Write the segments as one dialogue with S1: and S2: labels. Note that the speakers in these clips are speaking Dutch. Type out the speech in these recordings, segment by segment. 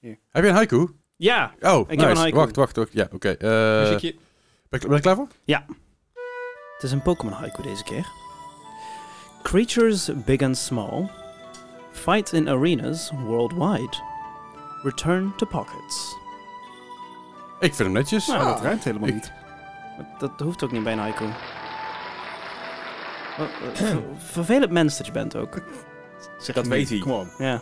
S1: Hier.
S2: Heb je een haiku? Oh,
S1: Ja,
S2: nice.
S1: heb een haiku.
S2: Wacht, wacht, wacht. Ja, oké. Eh, ben,
S3: Muziekje.
S2: ik- ben ik klaar voor?
S1: het is een Pokémon haiku deze keer. Creatures big and small fight in arenas worldwide. Return to pockets.
S2: Ik vind hem netjes.
S1: Nou, dat ruimt helemaal
S2: Ik-
S1: niet. Dat, dat hoeft ook niet bij een haiku. Wat- wat- eh, ver- Vervelend mens dat je bent ook. Zeg
S3: Dat
S1: ik
S3: weet
S1: niet.
S3: hij.
S2: Kom op.
S1: Ja.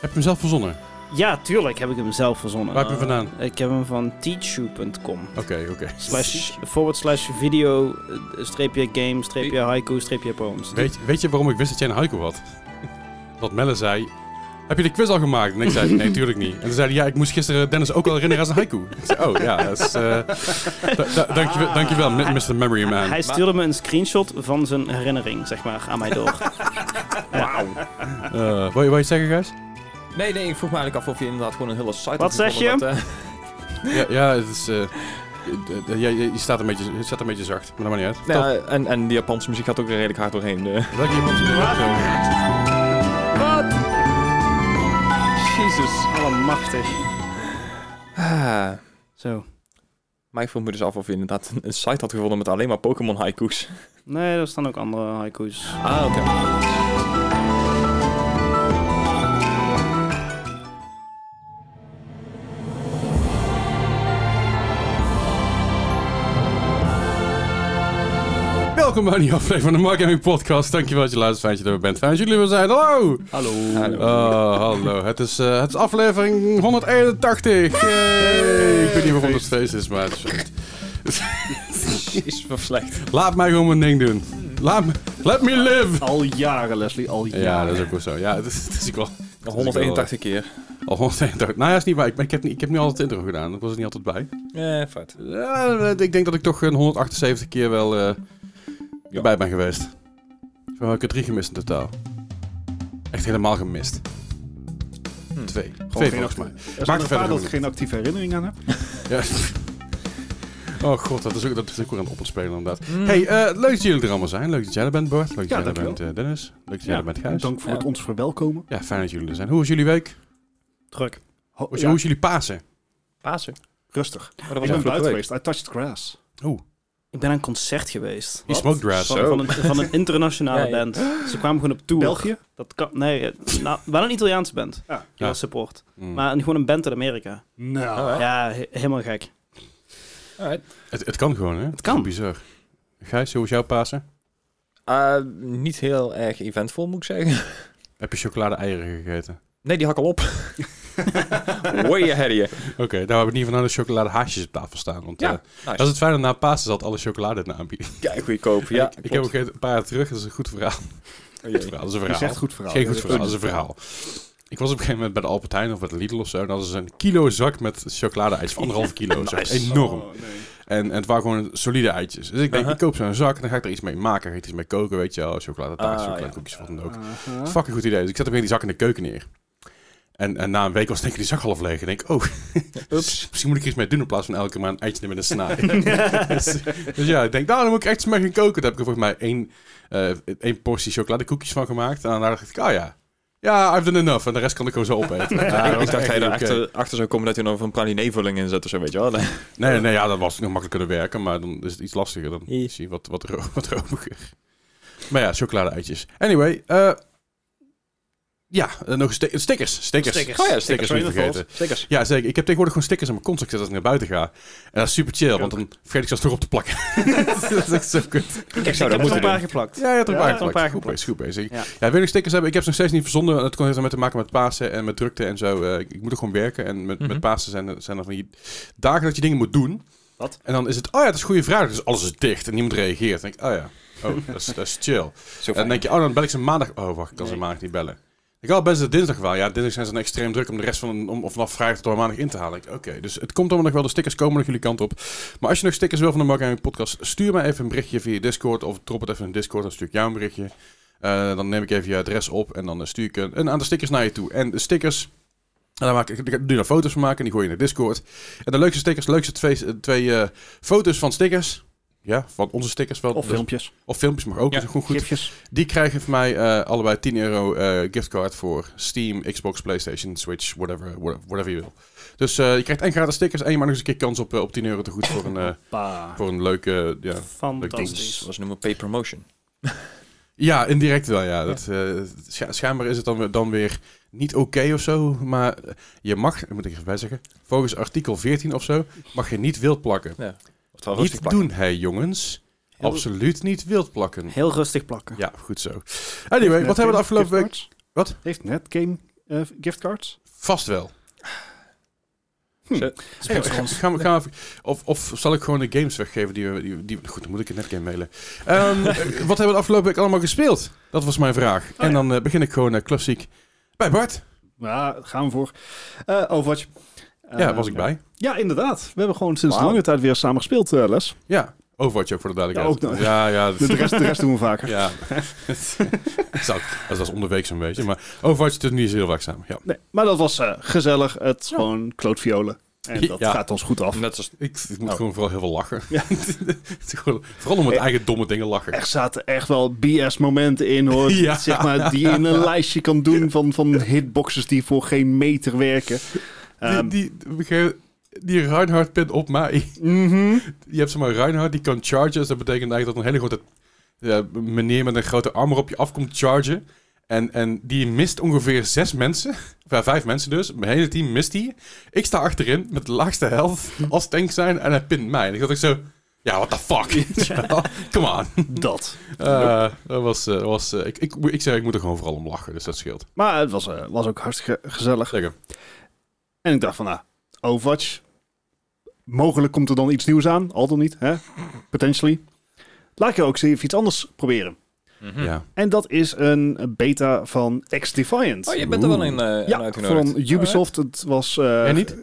S2: Heb je hem zelf verzonnen?
S1: ja, tuurlijk heb ik hem zelf verzonnen.
S2: Waar heb je hem vandaan?
S1: Ik heb hem van teachu.com.
S2: Oké, oké.
S1: Slash, forward slash video, eh, streepje game, streepje haiku, streepje poems.
S2: Weet, weet je waarom ik wist dat jij een haiku had? Dat Melle zei... Heb je de quiz al gemaakt? En ik zei, nee, tuurlijk niet. En toen zei hij, ja, ik moest gisteren Dennis ook al herinneren aan zijn haiku. Ik zei, oh, ja, dat is... eh, da- da- dankjewel, dankjewel,
S1: Ah.
S2: Mr. Memory Man.
S1: Hij stuurde me een screenshot van zijn herinnering, zeg maar, aan mij door. Wauw.
S2: Eh, wil, je, wil je zeggen, guys?
S3: Nee, nee, ik vroeg me eigenlijk af of je inderdaad gewoon een hele site had
S1: Wat zeg
S3: gevonden
S1: je?
S3: dat, eh,
S2: Ja, ja het is... eh, d- d- ja, je, je staat een beetje, je staat een beetje zacht, maar dat maakt niet uit.
S3: nou, eh, en, en die Japanse muziek gaat ook er redelijk hard doorheen. eh.
S2: Top. Welke iemand-
S3: Jezus.
S1: Allemachtig.
S3: Ah,
S1: Zo.
S3: maar ik vroeg me dus af of je inderdaad een, een site had gevonden met alleen maar Pokémon haikus.
S1: Nee, er staan ook andere haiku's.
S3: Ah, oké.
S2: Welkom bij een nieuwe aflevering van de Mark Gaming Podcast. Dankjewel dat je luistert, fijn dat je er weer bent. Fijn dat jullie weer zijn. Hallo!
S3: Hallo.
S2: Oh, hallo. Het is, eh, het is aflevering 181. Yay! Ik weet niet waarom het steeds is, maar het is goed.
S3: Jezus, wat slecht.
S2: Laat mij gewoon mijn ding doen. Laat me, let me live!
S4: Al jaren, Leslie, al jaren.
S2: Ja, dat is ook wel zo. Ja, het is, het is ook wel...
S3: Al 181 keer.
S2: Al 181. Nou ja, is niet waar. Ik, ben- ik, heb, niet- ik heb niet altijd het intro gedaan. Ik was er niet altijd bij.
S3: Eh, fout.
S2: Ja, ik denk dat ik toch een 178 keer wel eh, erbij ben geweest. Zo heb ik er drie gemist in totaal. Echt helemaal gemist.
S3: Hm.
S2: Twee.
S4: Gewoon
S2: Twee
S4: geen
S2: volgens mij.
S4: actie- Er
S2: Maakt
S4: staat een
S2: verder
S4: paar dat
S2: niet.
S4: ik geen actieve herinnering aan heb.
S2: Ja. Oh god, dat is ook, dat is ook weer aan het opspelen inderdaad. Hey, eh, leuk dat jullie er allemaal zijn. Leuk dat jij er bent, Bart. Leuk dat
S4: Hm.
S2: jij
S4: Ja,
S2: er bent,
S4: dankjewel.
S2: eh, Dennis. Leuk dat jij er bent, Gijs.
S4: Dank voor
S3: Ja.
S4: het ons verwelkomen.
S2: Ja, fijn dat jullie er zijn. Hoe was jullie week?
S1: Druk.
S4: Ho-
S2: Hoe is,
S4: ja,
S2: hoe is jullie Pasen?
S3: Pasen.
S4: rustig.
S3: Oh, dat
S4: Ik ben
S3: afgelopen
S4: buiten
S3: week.
S4: geweest. I touched grass.
S1: Ik ben aan een concert geweest.
S2: Die smoked grass.
S1: Van, van, een, van een internationale
S3: Ja, ja.
S1: band. Ze kwamen gewoon op tour.
S4: België?
S1: Dat kan, nee, eh, nou, wel een Italiaanse band.
S4: Ja.
S1: Ja.
S2: Ja.
S1: support.
S2: Mm.
S1: Maar een, gewoon een band uit Amerika.
S4: Nou.
S3: Oh, hè?
S1: Ja, he- helemaal gek.
S3: Alright.
S2: Het, het kan gewoon, hè? Het
S1: kan.
S2: Bizar. Gijs, hoe was jouw Pasen?
S3: Eh, niet heel erg eventvol, moet ik zeggen.
S2: Heb je chocolade-eieren gegeten?
S3: Nee, die hak al op. Way ahead of you.
S2: Oké, daar hebben we in ieder geval nou de chocoladehaasjes op tafel staan. Want
S3: Ja,
S2: eh,
S3: nice.
S2: dat is het fijne, na Pasen zat alle chocolade in de aanbieding.
S3: Kijk, goedkoop. Ja, Oh,
S2: ik, ik heb ook een paar jaar terug, dat is een goed verhaal. Goed verhaal, dat is een
S4: Dat is
S2: verhaal.
S4: echt goed verhaal.
S2: Geen
S4: Ja,
S2: goed
S4: dat-
S2: verhaal, dat is een verhaal. Ik was op een gegeven moment bij de Albert Heijn of bij de Lidl of zo. En hadden ze een kilo zak met chocolade-ijs van anderhalf kilo. of zo. Enorm.
S4: Oh, nee.
S2: En, en het waren gewoon solide eitjes. Dus ik denk,
S3: Uh-huh.
S2: ik koop zo'n zak en dan ga ik er iets mee maken. Ga ik er iets mee koken, weet je wel. Chocoladetaart,
S3: Ah,
S2: chocoladekoekjes, wat dan ook.
S4: Aha.
S2: Fucking goed idee. Dus ik zet hem weer die zak in de keuken neer. En, en na een week was denk ik die zak half leeg. En denk ik, oh,
S3: Ups.
S2: misschien moet ik er iets mee doen in plaats van elke keer maar een eitje nemen en een snaar. dus, dus ja, ik denk, nou, dan moet ik echt iets mee gaan koken. Daar heb ik er volgens mij één, eh, één portie chocoladekoekjes van gemaakt. En daarna dacht ik, oh ja, ja, I've done enough. En de rest kan ik gewoon zo opeten. Ja,
S3: ik,
S2: dat was
S3: ik dacht
S2: echt
S3: dat je
S2: niet
S3: er
S2: oké.
S3: achter, achter zou komen dat je nou er nog een pralinevulling in zet of zo, weet je wel.
S2: Nee, nee, ja, dat was nog makkelijker te werken, maar dan is het iets lastiger. Dan
S3: Ja.
S2: is hij wat, wat, ro wat romiger. Maar ja, chocolade-eitjes. Anyway, eh, ja, eh, nog ste- stickers. Stickers.
S1: Stickers.
S3: Oh ja,
S2: Stickers
S3: stickers.
S2: niet vergeten.
S3: Stickers.
S2: Ja, zeker. Ik heb tegenwoordig gewoon stickers aan mijn contact zetten als ik naar buiten ga. En dat is super chill, want dan vergeet ik ze alsnog op te plakken. dat is echt zo kut.
S1: Ik,
S3: zou dat
S1: heb er
S3: moeten
S1: een paar geplakt.
S2: Ja, je hebt er een
S1: Ja,
S2: paar
S1: ik heb er een paar
S2: geplakt. Goed
S1: geplakt.
S2: bezig, goed bezig. Ja,
S1: Ja.
S2: wil je nog stickers hebben? Ik heb ze nog steeds niet verzonden. Het kon heeft met te maken met Pasen en met drukte en zo. Eh, ik, ik moet er gewoon werken. En met,
S3: Mhm.
S2: met Pasen zijn er, zijn er van die dagen dat je dingen moet doen.
S1: Wat?
S2: En dan is het, oh ja, het is goede vraag. Dus alles is dicht en niemand reageert. Dan denk ik, oh ja, oh, dat, is, dat is chill.
S3: Zo
S2: En dan denk je, oh, dan bel ik ze maandag. Oh, wacht, ik kan ze
S1: Nee.
S2: maandag niet bellen. Ik had best de dinsdag wel. Ja, dinsdag zijn ze dan extreem druk om de rest van, om, of vanaf vrijdag tot aan maandag in te halen. Ik, Oké, dus het komt allemaal nog wel. De stickers komen nog jullie kant op. Maar als je nog stickers wil van de Mark Gaming Podcast, stuur mij even een berichtje via Discord. Of drop het even in Discord, dan stuur ik jou een berichtje. Eh, dan neem ik even je adres op en dan eh, stuur ik een, een aantal stickers naar je toe. En de stickers, en dan maak ik, ik ga nu daar foto's eh, van maken en die gooi je in de Discord. En de leukste stickers, de leukste twee, twee eh, foto's van stickers. Ja, van onze stickers wel.
S4: Of
S2: dus-
S4: filmpjes.
S2: Of filmpjes mag ook.
S3: Ja.
S2: is gewoon goed.
S4: Gifjes.
S2: Die krijgen van mij eh, allebei 10 euro eh, giftcard voor Steam, Xbox, PlayStation, Switch, whatever, wha- whatever je wil. Dus eh, je krijgt en gratis stickers en je maakt nog eens een keer kans op, eh, op 10 euro te goed voor een, eh,
S4: Pa.
S2: voor een leuke... ja.
S3: Dus
S1: Fantastisch.
S3: dat is noemen pay promotion.
S2: ja, indirect wel, ja. Dat, eh, scha- schijnbaar is het dan, weer- dan weer niet oké of zo, maar je mag, ik moet ik even bij zeggen, volgens artikel 14 of zo, mag je niet wild plakken.
S3: Ja. Oftewel
S2: Niet
S3: rustig plakken.
S2: doen, hè jongens.
S1: Heel-
S2: Absoluut niet wild plakken.
S1: Heel rustig plakken.
S2: Ja, goed zo. Anyway, wat hebben we de afgelopen week... Wat?
S4: Heeft Netgame eh giftcards?
S2: Vast wel.
S1: Sponsor
S2: Hey,
S1: ons.
S2: gaan we, gaan we even- of, of zal ik gewoon de games weggeven die we... Die, die- goed, dan moet ik het net game mailen. Ehm, eh, wat hebben we de afgelopen week allemaal gespeeld? Dat was mijn vraag. en dan eh, begin ik gewoon eh, klassiek bij Bart.
S4: Ja, gaan we voor. Eh Overwatch.
S2: ja,
S4: Eh,
S2: was ik bij.
S4: Ja, inderdaad. We hebben gewoon sinds
S3: Wauw.
S4: lange tijd weer samen gespeeld, eh, Les.
S2: Ja, Overwatch ook voor de duidelijkheid.
S4: Ja, ook nog.
S2: ja, ja,
S4: De,
S2: dat-
S4: de rest, de rest doen we vaker.
S2: ja. Zou- dat was onderweek zo'n beetje. Maar Overwatch doet niet zo heel vaak samen. Ja.
S4: Nee, maar dat was eh, gezellig. Het is gewoon klootviolen. En dat
S2: Ja.
S4: gaat ons goed af.
S3: Net als
S2: Ik, ik moet
S4: Oh.
S2: gewoon vooral heel veel lachen.
S4: Ja.
S2: Het is gewoon- vooral om het
S4: Eh,
S2: eigen domme dingen lachen.
S4: Er zaten echt wel BS-momenten in, hoor.
S2: Ja.
S4: Zeg maar, die je in een lijstje kan doen van, van hitboxes die voor geen meter werken. Ehm,
S2: die, die, die Reinhardt pin op mij.
S4: mhm.
S2: Je hebt zomaar Reinhardt, die kan chargen. Dus dat betekent eigenlijk dat een hele grote eh, meneer met een grote armor op je afkomt chargen. En, en die mist ongeveer zes mensen. Of ja, vijf mensen dus. Mijn hele team mist die. Ik sta achterin met de laagste health als tank zijn. En hij pint mij. En ik dacht echt zo... Ja, what the fuck? Come on.
S4: Dat.
S2: Eh, dat was... eh, was eh, ik, ik, ik zei, ik moet er gewoon vooral om lachen. Dus dat scheelt.
S4: Maar het was, eh, was ook hartstikke gezellig.
S2: Zeker.
S4: En ik dacht van, nou, Overwatch. Mogelijk komt er dan iets nieuws aan. Al dan niet, hè? Potentially. Laat ik ook eens even iets anders proberen.
S3: Mhm.
S2: Ja.
S4: En dat is een beta van X-Defiant.
S3: Oh, je bent er wel in, eh
S4: ja,
S3: uitgenodigd.
S4: van Ubisoft. Het was, eh,
S2: Jij niet?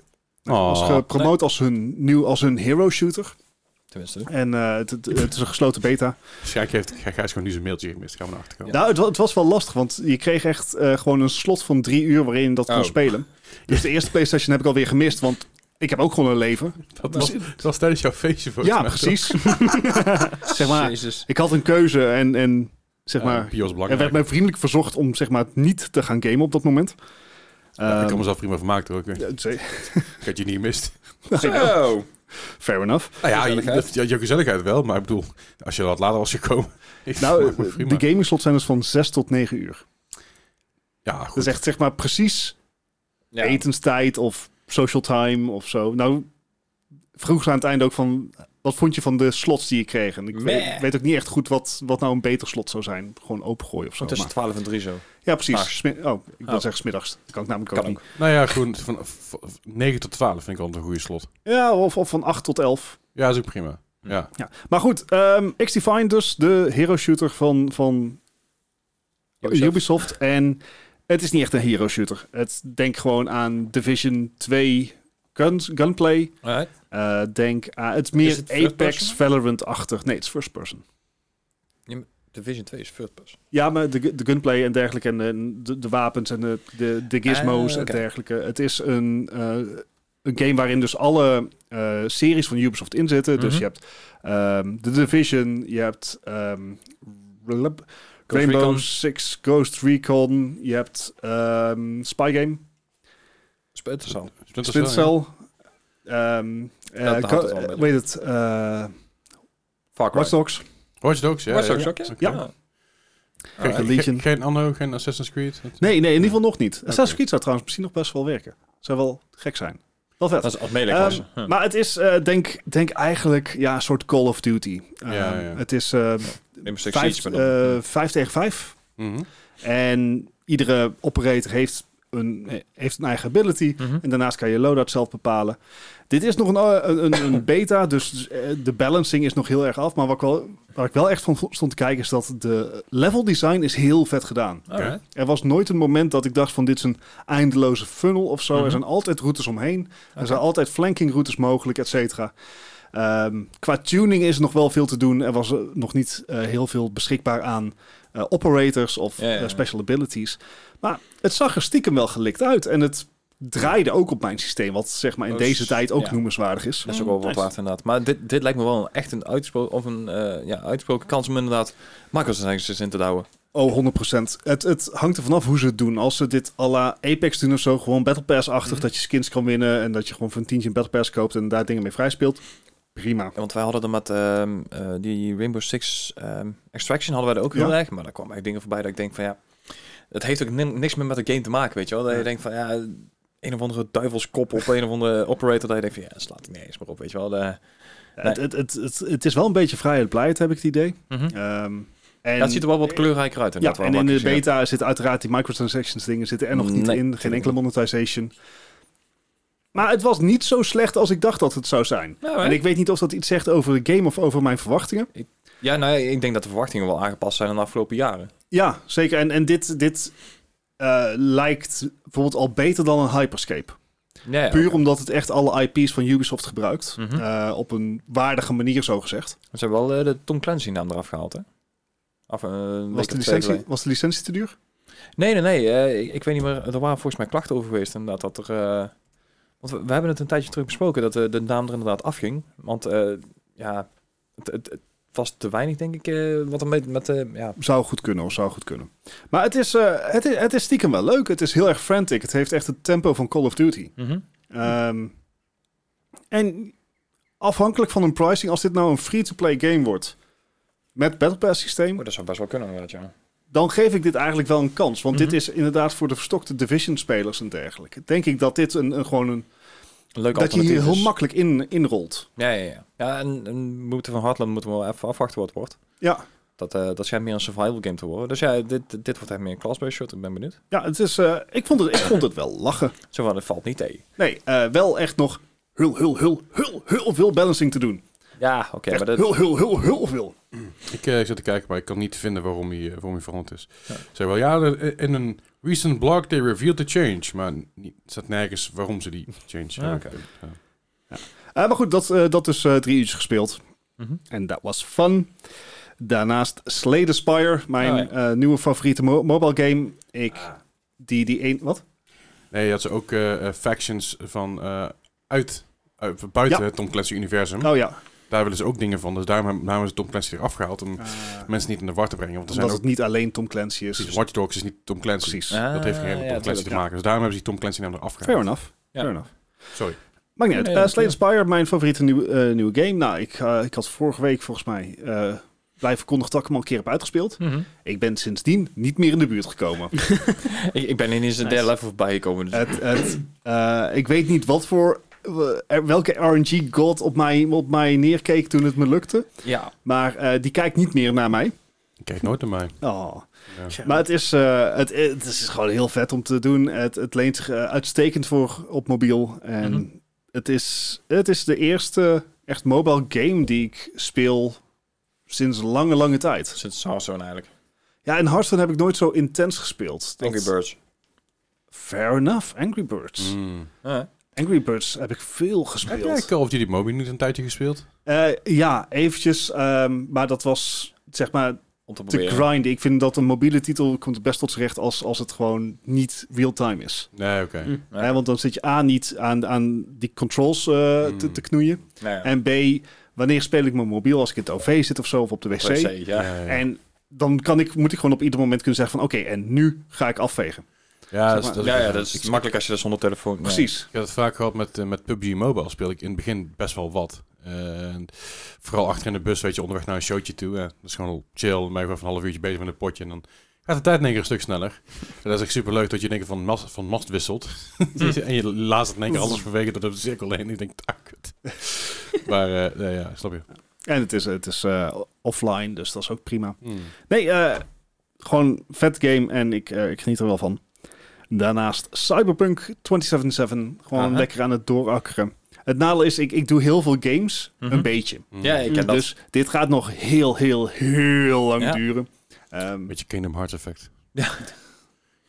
S4: was
S2: Oh.
S4: gepromoot als hun, nieuw als hun hero shooter.
S3: Tenminste.
S4: En eh, het, het, het is een gesloten beta.
S2: Waarschijnlijk heeft Gijs gewoon nu zijn mailtje gemist. Gaan we naar achter komen.
S4: Nou, het, wa- het was wel lastig, want je kreeg echt eh, gewoon een slot van drie uur waarin je dat kon
S3: Oh.
S4: spelen. Dus de eerste PlayStation heb ik alweer gemist, want ik heb ook gewoon een leven.
S2: Dat was, dat was tijdens jouw feestje voor
S4: Ja, precies. zeg maar,
S3: Jezus.
S4: ik had een keuze en, en zeg maar,
S2: Pios
S4: er
S2: belangrijk.
S4: werd mij vriendelijk verzocht om zeg maar niet te gaan gamen op dat moment.
S2: Ja, ik
S4: Ehm,
S2: kan mezelf prima vermaakt hoor. Ik, weet-
S4: ja, ze-
S2: ik had je niet gemist.
S3: Zo.
S4: Fair enough.
S2: Nou ja, je,
S3: Gezelligheid.
S2: dat- ja, je gezelligheid wel, maar ik bedoel, als je wat later was gekomen. Ik
S4: Nou,
S2: vermaak me prima.
S4: de gaming slots zijn dus van 6 tot 9 uur.
S2: Ja, goed.
S4: Dat is echt zeg maar precies
S3: Ja.
S4: etenstijd of social time of zo. Nou, vroeg ze aan het einde ook van... Wat vond je van de slots die je kreeg? En ik
S3: Meh.
S4: weet, weet ook niet echt goed wat, wat nou een beter slot zou zijn. Gewoon opengooien of zo.
S3: Zo tussen
S4: maar-
S3: 12 en 3 zo.
S4: ja, precies.
S3: s'nachts.
S4: Smi- oh, ik wil
S3: Oh.
S4: zeggen smiddags. Dat kan ik namelijk
S3: Kan
S4: ook niet.
S2: Nou ja, gewoon van v- v- 9 tot 12 vind ik altijd een goede slot.
S4: Ja, of, of van 8 tot 11.
S2: Ja, dat is ook prima. Ja.
S4: Ja. Maar goed, ehm X-Define dus. De hero shooter van, van Ubisoft. En het is niet echt een hero shooter. Het, denk gewoon aan Division 2 guns, gunplay.
S3: Alright.
S4: Eh, denk aan... Het is meer
S3: Is het first
S4: Apex
S3: person?
S4: Valorant-achtig. Nee, het is first person.
S3: Division 2 is third person.
S4: Ja, maar de, gu- de gunplay en dergelijke en de, de, de wapens en de, de, de gizmos
S3: Ah, oké.
S4: en dergelijke. Het is een, eh, een game waarin dus alle eh, series van Ubisoft in zitten. Dus
S3: Mhm.
S4: je hebt ehm The Division, je hebt ehm, Relab-
S3: Ghost
S4: Rainbow
S3: Recon.
S4: Six, Ghost Recon, je hebt ehm, Spy Game,
S3: Splinter Cell.
S2: Splinter Cell,
S4: Splinter Cell. ehm, eh,
S3: daar houdt het wel
S4: Go-
S3: een beetje.
S4: weet het, eh
S3: Fuck
S4: Watch Dogs.
S2: ja. Watch Dogs, ja.
S3: Watch Dogs
S2: ja. Ah,
S3: ook, ja?
S4: Ja.
S2: Geen,
S4: Alright.
S2: geen-
S4: Legion.
S2: geen Anno, geen Assassin's Creed. Dat-
S4: Nee, nee, in ieder geval nog niet. Assassin's Creed zou trouwens misschien nog best wel werken. Zou wel gek zijn. Wel vet.
S3: Dat is als melee
S4: Ehm,
S3: klasse. Hm.
S4: Maar het is, eh, denk, denk eigenlijk, ja, een soort Call of Duty. Ehm,
S2: Ja, ja.
S4: Het is eh,
S3: Rainbow Six
S4: vijf,
S3: Siege, maar dan-
S4: eh, vijf tegen vijf.
S2: Mhm.
S4: En iedere operator heeft een, eh, heeft eh, een eigen ability.
S3: Mhm.
S4: En daarnaast kan je loadout zelf bepalen. Dit is nog een, eh, een, een, een beta, dus dus, eh, de balancing is nog heel erg af. Maar wat ik wel, waar ik wel echt van stond te kijken is dat de level design is heel vet gedaan.
S3: Alright.
S4: Er was nooit een moment dat ik dacht van dit is een eindeloze funnel of zo.
S3: Mhm.
S4: Er zijn altijd routes omheen. Er
S3: Oké.
S4: zijn altijd flankingroutes mogelijk, et cetera. Ehm, qua tuning is er nog wel veel te doen. Er was eh, nog niet eh, heel veel beschikbaar aan eh, operators of
S3: Ja, ja, ja.
S4: eh, special abilities. Maar het zag er stiekem wel gelikt uit. En het draaide ook op mijn systeem. Wat zeg maar in
S2: Oh,
S4: deze tijd ook
S3: ja.
S4: noemenswaardig is.
S3: Dat is ook wel wat
S1: Nice.
S3: waard inderdaad. Maar dit, dit lijkt me wel een, echt een uitgesproken, of een, eh, ja, uitgesproken kans om inderdaad macrotransactions in te douwen.
S4: Oh, 100%. Het, het hangt er vanaf hoe ze het doen. Als ze dit à la Apex doen of zo, gewoon Battle Pass-achtig,
S3: Mhm.
S4: dat je skins kan winnen en dat je gewoon voor een tientje een Battle Pass koopt en daar dingen mee vrijspeelt. Prima.
S3: Ja, Want wij hadden er met ehm, eh, die Rainbow Six ehm, Extraction hadden wij er ook heel
S4: Ja.
S3: erg. Maar daar kwamen echt dingen voorbij dat ik denk van ja, het heeft ook nim- niks meer met de game te maken, weet je wel. Dat je denkt van ja, een of andere duivelskop op een of andere operator. Dat je denkt van ja, dat slaat niet eens meer op, weet je wel. De, Nee.
S4: Het, het, het, het, het is wel een beetje vrijheid blijheid, heb ik het idee. Ehm, en,
S3: Mhm. Ja, het ziet er wel wat kleurrijker uit
S4: eh, Ja,
S3: inderdaad.
S4: en
S3: wel
S4: in de
S3: makkelijk
S4: beta zitten uiteraard die microtransactions dingen zitten er nog niet
S3: Nee,
S4: in. Geen
S3: tuurlijk
S4: enkele monetization. Maar het was niet zo slecht als ik dacht dat het zou zijn.
S3: gezien. Nou,
S4: En
S3: hè?
S4: ik weet niet of dat iets zegt over de game of over mijn verwachtingen.
S3: Ja, nou, ik denk dat de verwachtingen wel aangepast zijn in de afgelopen jaren.
S4: Ja, zeker. En, en dit, dit eh, lijkt bijvoorbeeld al beter dan een Hyperscape.
S3: Ja, ja.
S4: Puur omdat het echt alle IP's van Ubisoft gebruikt.
S3: Mhm.
S4: Eh, op een waardige manier, zo gezegd.
S3: Ze hebben wel eh, de Tom Clancy naam eraf gehaald, hè? Of, eh, een
S4: Was
S3: week
S4: de,
S3: of twee
S4: licentie, was de licentie te duur?
S3: Nee, nee, nee. eh, ik, ik weet niet meer. Er waren volgens mij klachten over geweest. Inderdaad, dat er. eh, want we, we hebben het een tijdje terug besproken dat eh, de naam er inderdaad afging. Want eh, ja, het, het, het was te weinig, denk ik. eh, wat er met. met eh, ja.
S4: Zou goed kunnen, of zou goed kunnen. Maar het is, eh, het, is, het is stiekem wel leuk. Het is heel erg frantic. Het heeft echt het tempo van Call of Duty. Ehm, en afhankelijk van hun pricing, als dit nou een free-to-play game wordt met Battle Pass systeem,
S3: Oh, dat zou best wel kunnen, inderdaad, ja.
S4: dan geef ik dit eigenlijk wel een kans. Want
S3: Mhm.
S4: dit is inderdaad voor de verstokte Division-spelers en dergelijke. Denk ik dat dit een, een gewoon een...
S3: Een leuk
S4: dat je hier
S3: alternatief
S4: heel
S3: is.
S4: makkelijk in, inrolt.
S3: Ja, ja, ja. ja en, en we moeten van Heartland moeten we wel even afwachten wat het wordt.
S4: Ja,
S3: Dat, eh, dat schijnt meer een survival game te worden. Dus ja, dit, dit wordt echt meer een class-based shot. Ik ben benieuwd.
S4: ja het is, eh, ik, vond het, ik vond het wel lachen.
S3: Zo van, het valt niet tegen.
S4: Nee, eh, wel echt nog heel, heel, heel, heel, heel veel balancing te doen.
S3: Ja, oké.
S4: Echt
S3: maar dat,
S4: heel, heel, heel, heel veel.
S2: Ik eh, zit te kijken, maar ik kan niet vinden waarom hij, eh, waarom hij veranderd is.
S3: Ja.
S2: Zeg wel, ja, de- in een recent blog they revealed the change. Maar niet, het staat nergens waarom ze die change
S3: Ja,
S2: hebben. Ja.
S4: Eh, maar goed, dat, eh, dat is eh, drie uurtjes gespeeld.
S3: Mhm.
S4: En dat was fun. Daarnaast Slay the Spire, mijn
S3: Oh, Ah.
S4: eh, nieuwe favoriete mo- mobile game. Ik, die, die een, wat?
S2: Nee, je had ze ook eh, eh, factions van eh, uit, uit- buiten
S4: Ja.
S2: het Tom Clancy
S3: Hm?
S2: universum.
S4: Oh ja,
S2: Daar willen ze ook dingen van. Dus daarom hebben daarom is Tom Clancy eraf gehaald om
S3: Ah.
S2: mensen niet in de war te brengen. Want er zijn
S4: omdat het
S2: ook
S4: niet alleen Tom Clancy is.
S2: precies, Watch Dogs is niet Tom Clancy.
S4: Precies.
S2: Dat heeft geen
S3: Ah,
S2: reden met
S3: ja,
S2: Tom Clancy te
S3: tuurlijk,
S2: maken. Dus daarom hebben ze die Tom Clancy naam eraf
S4: Fair
S2: gehaald.
S4: enough.
S3: Ja.
S4: Fair enough.
S2: Sorry.
S4: Maakt niet uit.
S3: Nee,
S4: Eh,
S3: dat
S4: Slay the
S3: is
S4: Spire, mijn favoriete nieuwe, eh, nieuwe game. Nou, ik, eh, ik had vorige week volgens mij eh blijven verkondigd dat ik hem al een keer heb uitgespeeld.
S3: ja. Mhm.
S4: Ik ben sindsdien niet meer in de buurt gekomen.
S3: Ik, ik ben ineens een derde level voorbij gekomen. Dus.
S4: het, het, eh, ik weet niet wat voor eh, welke RNG-god op mij, op mij neerkeek toen het me lukte.
S3: ja.
S4: Maar eh, die kijkt niet meer naar mij.
S2: Kijk nooit naar mij.
S4: Oh.
S2: Ja.
S4: Maar het is, eh, het, het is gewoon heel vet om te doen. Het, het leent zich eh, uitstekend voor op mobiel. En
S3: Mhm.
S4: het, is, het is de eerste echt mobile game die ik speel sinds lange, lange tijd.
S3: Sinds Sarson eigenlijk.
S4: Ja, en Hearthstone heb ik nooit zo intens gespeeld. Dat-
S3: Angry Birds. Mhm.
S4: Fair enough, Angry Birds.
S2: Mm.
S4: Angry Birds heb ik veel
S2: Heb
S4: gespeeld.
S2: jij Call of Duty Mobile niet een tijdje gespeeld?
S4: Eh, ja, eventjes. ehm, maar dat was zeg maar
S3: Om te
S4: te
S3: proberen.
S4: grinden. Ik vind dat een mobiele titel komt het best tot zijn recht als, als het gewoon niet real-time is.
S2: Nee, oké.
S1: Mm.
S3: Ja.
S4: Hè, want dan zit je A, niet aan, aan die controls eh, te,
S2: Hmm.
S4: te knoeien.
S3: Nou ja.
S4: En B, wanneer speel ik mijn mobiel? Als ik in het OV zit of zo, of op de wc.
S3: Per se,
S2: Ja,
S3: ja.
S2: ja.
S4: En dan kan ik, moet ik gewoon op ieder moment kunnen zeggen van... oké, en nu ga ik afvegen.
S2: Ja, dat is,
S4: maar.
S2: dat is-
S3: Ja, ja, dat is
S2: ik-
S3: makkelijk als je dat zonder telefoon... nee.
S4: Precies.
S2: Ik heb het vaak gehad met, eh, met PUBG Mobile. Speel ik in het begin best wel wat. Eh, En vooral achter in de bus, weet je, onderweg naar een showtje toe. eh, dat is gewoon chill. Dan ben je gewoon van een half uurtje bezig met een potje. En dan gaat de tijd in één keer een stuk sneller. En dat is echt super leuk dat je in één keer van mast, van mast wisselt.
S3: Hm.
S2: en je laat het in één keer anders vanwege door de cirkel heen. En ik denk, ah, kut. maar eh, nee, ja, snap je.
S4: En het is, het is eh, offline, dus dat is ook prima.
S3: Hm.
S2: Hmm.
S4: Nee, eh, gewoon vet game en ik, eh, ik geniet er wel van. Daarnaast Cyberpunk 2077. Gewoon
S3: Aha.
S4: lekker aan het doorakkeren. Het nadeel is, ik, ik doe heel veel games.
S3: Mhm.
S4: Een beetje.
S2: Hmm.
S3: Ja, ik ken dat.
S4: Dus dit gaat nog heel, heel, heel lang
S3: Ja.
S4: duren. Ehm,
S2: Beetje Kingdom Hearts effect.
S3: Ja.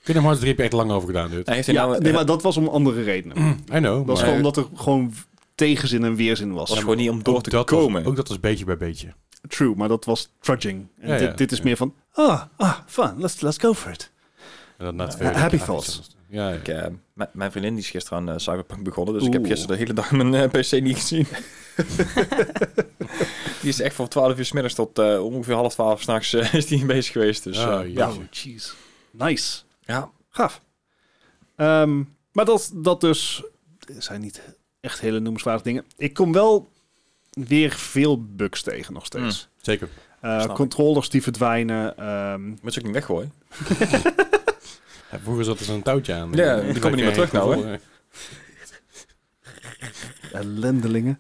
S2: Kingdom Hearts 3 heb je echt lang over gedaan, dude.
S3: Hij heeft
S4: ja,
S3: nou,
S4: nee, maar dat was om andere redenen.
S3: Mm.
S2: I know.
S4: Dat is
S2: maar-
S4: gewoon omdat er gewoon v- tegenzin en weerzin was.
S3: was gewoon niet om door
S2: ook
S3: te
S2: dat was-
S3: komen.
S2: ook dat is beetje bij beetje.
S4: True, maar dat was trudging. En
S2: Ja,
S4: dit,
S2: ja,
S4: dit is
S2: ja.
S4: meer van, ah, ah, fun, let's, let's go for it.
S2: En dan na twee
S4: happy
S2: weken-
S4: thoughts.
S2: Ja. Ja, ja.
S3: Ik, eh, m- mijn vriendin die is gisteren aan eh, Cyberpunk begonnen, dus ik
S4: Oeh.
S3: heb gisteren de hele dag mijn eh, PC niet gezien. die is echt van 12 uur 's middags tot eh, ongeveer half 12 s'nachts eh is die bezig geweest. Dus,
S2: Ah,
S3: eh,
S2: jeetje.
S4: Ja, oh, jeez. Nice.
S3: ja.
S4: Gaaf. Ehm, maar dat, dat dus er zijn niet echt hele noemenswaardige dingen. Ik kom wel weer veel bugs tegen nog steeds.
S2: Zeker.
S4: Eh,
S3: Mm. Snap ik.
S4: controllers die verdwijnen. ehm,
S3: Moet je ook niet weggooien.
S2: Ja, vroeger zat er zo'n touwtje aan.
S3: Ja, die komen niet meer terug nou, hè?
S4: ellendelingen.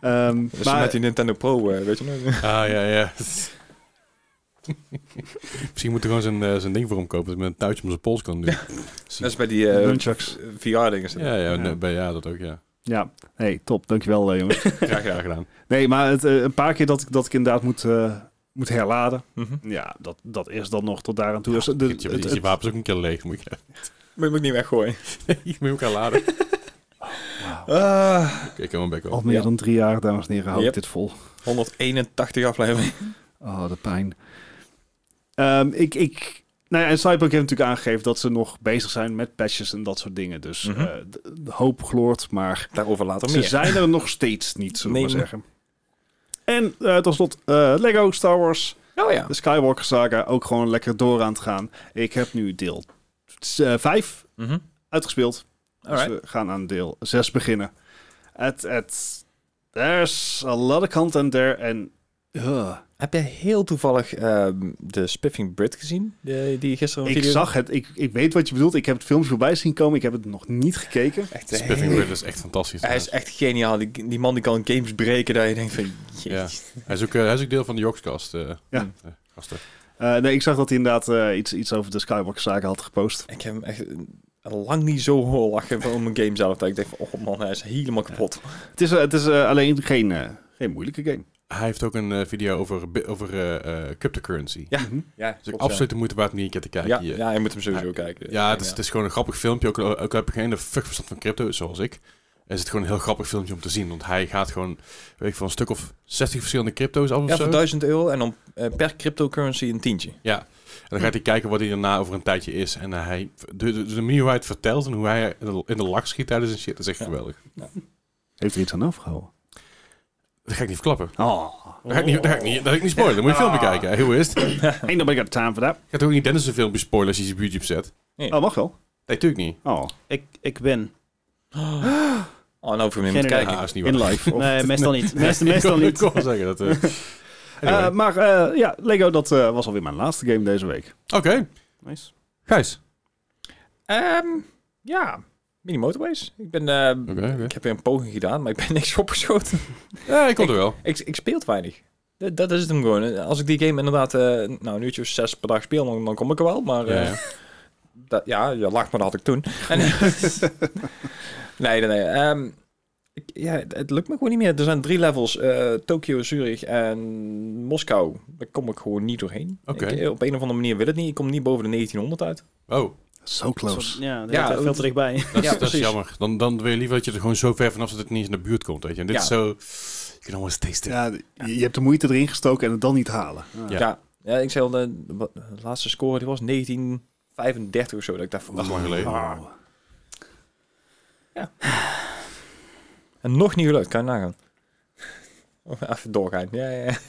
S4: Ehm,
S3: Dus
S4: maar
S3: met die Nintendo Pro, eh, weet je nog?
S2: Ah, ja, ja. Misschien moet er gewoon zijn, eh, zijn ding voor hem kopen, dat hij met een touwtje om zijn pols kan doen.
S3: Dat is bij die eh,
S4: Nunchucks.
S3: VR-dingen.
S2: Ja, ja,
S4: Ja.
S2: nee, bij- ja, dat ook, ja.
S4: ja, hey, top. Dankjewel, eh, jongens.
S2: Graag gedaan. gedaan.
S4: nee, maar het, eh, een paar keer dat ik, dat ik inderdaad moet, eh, moet herladen.
S3: Mhm.
S4: Ja, dat, dat is dan nog tot daar aan toe. Dus de-
S2: Is je,
S4: het-
S2: is je wapens ook een keer leeg, moet je,
S3: Moet je hem ook niet weggooien.
S2: moet je elkaar laden. Oké,
S3: Ah,
S2: ik heb hem back
S4: al
S2: op.
S4: meer
S3: Ja.
S4: dan drie jaar, dames en heren, hou
S3: Yep.
S4: ik dit vol.
S3: 181 afleveringen.
S4: Oh, de pijn. Ehm, ik, ik, nou ja, en Cyberpunk heeft natuurlijk aangegeven dat ze nog bezig zijn met patches en dat soort dingen. Dus eh
S3: Mhm.
S4: de, de hoop gloort, maar
S3: Daarover later
S4: ze
S3: meer.
S4: zijn er nog steeds niet, zullen we
S3: Nee,
S4: maar zeggen. En eh tot slot, eh, Lego Star Wars,
S3: Oh ja.
S4: de Skywalker saga, ook gewoon lekker door aan het gaan. Ik heb nu deel 5
S3: Mhm.
S4: uitgespeeld.
S3: Alright.
S4: Dus we gaan aan deel 6 beginnen. Het, het, there's a lot of content there en... eh, ugh.
S3: Heb jij heel toevallig ehm, de Spiffing Brit gezien? Die, die gisteren een
S4: Ik
S3: video...
S4: zag het, ik, ik weet wat je bedoelt. Ik heb het filmpje voorbij zien komen, ik heb het nog niet gekeken.
S3: Echt een
S2: Spiffing
S3: hele-
S2: Grid is echt fantastisch.
S3: Hij is echt geniaal. Die, die man die kan games breken dat je denkt van...
S2: Ja.
S3: jezus.
S2: Hij is ook, eh, hij is ook deel van de Joxcast. eh,
S4: Ja.
S2: eh, gasten.
S4: Eh, nee, ik zag dat hij inderdaad eh, iets, iets over de Skywalker-zaken had gepost.
S3: Ik heb hem echt eh, lang niet zo hoor lachen van mijn game zelf. Dat ik denk van, oh man, hij is helemaal kapot.
S4: Het is, eh, het is eh, alleen geen, eh, geen moeilijke game.
S2: Hij heeft ook een eh, video over, bi- over eh, eh, cryptocurrency.
S3: Ja,
S4: Mhm.
S3: Ja,
S2: Dus
S3: klopt,
S2: ook
S3: ja.
S2: absoluut de moeite waard om hier een keer te kijken.
S3: Ja,
S2: hier.
S3: ja, je moet hem sowieso kijken.
S2: Ja, het is, het is gewoon een grappig filmpje. Ook, ook heb je geen de fuck verstand van crypto, zoals ik. Is het gewoon een heel grappig filmpje om te zien. Want hij gaat gewoon, weet ik veel, een stuk of 60 verschillende crypto's af of
S3: Ja,
S2: zo.
S3: voor 1000 euro en dan eh, per cryptocurrency een tientje.
S2: En dan gaat hij kijken wat hij daarna over een tijdje is. En eh, hij, de, de, de manier hoe hij het vertelt en hoe hij in de, in de lak schiet tijdens een shit, dat is echt
S3: Ja.
S2: geweldig.
S4: Heeft er iets aan overgehouden?
S2: Dat ga ik niet verklappen.
S4: Oh,
S2: Dat ga ik niet, dat ga ik niet, dat ga ik niet spoilen. Dan moet je een filmpje
S4: Ah.
S2: kijken. Hoe is het?
S4: ain't nobody got time for that.
S2: Gaat ook niet Dennis een filmpje spoilen als je ze op YouTube zet?
S4: Oh, mag wel.
S2: Nee, natuurlijk niet.
S4: Oh,
S1: Ik, ik ben.
S3: Oh, nou hoef je
S1: Geen
S3: hem niet te
S1: idee.
S3: kijken.
S2: Ah, is niet waar.
S4: in live. Of-
S1: Nee, meestal niet. Meestal,
S2: Ik
S1: meestal
S2: kon-
S1: niet.
S2: Ik kon wel zeggen dat... eh,
S4: Eh,
S2: anyway.
S4: maar eh, ja, Lego, dat eh, was alweer mijn laatste game deze week.
S2: Oké,
S1: Nice.
S2: Gijs.
S3: Ehm, ja, mini motorways. Ik, ben, eh,
S2: Oké, oké.
S3: ik heb weer een poging gedaan, maar ik ben niks opgeschoten.
S2: Ja, ik kom er wel.
S3: ik, ik speel te weinig. Dat, dat is het hem gewoon. Als ik die game inderdaad eh, nou, een uurtje of zes per dag speel, dan, dan kom ik er wel. Maar
S2: Ja,
S3: eh,
S2: ja.
S3: dat, ja, je lacht, maar dat had ik toen. En, nee, nee, nee. ehm, ik- ja, het, het lukt me gewoon niet meer. Er zijn drie levels. eh Tokio, Zurich en Moskou. Daar kom ik gewoon niet doorheen.
S2: Oké.
S3: Ik- op een of andere manier wil het niet. Ik kom niet boven de 1900 uit.
S2: Oh,
S4: So close.
S1: Zo- Ja, dat
S3: Ja,
S1: ja, veel
S3: het-
S1: te dichtbij.
S2: dat, is-
S3: Ja,
S2: dat is
S3: precies.
S2: jammer. Dan, dan wil je liever dat je er gewoon zo ver vanaf zit dat het niet eens in de buurt komt, weet je. En dit
S3: Ja.
S2: is zo... You can almost taste it.
S4: Ja, je je hebt de moeite erin gestoken en het dan niet halen. Ah.
S2: Ja.
S3: Ja. ja. ik zei al, de, de laatste score die was 1935 of zo. Dat ik dacht van,
S2: Dat is lang geleden.
S4: Oh.
S3: En nog niet gelukt, kan je nagaan. Oh, Even doorgaan. Ja, ja. ja.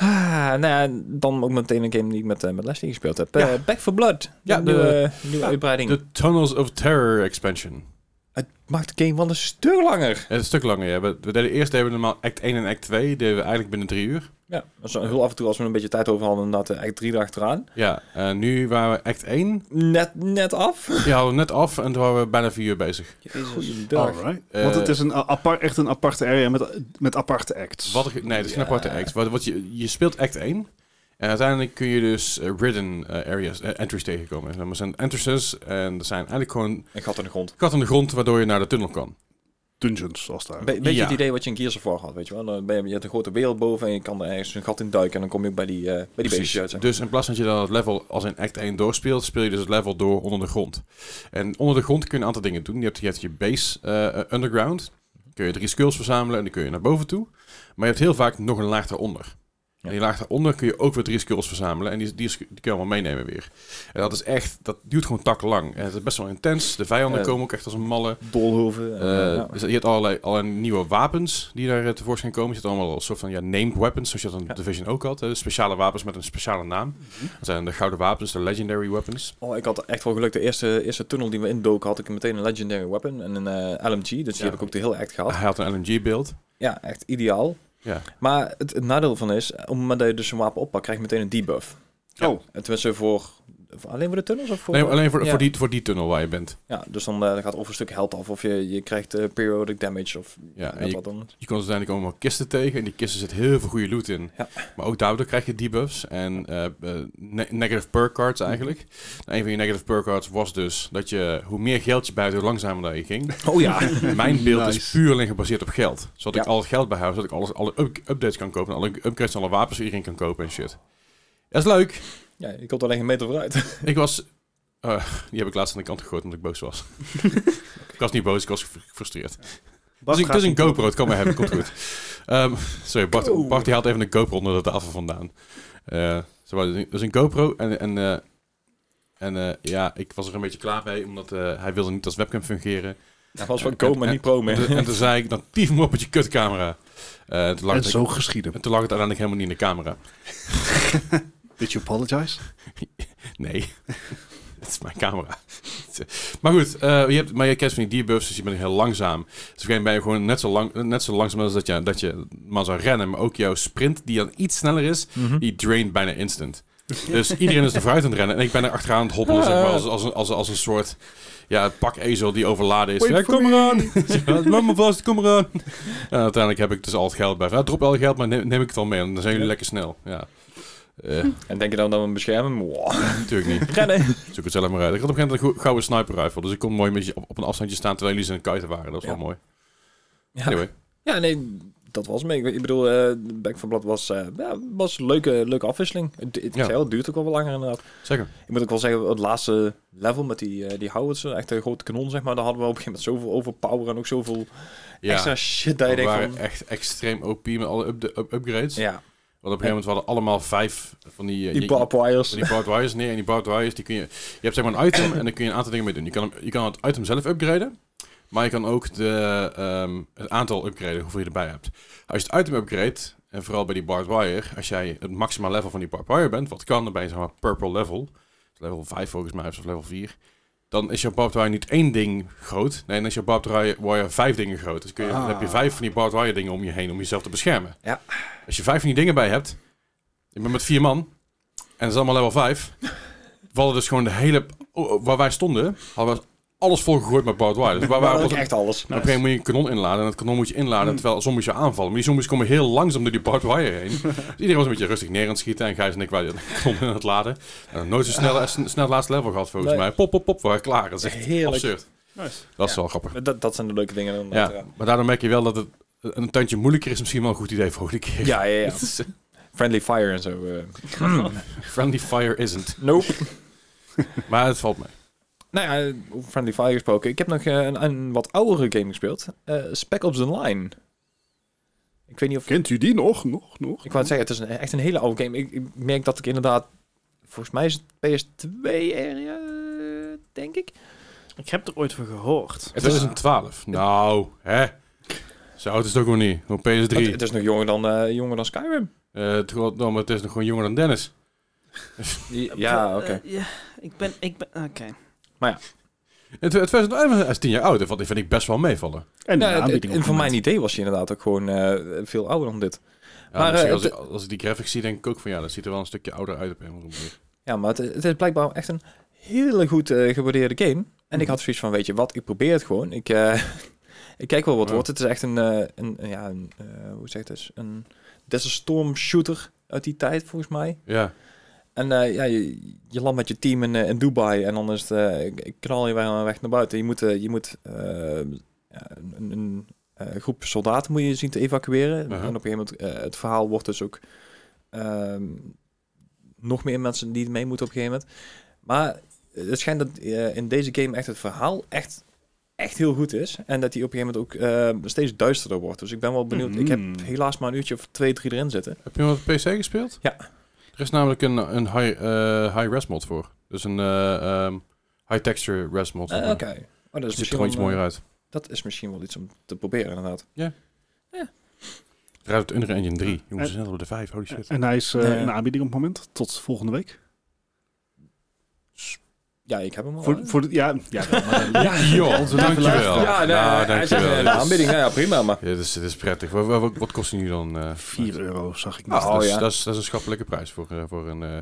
S3: Ah, nou ja, dan ook meteen een game die ik met, eh, met Leslie gespeeld heb. Eh, Back for Blood.
S2: Ja,
S3: de
S2: de-
S3: nieuwe, nieuwe uitbreiding.
S2: De Tunnels of Terror expansion.
S3: Het maakt de game wel een stuk langer.
S2: Ja, een stuk langer, ja. We, we deden eerst deden we normaal act 1 en act 2. Deden we eigenlijk binnen drie uur.
S3: Ja, dus heel af en toe als we een beetje tijd over hadden, inderdaad eh, echt drie dagen achteraan.
S2: Ja, en nu waren we act 1.
S3: Net, net af.
S2: Die hadden we net af en toen waren we bijna vier uur bezig.
S3: Goeiedag.
S4: Alright.
S2: Eh,
S4: Want het is een, a- apart, echt een aparte area met, met aparte acts.
S2: Wat er, nee, dat is geen
S3: Ja.
S2: aparte act. Wat, wat je, je speelt act 1. En uiteindelijk kun je dus eh, ridden eh, areas, eh, entries tegenkomen. En Dat zijn entrances en dat zijn eigenlijk gewoon
S3: Een gat in de grond.
S2: kat aan de grond waardoor je naar de tunnel kan.
S4: Dungeons, zoals daar.
S3: Be beetje
S2: Ja.
S3: het idee wat je in Gears of War had, weet je wel. Dan ben je, je hebt een grote wereld boven en je kan er ergens een gat in duiken en dan kom je ook bij die, eh, bij die
S2: Precies.
S3: beestjes uit. zeg
S2: Dus in plaats van dat je dan het level als in Act 1 doorspeelt, speel je dus het level door onder de grond. En onder de grond kun je een aantal dingen doen. Je hebt je, hebt je base eh, eh, underground, kun je drie skills verzamelen en die kun je naar boven toe. Maar je hebt heel vaak nog een laag daaronder.
S3: Ja.
S2: En die laag daaronder kun je ook weer drie skills verzamelen. En die, die, die kun je allemaal meenemen weer. En dat is echt, dat duurt gewoon takkenlang. En het is best wel intens. De vijanden
S3: Ja.
S2: komen ook echt als een malle.
S3: Dolhoven.
S2: Eh, dus je hebt allerlei, allerlei nieuwe wapens die daar eh, tevoorschijn komen. Je hebt allemaal een soort van ja, named weapons, zoals je dat in
S3: Ja. Mhm.
S2: Division ook had. eh, speciale wapens met een speciale naam. Dat zijn de gouden wapens, de legendary weapons.
S3: Oh, ik had echt wel geluk. De eerste, eerste tunnel die we indoken had ik meteen een Legendary Weapon en een eh, LMG. Dus die
S2: Ja.
S3: heb ik ook de hele act gehad.
S2: Hij had een LMG-beeld.
S3: Ja, echt ideaal.
S2: Ja.
S3: Maar het, het nadeel van is, op het moment dat je dus een wapen oppakt, krijg je meteen een debuff.
S2: Ja.
S4: Oh,
S3: En Tenminste eh, voor, voor alleen voor de tunnels of voor...
S2: Nee, alleen voor,
S3: Ja.
S2: voor, die, voor die tunnel waar je bent.
S3: Ja, dus dan eh, gaat of een stuk health af of je, je krijgt eh, periodic damage of
S2: Ja, en
S3: net
S2: je,
S3: wat dan.
S2: je komt uiteindelijk allemaal kisten tegen. En die kisten zit heel veel goede loot in.
S3: Ja.
S2: Maar ook daardoor krijg je debuffs en eh, eh, ne- negative perk cards eigenlijk.
S3: Mhm.
S2: Nou, een van je negative perk cards was dus dat je hoe meer geld je buiten, hoe langzamer dat je ging.
S3: Oh ja.
S2: Mijn beeld is
S4: Nice.
S2: puur alleen gebaseerd op geld. Zodat ik
S3: Ja.
S2: al het geld bijhoud, zodat ik alles, alle up- updates kan kopen, alle upgrades en alle wapens die iedereen kan kopen en shit. Dat is leuk.
S3: ja, je komt alleen geen meter vooruit.
S2: Ik was... eh, die heb ik laatst aan de kant gegooid omdat ik boos was. ik was niet boos, ik was gefr- gefrustreerd. Het is, een- het is een GoPro, het kan maar hebben, komt goed. Ehm, sorry, Bart, Bart die haalt even een GoPro onder de tafel vandaan. Eh, zo, maar, dat is een GoPro en, en, eh, en eh, ja, ik was er een beetje klaar mee, omdat eh, hij wilde niet als webcam fungeren.
S3: Dat was
S2: En-
S3: van komen
S2: en-
S3: en niet pro meer.
S2: En, toen- en toen zei ik, dan tief me op met je kutcamera. Eh, toen lag
S4: en
S2: het,
S4: zo geschieden.
S2: en toen lag het uiteindelijk helemaal niet in de camera.
S4: Did you apologize?
S2: Nee, het is mijn camera. maar goed, eh, je hebt, maar je kent van die debuffs, dus je bent heel langzaam. Dus op een gegeven moment ben je gewoon net zo, lang, net zo langzaam als dat je, dat je maar zou rennen. Maar ook jouw sprint, die dan iets sneller is, die draint bijna instant. Dus iedereen is er vooruit aan het rennen en ik ben er achteraan aan het hobbelen, zeg maar, als, als, een, als, een- als een soort ja, pak ezel die overladen is.
S3: Wait
S2: Ja,
S3: for
S2: kom
S3: me.
S2: eraan! Laat me vast, kom eraan! En uiteindelijk heb ik dus al het geld bij. Ja, drop al het geld, maar neem, neem ik het al mee, dan zijn jullie lekker snel. Ja. Eh,
S3: En denk je dan dat we hem beschermen? Wow.
S2: natuurlijk niet.
S3: Rennen.
S2: Zoek het zelf maar uit. Ik had op een gegeven moment een gouden sniper rifle. Dus ik kon mooi een beetje op, op een afstandje staan terwijl jullie ze aan het kuiten waren. Dat was
S3: Ja.
S2: wel mooi.
S3: Ja.
S2: Anyway.
S3: Ja, nee, dat was me. Ik, ik bedoel, eh Back for Blood was, eh, ja, was een leuke, leuke afwisseling. Het, het, ik
S2: Ja.
S3: zei al, het duurt ook wel wat langer inderdaad.
S2: Zeker.
S3: Ik moet ook wel zeggen, het laatste level met die, eh die howitzer, echt een grote kanon zeg maar, daar hadden we op een gegeven moment zoveel overpower en ook zoveel
S2: Ja.
S3: extra shit dat je
S2: we
S3: denkt
S2: waren
S3: van...
S2: echt extreem OP met alle upda- up- upgrades.
S3: Ja,
S2: Want op een gegeven moment we hadden allemaal vijf van die... eh,
S3: die
S2: je-
S3: barbed wires.
S2: van die barbed wires. Nee, en die barbed wires, die kun je... Je hebt zeg maar een item en dan kun je een aantal dingen mee doen. Je kan, hem- je kan het item zelf upgraden. Maar je kan ook de, ehm, het aantal upgraden, hoeveel je erbij hebt. Als je het item upgrade, en vooral bij die barbed wire... Als jij het maxima level van die barbed wire bent, wat kan, dan ben je zeg maar purple level. level 5 volgens mij, of level 4. Dan is jouw barbed wire niet één ding groot. Nee, dan is jouw barbed wire- wire vijf dingen groot. Dus kun je, dan heb je vijf van die barbed wire dingen om je heen om jezelf te beschermen.
S3: Ja.
S2: Als je vijf van die dingen bij hebt, ik ben met vier man, en dat is allemaal level 5. We hadden dus gewoon de hele, oh, oh, waar wij stonden, hadden we alles volgegooid met barbed wire. Dus waar
S3: Maar
S2: waren
S3: ook
S2: onze-
S3: echt alles.
S2: op een gegeven moment moet je een kanon inladen en dat kanon moet je
S3: Hmm.
S2: inladen terwijl zombies je aanvallen. Maar die zombies komen heel langzaam door die barbed wire heen. dus iedereen was een beetje rustig neer aan het schieten en Gijs en ik waren die kanon aan het laden. En nooit zo snel, snel het laatste level gehad volgens
S3: Nee.
S2: mij. Pop, pop, pop, we waren klaar. Dat is echt
S3: Heerlijk.
S2: absurd.
S4: Nice.
S2: Dat is
S3: Ja. eh,
S2: wel grappig.
S3: Dat, dat zijn de leuke dingen. dan
S2: Ja, maar daardoor merk je wel dat het een tandje moeilijker is misschien wel een goed idee voor de keer.
S3: ja, ja. ja.
S2: Het is, eh,
S3: Friendly fire en zo. eh.
S2: Friendly fire isn't.
S3: Nope.
S2: Maar het valt mee.
S3: nou ja, over Friendly fire gesproken. Ik heb nog eh, een, een wat oudere game gespeeld. Eh Spec Ops The Line. Ik weet niet of
S4: Kent u die nog? Nog, nog?
S3: Ik wou het zeggen, het is een, echt een hele oude game. Ik, ik merk dat ik inderdaad... Volgens mij is het PS2-area, denk ik.
S1: Ik heb er ooit van gehoord.
S3: Het is,
S2: 2012. Nou, hè. Zo oud is het ook nog niet. Op PS3.
S3: het, het is nog jonger dan, eh, jonger dan Skyrim.
S2: Eh, het, gewoon- nou, maar het is nog gewoon jonger dan Dennis.
S3: Ja, oké.
S1: Eh, ja, ik ben... Ik ben Oké.
S2: In 2011 is 10 jaar oud. Dat vind ik best wel meevallen.
S4: En
S3: Nou,
S4: de
S3: het-
S4: aanbieding
S3: en
S4: op het
S3: voor mijn
S4: moment.
S3: idee was je inderdaad ook gewoon eh, veel ouder dan dit.
S2: Ja,
S3: Maar,
S2: misschien
S3: eh,
S2: als,
S3: het-
S2: ik, als ik die graphics zie, denk ik ook van ja, dat ziet er wel een stukje ouder uit op een of andere manier.
S3: Ja, maar het, het is blijkbaar echt een hele goed eh, gewaardeerde game. En ik had zoiets van, weet je wat, ik probeer het gewoon. Ik, eh, ik kijk wel wat
S2: Ja.
S3: het wordt. Het is echt een, eh, een, een- ja, een, eh, hoe zeg je het, een Desert Storm shooter uit die tijd volgens mij.
S2: Ja,
S3: En eh, ja, je, je landt met je team in, eh, in Dubai en dan is het, eh, ik- ik knal je weer aan de weg naar buiten. Je moet, eh, je moet eh, ja, een, een- een eh, groep soldaten moet je zien te
S2: Aha.
S3: evacueren. En op een gegeven moment, eh, het verhaal wordt dus ook ehm, nog meer mensen die mee moeten op een gegeven moment. Maar het schijnt dat eh, in deze game echt het verhaal echt echt heel goed is. En dat die op een gegeven moment ook eh, steeds duisterder wordt. Dus ik ben wel benieuwd. Ik
S4: Mm.
S2: Mm-hmm.
S3: heb helaas maar een uurtje of twee, drie erin zitten.
S2: Heb je nog op de PC gespeeld?
S3: Ja.
S2: Er is namelijk een, een high, eh, high-res mod voor. Dus een eh, ehm, high-texture res mod.
S3: Eh,
S2: zeg maar.
S3: Oké. Oh,
S2: Dus
S3: dat, is
S2: het ziet er
S3: misschien
S2: gewoon
S3: wel,
S2: iets mooier uit.
S3: dat is misschien wel iets om te proberen, inderdaad.
S2: Het rijdt op Unreal Engine
S3: Eh,
S2: 3. Jongens, we zijn al op de 5. Holy shit.
S4: En hij is eh,
S3: Ja.
S4: in de aanbieding op het moment. Tot volgende week.
S3: Ja, ik heb hem al. hè?
S4: Voor, voor de, Oh, ja, ja,
S2: Ja, joh.
S4: onze lieve
S2: dankjewel.
S4: luisteraar.
S3: Ja, nee,
S2: nou,
S3: hij zegt eh,
S2: dankjewel.
S3: de
S2: Dit is-
S3: aanbieding. Nou ja, prima, maar...
S2: Ja, dit, is, dit is prettig. Wat, wat, wat kost die nu dan? eh
S4: 4 euro zag ik
S3: Oh,
S4: net.
S2: Dus dat, is,
S3: ja.
S2: dat, is, dat is een schappelijke prijs voor, eh, voor een... eh,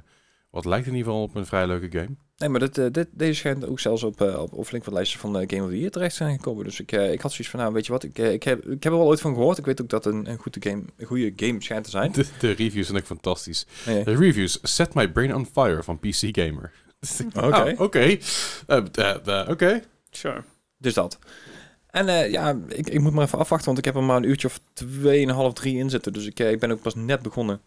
S2: wat lijkt in ieder geval op een vrij leuke game.
S3: Nee, maar dit, eh, dit, deze schijnt ook zelfs op, eh, op, op flink wat lijsten van de Game of the Year terecht zijn gekomen. Dus ik, eh, ik had zoiets van, nou, weet je wat, ik, eh, ik, heb, ik heb er wel ooit van gehoord. Ik weet ook dat het een, een goede, game, een goede game schijnt te zijn.
S2: De, de reviews zijn ook fantastisch.
S3: Nee.
S2: De reviews. Set my brain on fire van PC Gamer.
S3: Oké.
S2: Ah, Oké. Eh, eh, eh, Oké.
S1: Sure.
S3: Dus dat. En eh, ja, ik, ik moet maar even afwachten, want ik heb er maar een uurtje of tweeënhalf, drie in zitten. Dus ik, eh, ik ben ook pas net begonnen.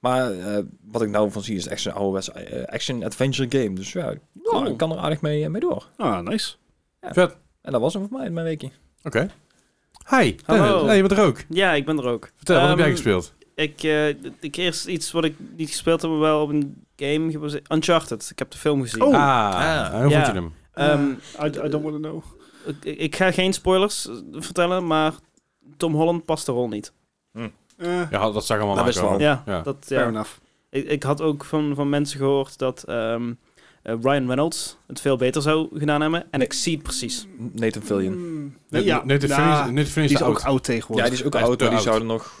S3: Maar eh, wat ik nou van zie is echt zo'n ouderwets eh, action-adventure game. Dus ja,
S4: Cool.
S3: ik kan er aardig mee, eh, mee door.
S4: Ah, nice.
S2: Vet.
S3: En dat was hem voor mij in mijn weekje.
S2: Oké. Hi.
S1: Hallo.
S2: Dennis. Hey, je bent er ook.
S1: Ja, ik ben er ook.
S2: Vertel, wat heb jij
S1: Ehm,
S2: gespeeld?
S1: Ik, eh, ik eerst iets wat ik niet gespeeld heb, maar wel op een game gebaseerd. Uncharted. Ik heb de film gezien.
S4: Oh.
S2: ah, hoe vond
S1: ja.
S2: je hem?
S1: Ehm,
S4: I, I don't want to know.
S1: ik, ik ga geen spoilers eh, vertellen, maar Tom Holland past de rol niet.
S4: Eh,
S2: Ja, dat zag allemaal wel
S3: Dat wisten we al.
S2: aankomen.
S1: Ja,
S2: Oh, Ja.
S1: dat
S4: Fair
S1: ja.
S4: enough.
S1: Ik, ik had ook van, van mensen gehoord dat ehm, eh, Ryan Reynolds het veel beter zou gedaan hebben. En ik zie het precies.
S3: Nathan Fillion.
S4: Mm,
S2: Nee,
S4: nee, ja,
S2: nee, de
S4: nah,
S2: Finish- nee, de Finish
S4: die is
S2: is
S4: ook
S2: oud.
S4: oud
S3: Ja,
S4: tegenwoordig.
S3: die is ook
S2: Hij is
S3: oud,
S2: te
S3: maar die
S2: oud.
S3: zou er nog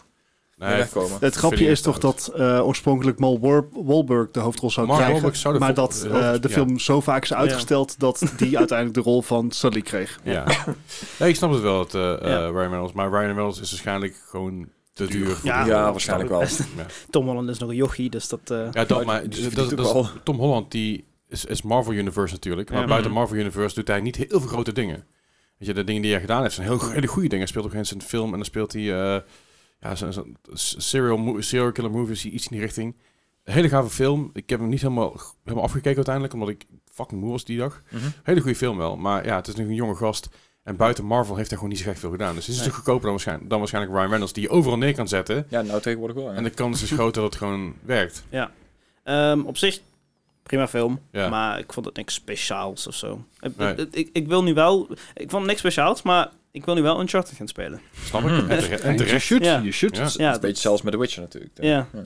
S2: Nee,
S3: wegkomen.
S4: Het grapje
S2: Finish
S4: is toch
S2: oud.
S4: dat eh, oorspronkelijk Mal War- Wahlberg de hoofdrol zou
S2: Mark
S4: krijgen.
S2: Wahlberg zou de
S4: maar
S2: vol-
S4: dat
S2: de
S4: eh,
S2: hoofdrol-
S4: de
S2: ja.
S4: film zo vaak is
S1: Ja.
S4: uitgesteld dat die uiteindelijk de rol van Sully kreeg.
S2: Ja. nee, ik snap het wel, het, eh, eh,
S1: Ja.
S2: Ryan Reynolds. Maar Ryan Reynolds is waarschijnlijk gewoon te duur. voor
S1: Ja.
S2: die
S3: ja,
S2: rol.
S3: waarschijnlijk wel.
S1: Tom Holland is nog een jochie, dus dat... eh,
S2: Ja, dat, maar
S3: Die
S2: dat, dat,
S3: verdient ook
S2: is- Tom Holland die is, is Marvel Universe natuurlijk. Maar
S1: Ja.
S2: buiten
S1: Mhm.
S2: Marvel Universe doet hij niet heel veel grote dingen. Weet je, de dingen die hij gedaan heeft zijn heel, hele goede dingen. Hij speelt ook eens een film en dan speelt hij... eh, ja, zijn, zijn serial, mo- serial killer movies, iets in die richting. Een hele gave film. Ik heb hem niet helemaal, helemaal afgekeken uiteindelijk, omdat ik fucking moe was die dag.
S3: Mhm.
S2: Hele goede film wel, maar ja, het is nu een jonge gast. En buiten Marvel heeft hij gewoon niet zo gek veel gedaan. Dus het is
S1: Nee.
S2: natuurlijk goedkoper dan waarschijnlijk, dan waarschijnlijk Ryan Reynolds, die je overal neer kan zetten.
S3: Ja, nou tegenwoordig wel. ja.
S2: En de kans is groot dat het gewoon werkt.
S1: Ehm, op zich, prima film.
S2: Ja.
S1: Maar ik vond het niks speciaals of zo. Ik,
S2: Nee.
S1: ik, ik, ik wil nu wel... Ik vond niks speciaals, maar ik wil nu wel Uncharted gaan spelen.
S2: Snap ik?
S3: Mhm.
S2: En tere- En terecht.
S4: should.
S1: Ja.
S4: You should.
S2: Ja.
S3: Het is
S1: Ja,
S3: een beetje zelfs met The Witcher natuurlijk.
S1: Ja.
S3: Ja.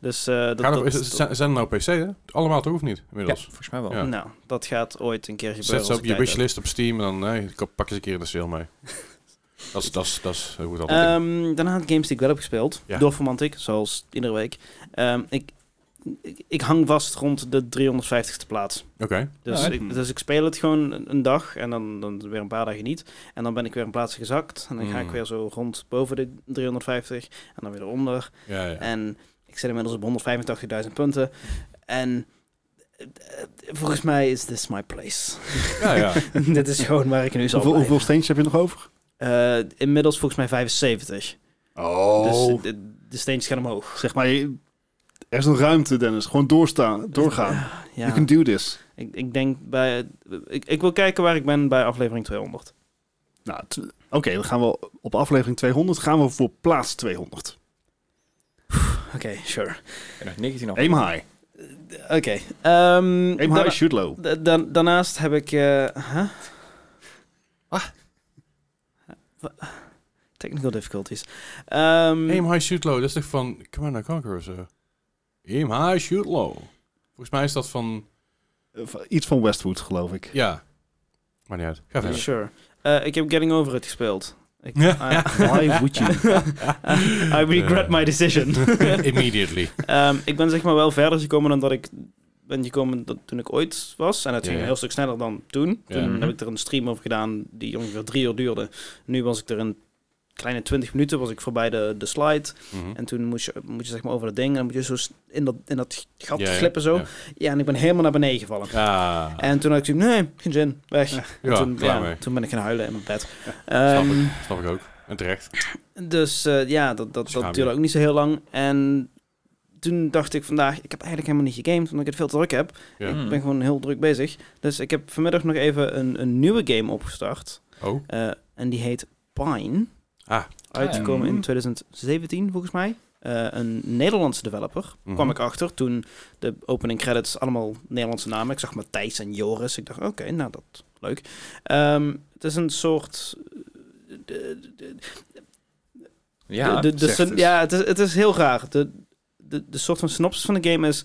S1: Dus eh, dat,
S2: Gaan
S1: dat,
S2: er- is het- zijn, zijn er nou PC, hè? Allemaal toch, of niet?
S3: Ja,
S2: Inmiddels.
S3: volgens mij wel.
S2: Ja.
S1: Nou, dat gaat ooit een keer gebeuren.
S2: Zet ze
S1: als
S2: op
S1: ik
S2: je
S1: tijd heb.
S2: wishlist op Steam en dan eh, ik pak eens een keer de sale mee. Dat is, dat is, dat is hoe dat altijd.
S1: Ehm, daarna had ik games die ik wel heb gespeeld.
S2: Ja.
S1: Door Formantic, zoals iedere week. Ehm, ik, ik, ik hang vast rond de 350ste plaats.
S2: Oké.
S1: Dus,
S3: Ja, hè?
S1: ik, dus ik speel het gewoon een, een dag en dan, dan weer een paar dagen niet. En dan ben ik weer een plaatsje gezakt. En dan ga ik
S2: Mm.
S1: weer zo rond boven de 350 en dan weer onder.
S2: Ja, ja.
S1: En ik zit inmiddels op 185.000 punten. En eh, eh, volgens mij is this my place.
S2: ja, ja.
S1: Dit is gewoon waar ik nu zal
S4: Hoeveel,
S1: blijven.
S4: hoeveel steentjes heb je nog over?
S1: Eh, inmiddels volgens mij 75. Dus
S4: Oh.
S1: de, de steentjes gaan omhoog.
S4: zeg maar, je- er is nog ruimte, Dennis. Gewoon doorstaan, doorgaan.
S1: Dus, Ja,
S4: You can do this.
S1: ik, ik denk bij... Ik, ik wil kijken waar ik ben bij aflevering 200.
S4: Nou, t- oké, dan gaan we op aflevering 200 gaan we voor plaats 200.
S1: Oké, sure.
S3: En nog 19 af.
S4: Aim high.
S1: Oké. ehm,
S4: Aim
S1: daarna-
S4: high, shoot low.
S1: da- da- daarnaast heb ik... eh, huh? Wa- Technical difficulties. Ehm,
S2: Aim high, shoot low. Dat is toch van Command and Conquer of zo? Aim high, shoot low. Volgens mij is dat van...
S4: Eh, Iets van Westwood, geloof ik.
S2: Ja. Maar niet uit. Ga verder.
S1: Sure. Eh, ik heb Getting Over It gespeeld. Ik,
S2: Ja.
S1: I-
S4: Why would you?
S1: I regret my decision.
S2: Immediately.
S1: Ehm, ik ben zeg maar wel verder gekomen dan dat ik ben gekomen dat toen ik ooit was. En het
S2: Ja,
S1: ging
S2: ja.
S1: een heel stuk sneller dan toen.
S2: Ja.
S1: Toen
S3: Mhm.
S1: heb ik er een stream over gedaan die ongeveer drie uur duurde. Nu was ik er een kleine twintig minuten, was ik voorbij de, de slide.
S2: Mhm.
S1: En toen moest je, moet je zeg maar over dat ding en dan moet je zo s- in dat, in dat gat
S2: Ja, ja,
S1: glippen zo.
S2: ja.
S1: Ja. en ik ben helemaal naar beneden gevallen.
S2: Ah.
S1: En toen had ik toen, nee, geen zin, weg. En
S2: ja,
S1: toen,
S2: klaar mee.
S1: toen ben ik gaan huilen in mijn bed.
S2: Snap,
S1: Ehm,
S2: ik. Snap ik ook. En terecht.
S1: dus eh, ja, dat, dat,
S2: Schaam je.
S1: dat duurde ook niet zo heel lang. En toen dacht ik vandaag, ik heb eigenlijk helemaal niet gegamed, omdat ik het veel te druk heb.
S2: Ja.
S3: Hmm.
S1: Ik ben gewoon heel druk bezig. Dus ik heb vanmiddag nog even een, een nieuwe game opgestart.
S2: Oh,
S1: Eh, en die heet Pine.
S2: Ah.
S1: Uitgekomen
S3: Ah, ja.
S1: in 2017 volgens mij. Eh, een Nederlandse developer.
S2: Mhm.
S1: Kwam ik achter toen de opening credits allemaal Nederlandse namen. Ik zag Matthijs en Joris. Ik dacht, oké, nou dat leuk. Ehm, het is een soort. de- de-
S3: Ja, dus.
S1: de, de, de
S4: zegt
S1: syn-
S4: het.
S1: ja het, is, het is heel raar. De, de, de soort van synopsis van de game is...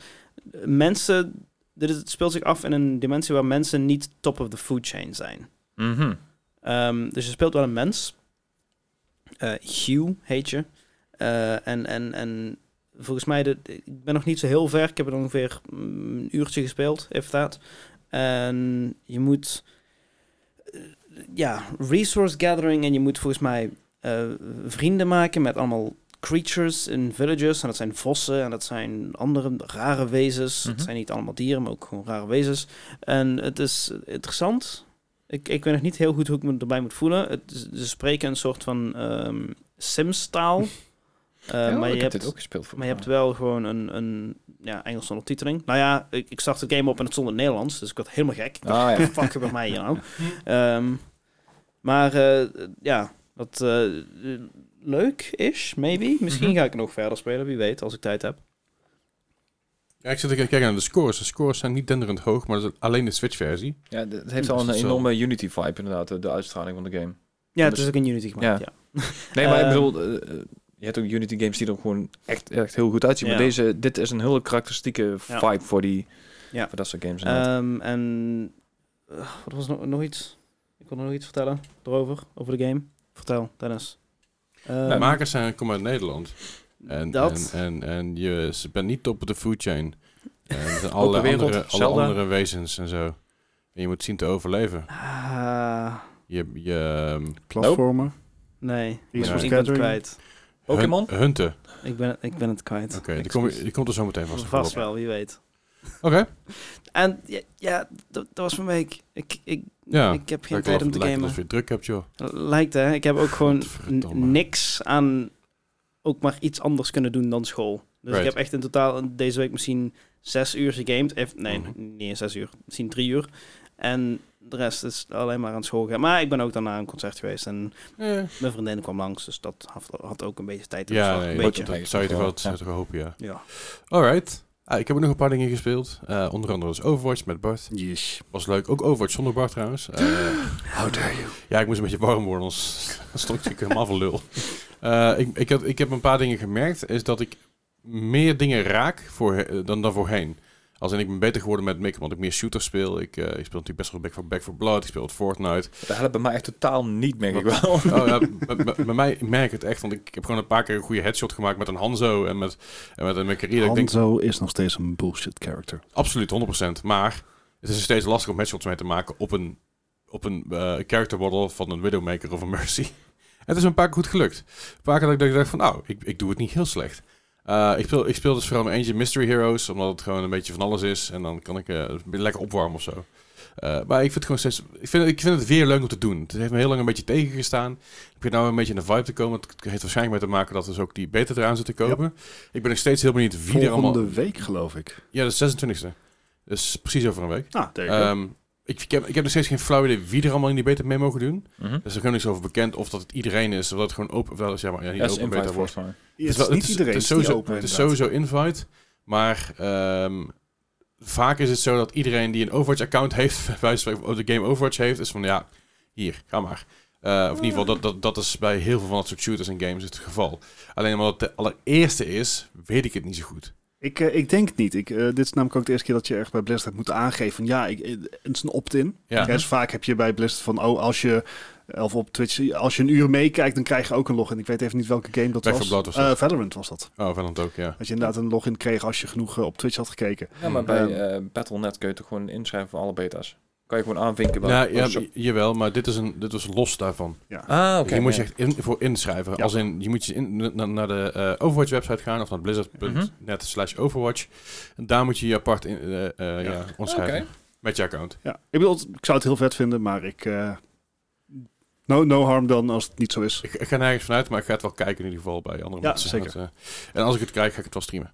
S1: eh, Mensen... Dit is, het speelt zich af in een dimensie waar mensen niet top of the food chain zijn.
S3: Mhm.
S1: Ehm, dus je speelt wel een mens. Eh, Hugh heet je. Eh, en, en, en volgens mij, de, ik ben nog niet zo heel ver. Ik heb er ongeveer mm, een uurtje gespeeld, if dat. En je moet, eh, ja, resource gathering. En je moet volgens mij eh, vrienden maken met allemaal creatures in villages. En dat zijn vossen en dat zijn andere rare wezens.
S3: Mhm.
S1: Het zijn niet allemaal dieren, maar ook gewoon rare wezens. En het is interessant. Ik, ik weet nog niet heel goed hoe ik me erbij moet voelen. Het, is- ze spreken een soort van ehm Sims-taal. Eh,
S3: Ja,
S1: maar
S3: Oh, ik
S1: je
S3: heb
S1: hebt,
S3: dit ook gespeeld voor
S1: maar je hebt wel gewoon een, een ja, Engelse ondertiteling. Nou ja, ik, ik start de game op en het stond in het Nederlands. Dus ik werd helemaal gek.
S3: Ah ja.
S1: Fuck bij mij, you know. Ehm, maar eh, ja, dat eh, leuk is, maybe. Misschien
S3: Mhm.
S1: ga ik nog verder spelen, wie weet, als ik tijd heb.
S2: ja, ik zit te kijken naar de scores. De scores zijn niet denderend hoog, maar dat is alleen de Switch-versie.
S3: ja, d- het heeft
S2: Dat
S3: al
S2: is
S3: een
S2: het zo.
S3: enorme Unity-vibe inderdaad, eh, de, de uitstraling van de game.
S1: Ja, het
S3: dus-
S1: is ook Dus in Unity gemaakt, ja.
S3: Nee, maar ik
S1: Ehm,
S3: bedoel, eh, eh, je hebt ook Unity games die er gewoon echt, echt heel goed uitzien. Maar
S1: Ja.
S3: deze, dit is een hele karakteristieke
S1: Ja.
S3: vibe voor, die,
S1: Ja.
S3: voor dat soort games. inderdaad.
S1: Ehm, en eh, wat was nog, nog iets? Ik wilde nog iets vertellen erover, over de game. Vertel, Dennis. Ehm,
S2: De makers zijn, komen uit Nederland. En,
S1: dat.
S2: en, en, en je ze bent niet top of the food chain. En er zijn alle,
S3: wereld,
S2: andere, alle
S3: Zelda.
S2: andere wezens en zo. En je moet zien te overleven.
S1: Ah,
S2: Je, je ehm,
S4: Platformer.
S1: nee,
S4: Die
S2: is
S1: ik
S2: voor
S1: ben het
S4: scattering.
S1: kwijt.
S3: Pokémon?
S2: hun- hunten. Oké,
S1: Ik ben, ik ben het kwijt.
S2: die, kom, je- die komt er zo meteen vast, nog
S1: Vast
S2: wel op.
S1: wel, wie weet.
S2: Oké,
S1: En ja, ja dat, dat was mijn week. Ik, ik,
S2: ja. dus.
S1: ik heb
S2: Ja,
S1: geen
S2: ik
S1: tijd
S2: geloof
S1: om
S2: het
S1: te
S2: lijkt
S1: gamen.
S2: dat je het druk hebt, joh.
S1: Lijkt hè. Ik heb ook gewoon
S2: Godverdomme.
S1: n- niks aan ook maar iets anders kunnen doen dan school. Dus ik
S2: Right.
S1: heb echt in totaal in deze week misschien zes uur gegamed. Eff- nee,
S2: Mhm.
S1: niet eens zes uur. Misschien drie uur. En de rest is alleen maar aan school gegaan. Maar ik ben ook daarna aan een concert geweest. En
S2: Ja,
S1: mijn vriendin kwam langs. Dus dat had, had ook een beetje tijd. in
S2: ja
S1: beslag.
S2: nee,
S1: een
S2: dat,
S1: beetje.
S3: dat-
S2: dat zou je toch wel,
S3: Ja.
S2: dat zou je toch wel hopen, ja.
S1: Ja.
S2: Alright. Ah, ik heb ook nog een paar dingen gespeeld. Eh, onder andere dus Overwatch met Bart.
S4: Yes.
S2: Was leuk. Ook Overwatch zonder Bart trouwens. Eh,
S4: How dare you?
S2: Ja, ik moest een beetje warm worden, anders stond ik natuurlijk helemaal van lul. Eh, ik, ik, had, ik heb een paar dingen gemerkt, is dat ik meer dingen raak voor, eh, dan, dan voorheen. Als in ik ben beter geworden met make want ik meer shooters speel. Ik, eh, ik speel natuurlijk best wel Back for, Back for Blood, ik speel wat Fortnite.
S3: Dat helpt bij mij echt totaal niet, merk ik wel.
S2: Oh, ja, b- b- bij mij merk ik het echt, want ik heb gewoon een paar keer een goede headshot gemaakt met een Hanzo en met, en met een Mercury. Dat ik denk,
S4: Hanzo is nog steeds een bullshit character.
S2: absoluut, 100%. Maar het is steeds lastig om headshots mee te maken op een, op een eh, character model van een Widowmaker of een Mercy. Het is een paar keer goed gelukt. Een paar keer dat ik dacht van, nou, ik, ik doe het niet heel slecht. Eh, ik, speel, ik speel dus vooral een eentje Mystery Heroes, omdat het gewoon een beetje van alles is. En dan kan ik eh, lekker opwarmen of zo. Eh, maar ik vind, het gewoon steeds, ik, vind, ik vind het weer leuk om te doen. Het heeft me heel lang een beetje tegengestaan. Ik begin nou een beetje in de vibe te komen. Het heeft waarschijnlijk mee te maken dat dus ook die beter eraan zit te kopen. Ik ben nog steeds heel benieuwd wie er allemaal...
S4: Volgende week, geloof ik.
S2: Ja, de 26e. Dus precies over een week.
S4: Ah, there you go.
S2: Ehm, ik, ik, heb, ik heb nog steeds geen flauw idee wie er allemaal in die beta mee mogen doen.
S3: Mhm.
S2: Dus er is nog niks over bekend of dat het iedereen is. Of dat het gewoon open, of dat het, ja, maar, ja, niet
S3: Dat is
S2: open beta
S3: invite
S2: wordt.
S3: volgens mij.
S4: het is
S2: wel-
S4: niet iedereen
S2: het is
S4: is die
S2: sowieso,
S4: open,
S2: het is
S4: inderdaad.
S2: sowieso invite. Maar ehm, vaak is het zo dat iedereen die een Overwatch-account heeft, bij wijze van spreken, de game Overwatch heeft, is van ja, hier, ga maar. Eh, of in ieder geval, dat, dat, dat is bij heel veel van dat soort shooters en games het geval. Alleen omdat het de allereerste is, weet ik het niet zo goed.
S4: Ik, eh, ik denk het niet. Ik, eh, dit is namelijk ook de eerste keer dat je echt bij Blizzard moet aangeven. van, Ja, ik, eh, het is een opt-in.
S2: Ja.
S4: Ja, dus vaak heb je bij Blizzard van, oh, als je, of op Twitch, als je een uur meekijkt, dan krijg je ook een login. Ik weet even niet welke game dat
S2: Back
S4: was.
S2: for Blood was
S4: Eh,
S2: dat.
S4: Valorant was dat.
S2: Oh, Valorant ook, ja.
S4: Dat je inderdaad een login kreeg als je genoeg eh, op Twitch had gekeken.
S3: Ja, maar bij
S4: Ehm.
S3: eh, Battle.net kun je toch gewoon inschrijven voor alle beta's? Kan je gewoon aanvinken. wel-
S2: Ja,
S3: oh,
S2: Nou, ja,
S3: zo-
S2: j- jawel, maar dit is, een, dit was los daarvan.
S3: Ah, oké.
S2: Dus je moet je
S3: ja.
S2: echt in, voor inschrijven.
S4: Ja.
S2: Als in, je moet je in, na- naar de eh, Overwatch website gaan of naar blizzard.net slash Overwatch. En daar moet je je apart in, eh, eh, ja.
S4: Ja.
S2: onschrijven.
S3: Oké.
S2: Met je account.
S4: Ja, ik bedoel, ik zou het heel vet vinden, maar ik... eh, no, no harm dan als het niet zo is.
S2: Ik, ik ga nergens vanuit, maar ik ga het wel kijken in ieder geval bij andere
S4: Ja,
S2: mensen.
S4: zeker.
S2: Dat, eh, en als ik het krijg, ga ik het wel streamen.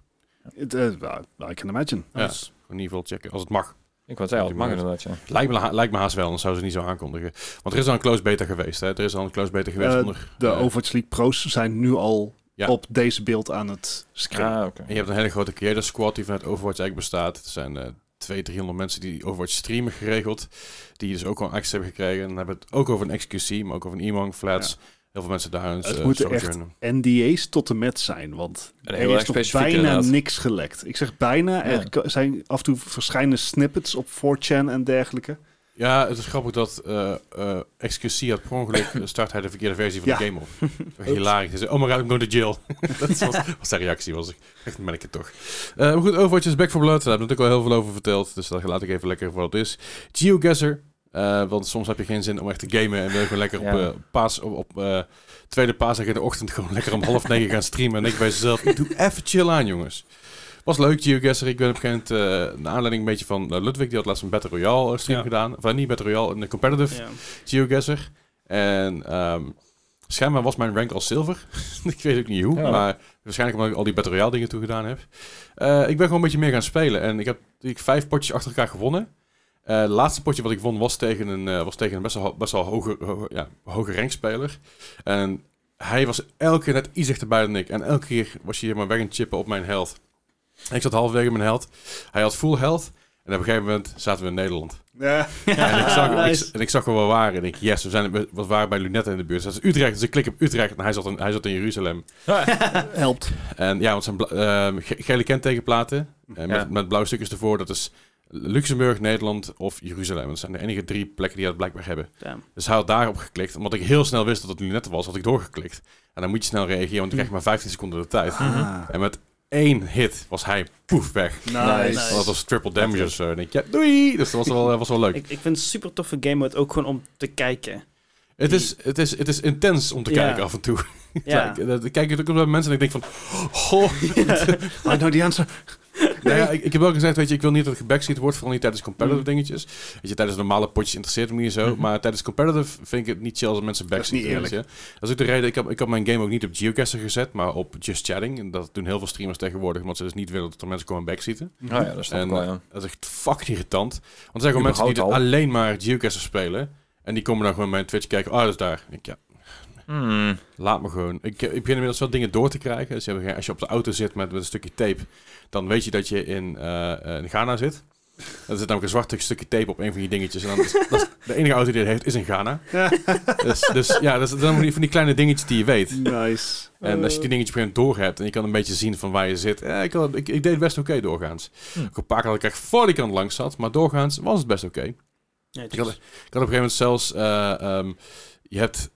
S4: It, eh, well, I can imagine. Dus
S2: Ja.
S1: Nice.
S2: In ieder geval checken, als het mag.
S3: Ik wou het zeggen, het mag inderdaad, ja.
S2: Lijkt me, ha- lijkt me haast wel, dan zou ze het niet zo aankondigen. Want er is al een close beta geweest, hè? Er is al een close beta geweest
S4: Eh,
S2: onder...
S4: De
S2: eh,
S4: Overwatch League Pro's zijn nu al
S2: Ja.
S4: op deze beeld aan het script.
S3: Ah, oké.
S2: En je hebt een hele grote creator squad die vanuit Overwatch eigenlijk bestaat. Er zijn eh 200, 300 mensen die Overwatch streamen geregeld. Die dus ook al access hebben gekregen. En dan hebben we het ook over een XQC, maar ook over een Emong Flats. Heel veel mensen daar.
S4: Het
S2: eh,
S4: moeten
S2: sojournen.
S4: NDA's tot de met zijn, want
S3: En
S4: er
S3: heel erg
S4: is nog
S3: specifiek
S4: bijna
S3: inderdaad.
S4: niks gelekt. Ik zeg bijna,
S3: Ja.
S4: er k- zijn af en toe verschijnen snippets op 4chan en dergelijke.
S2: Ja, het is grappig dat eh eh, XQC had per ongeluk eh, start hij de verkeerde versie van de
S4: Ja.
S2: game op. Hilarisch. Hij zei, oh my god, ik moet naar de jail. dat was, was zijn reactie. Was ik echt merk het toch. Eh, maar goed, Overwatch is Back for Blood. Daar hebben we natuurlijk al heel veel over verteld. Dus dat laat ik even lekker voor wat het is. GeoGuessr. eh, want soms heb je geen zin om echt te gamen en wil je gewoon lekker op,
S3: Ja.
S2: eh, paas, op, op eh, tweede paasdag in de ochtend gewoon lekker om half negen gaan streamen. En ik bij zelf, ik doe even chill aan jongens. Was leuk, GeoGuessr. Ik ben op een gegeven moment eh, naar aanleiding een beetje van eh, Ludwig. Die had laatst een Battle Royale eh, stream
S1: Ja.
S2: gedaan. Of eh, niet Battle Royale, een competitive
S1: Ja.
S2: GeoGuessr. En ehm, schijnbaar was mijn rank al zilver. ik weet ook niet hoe,
S3: Ja.
S2: maar waarschijnlijk omdat ik al die Battle Royale dingen toe gedaan heb. Eh, ik ben gewoon een beetje meer gaan spelen en ik heb ik vijf potjes achter elkaar gewonnen. Eh, het laatste potje wat ik won was tegen een, eh, was tegen een best wel, ho- best wel hoge, ho- ja, hoge rankspeler. En hij was elke keer net iets dichterbij dan ik. En elke keer was hij maar weg aan het chippen op mijn health. En ik zat halverwege mijn health. Hij had full health. En op een gegeven moment zaten we in Nederland.
S4: Ja.
S2: En ik, zag,
S1: Nice.
S2: ik, en ik zag gewoon waar we waren. En ik, yes, we, zijn, we waren bij Lunette in de buurt. Dus dat is Utrecht. Dus ik klik op Utrecht. En hij zat in, hij zat in Jeruzalem.
S4: Helpt.
S2: En ja, want zijn bla- ehm, ge- gele kentekenplaten. eh,
S3: Ja.
S2: met, met blauwe stukjes ervoor. Dat is Luxemburg, Nederland of Jeruzalem. Dat zijn de enige drie plekken die dat blijkbaar hebben.
S1: Damn.
S2: Dus hij had daarop geklikt. Omdat ik heel snel wist dat het Lunette was, had ik doorgeklikt. En dan moet je snel reageren, want dan krijg je maar 15 seconden de tijd.
S4: Ah,
S2: En met één hit was hij poef weg.
S1: Nice.
S2: Dat was triple damage of zo. En ik, ja, doei! Dus dat was wel, was wel leuk.
S1: Ik, ik vind het super toffe game mode ook gewoon om te kijken.
S2: Het is, het, is, het is intens om te
S1: Ja.
S2: kijken af en toe. Ja.
S1: Ja.
S2: Ik, dat- ik kijk het ook op mensen en ik denk van... Goh.
S4: I know the answer.
S2: Nou ja, ik, ik heb wel gezegd, weet je, ik wil niet dat het gebackseat wordt. Vooral niet tijdens competitive dingetjes. Weet je, tijdens normale potjes interesseert het me niet zo. Maar tijdens competitive vind ik het niet chill als mensen
S4: Dat is
S2: backseat.
S4: niet eerlijk.
S2: Dat is ook de reden. Ik heb, ik heb mijn game ook niet op Geocaster gezet, maar op Just Chatting. En dat doen heel veel streamers tegenwoordig. Omdat ze dus niet willen dat er mensen komen backseaten.
S3: Ah ja, dat snap ik
S2: En, eh,
S3: wel, ja.
S2: Dat is echt fucking irritant. Want er zijn gewoon mensen die dus
S3: Überhaupt al.
S2: alleen maar Geocaster spelen. En die komen dan gewoon bij mijn Twitch kijken. Ah, dat is daar. Ik, ja,
S3: Hmm.
S2: Laat me gewoon. Ik, ik begin inmiddels wel dingen door te krijgen. Dus je hebt- als je op de auto zit met, met een stukje tape, dan weet je dat je in, eh, in Ghana zit. Er zit namelijk een zwart stukje tape op een van die dingetjes. En dan is, dat is- de enige auto die het heeft is in Ghana. Dus, dus ja, dat zijn van die, van die kleine dingetjes die je weet.
S4: Nice.
S2: En als je die dingetjes op een gegeven moment door hebt en je kan een beetje zien van waar je zit. Eh, ik, had- ik, ik deed het best oké doorgaans.
S3: Hm.
S2: Ik had een paar keer dat ik echt voor die kant langs zat, maar doorgaans was het best oké.
S1: Ja,
S2: Ik had, ik had op een gegeven moment zelfs... eh, ehm, je hebt...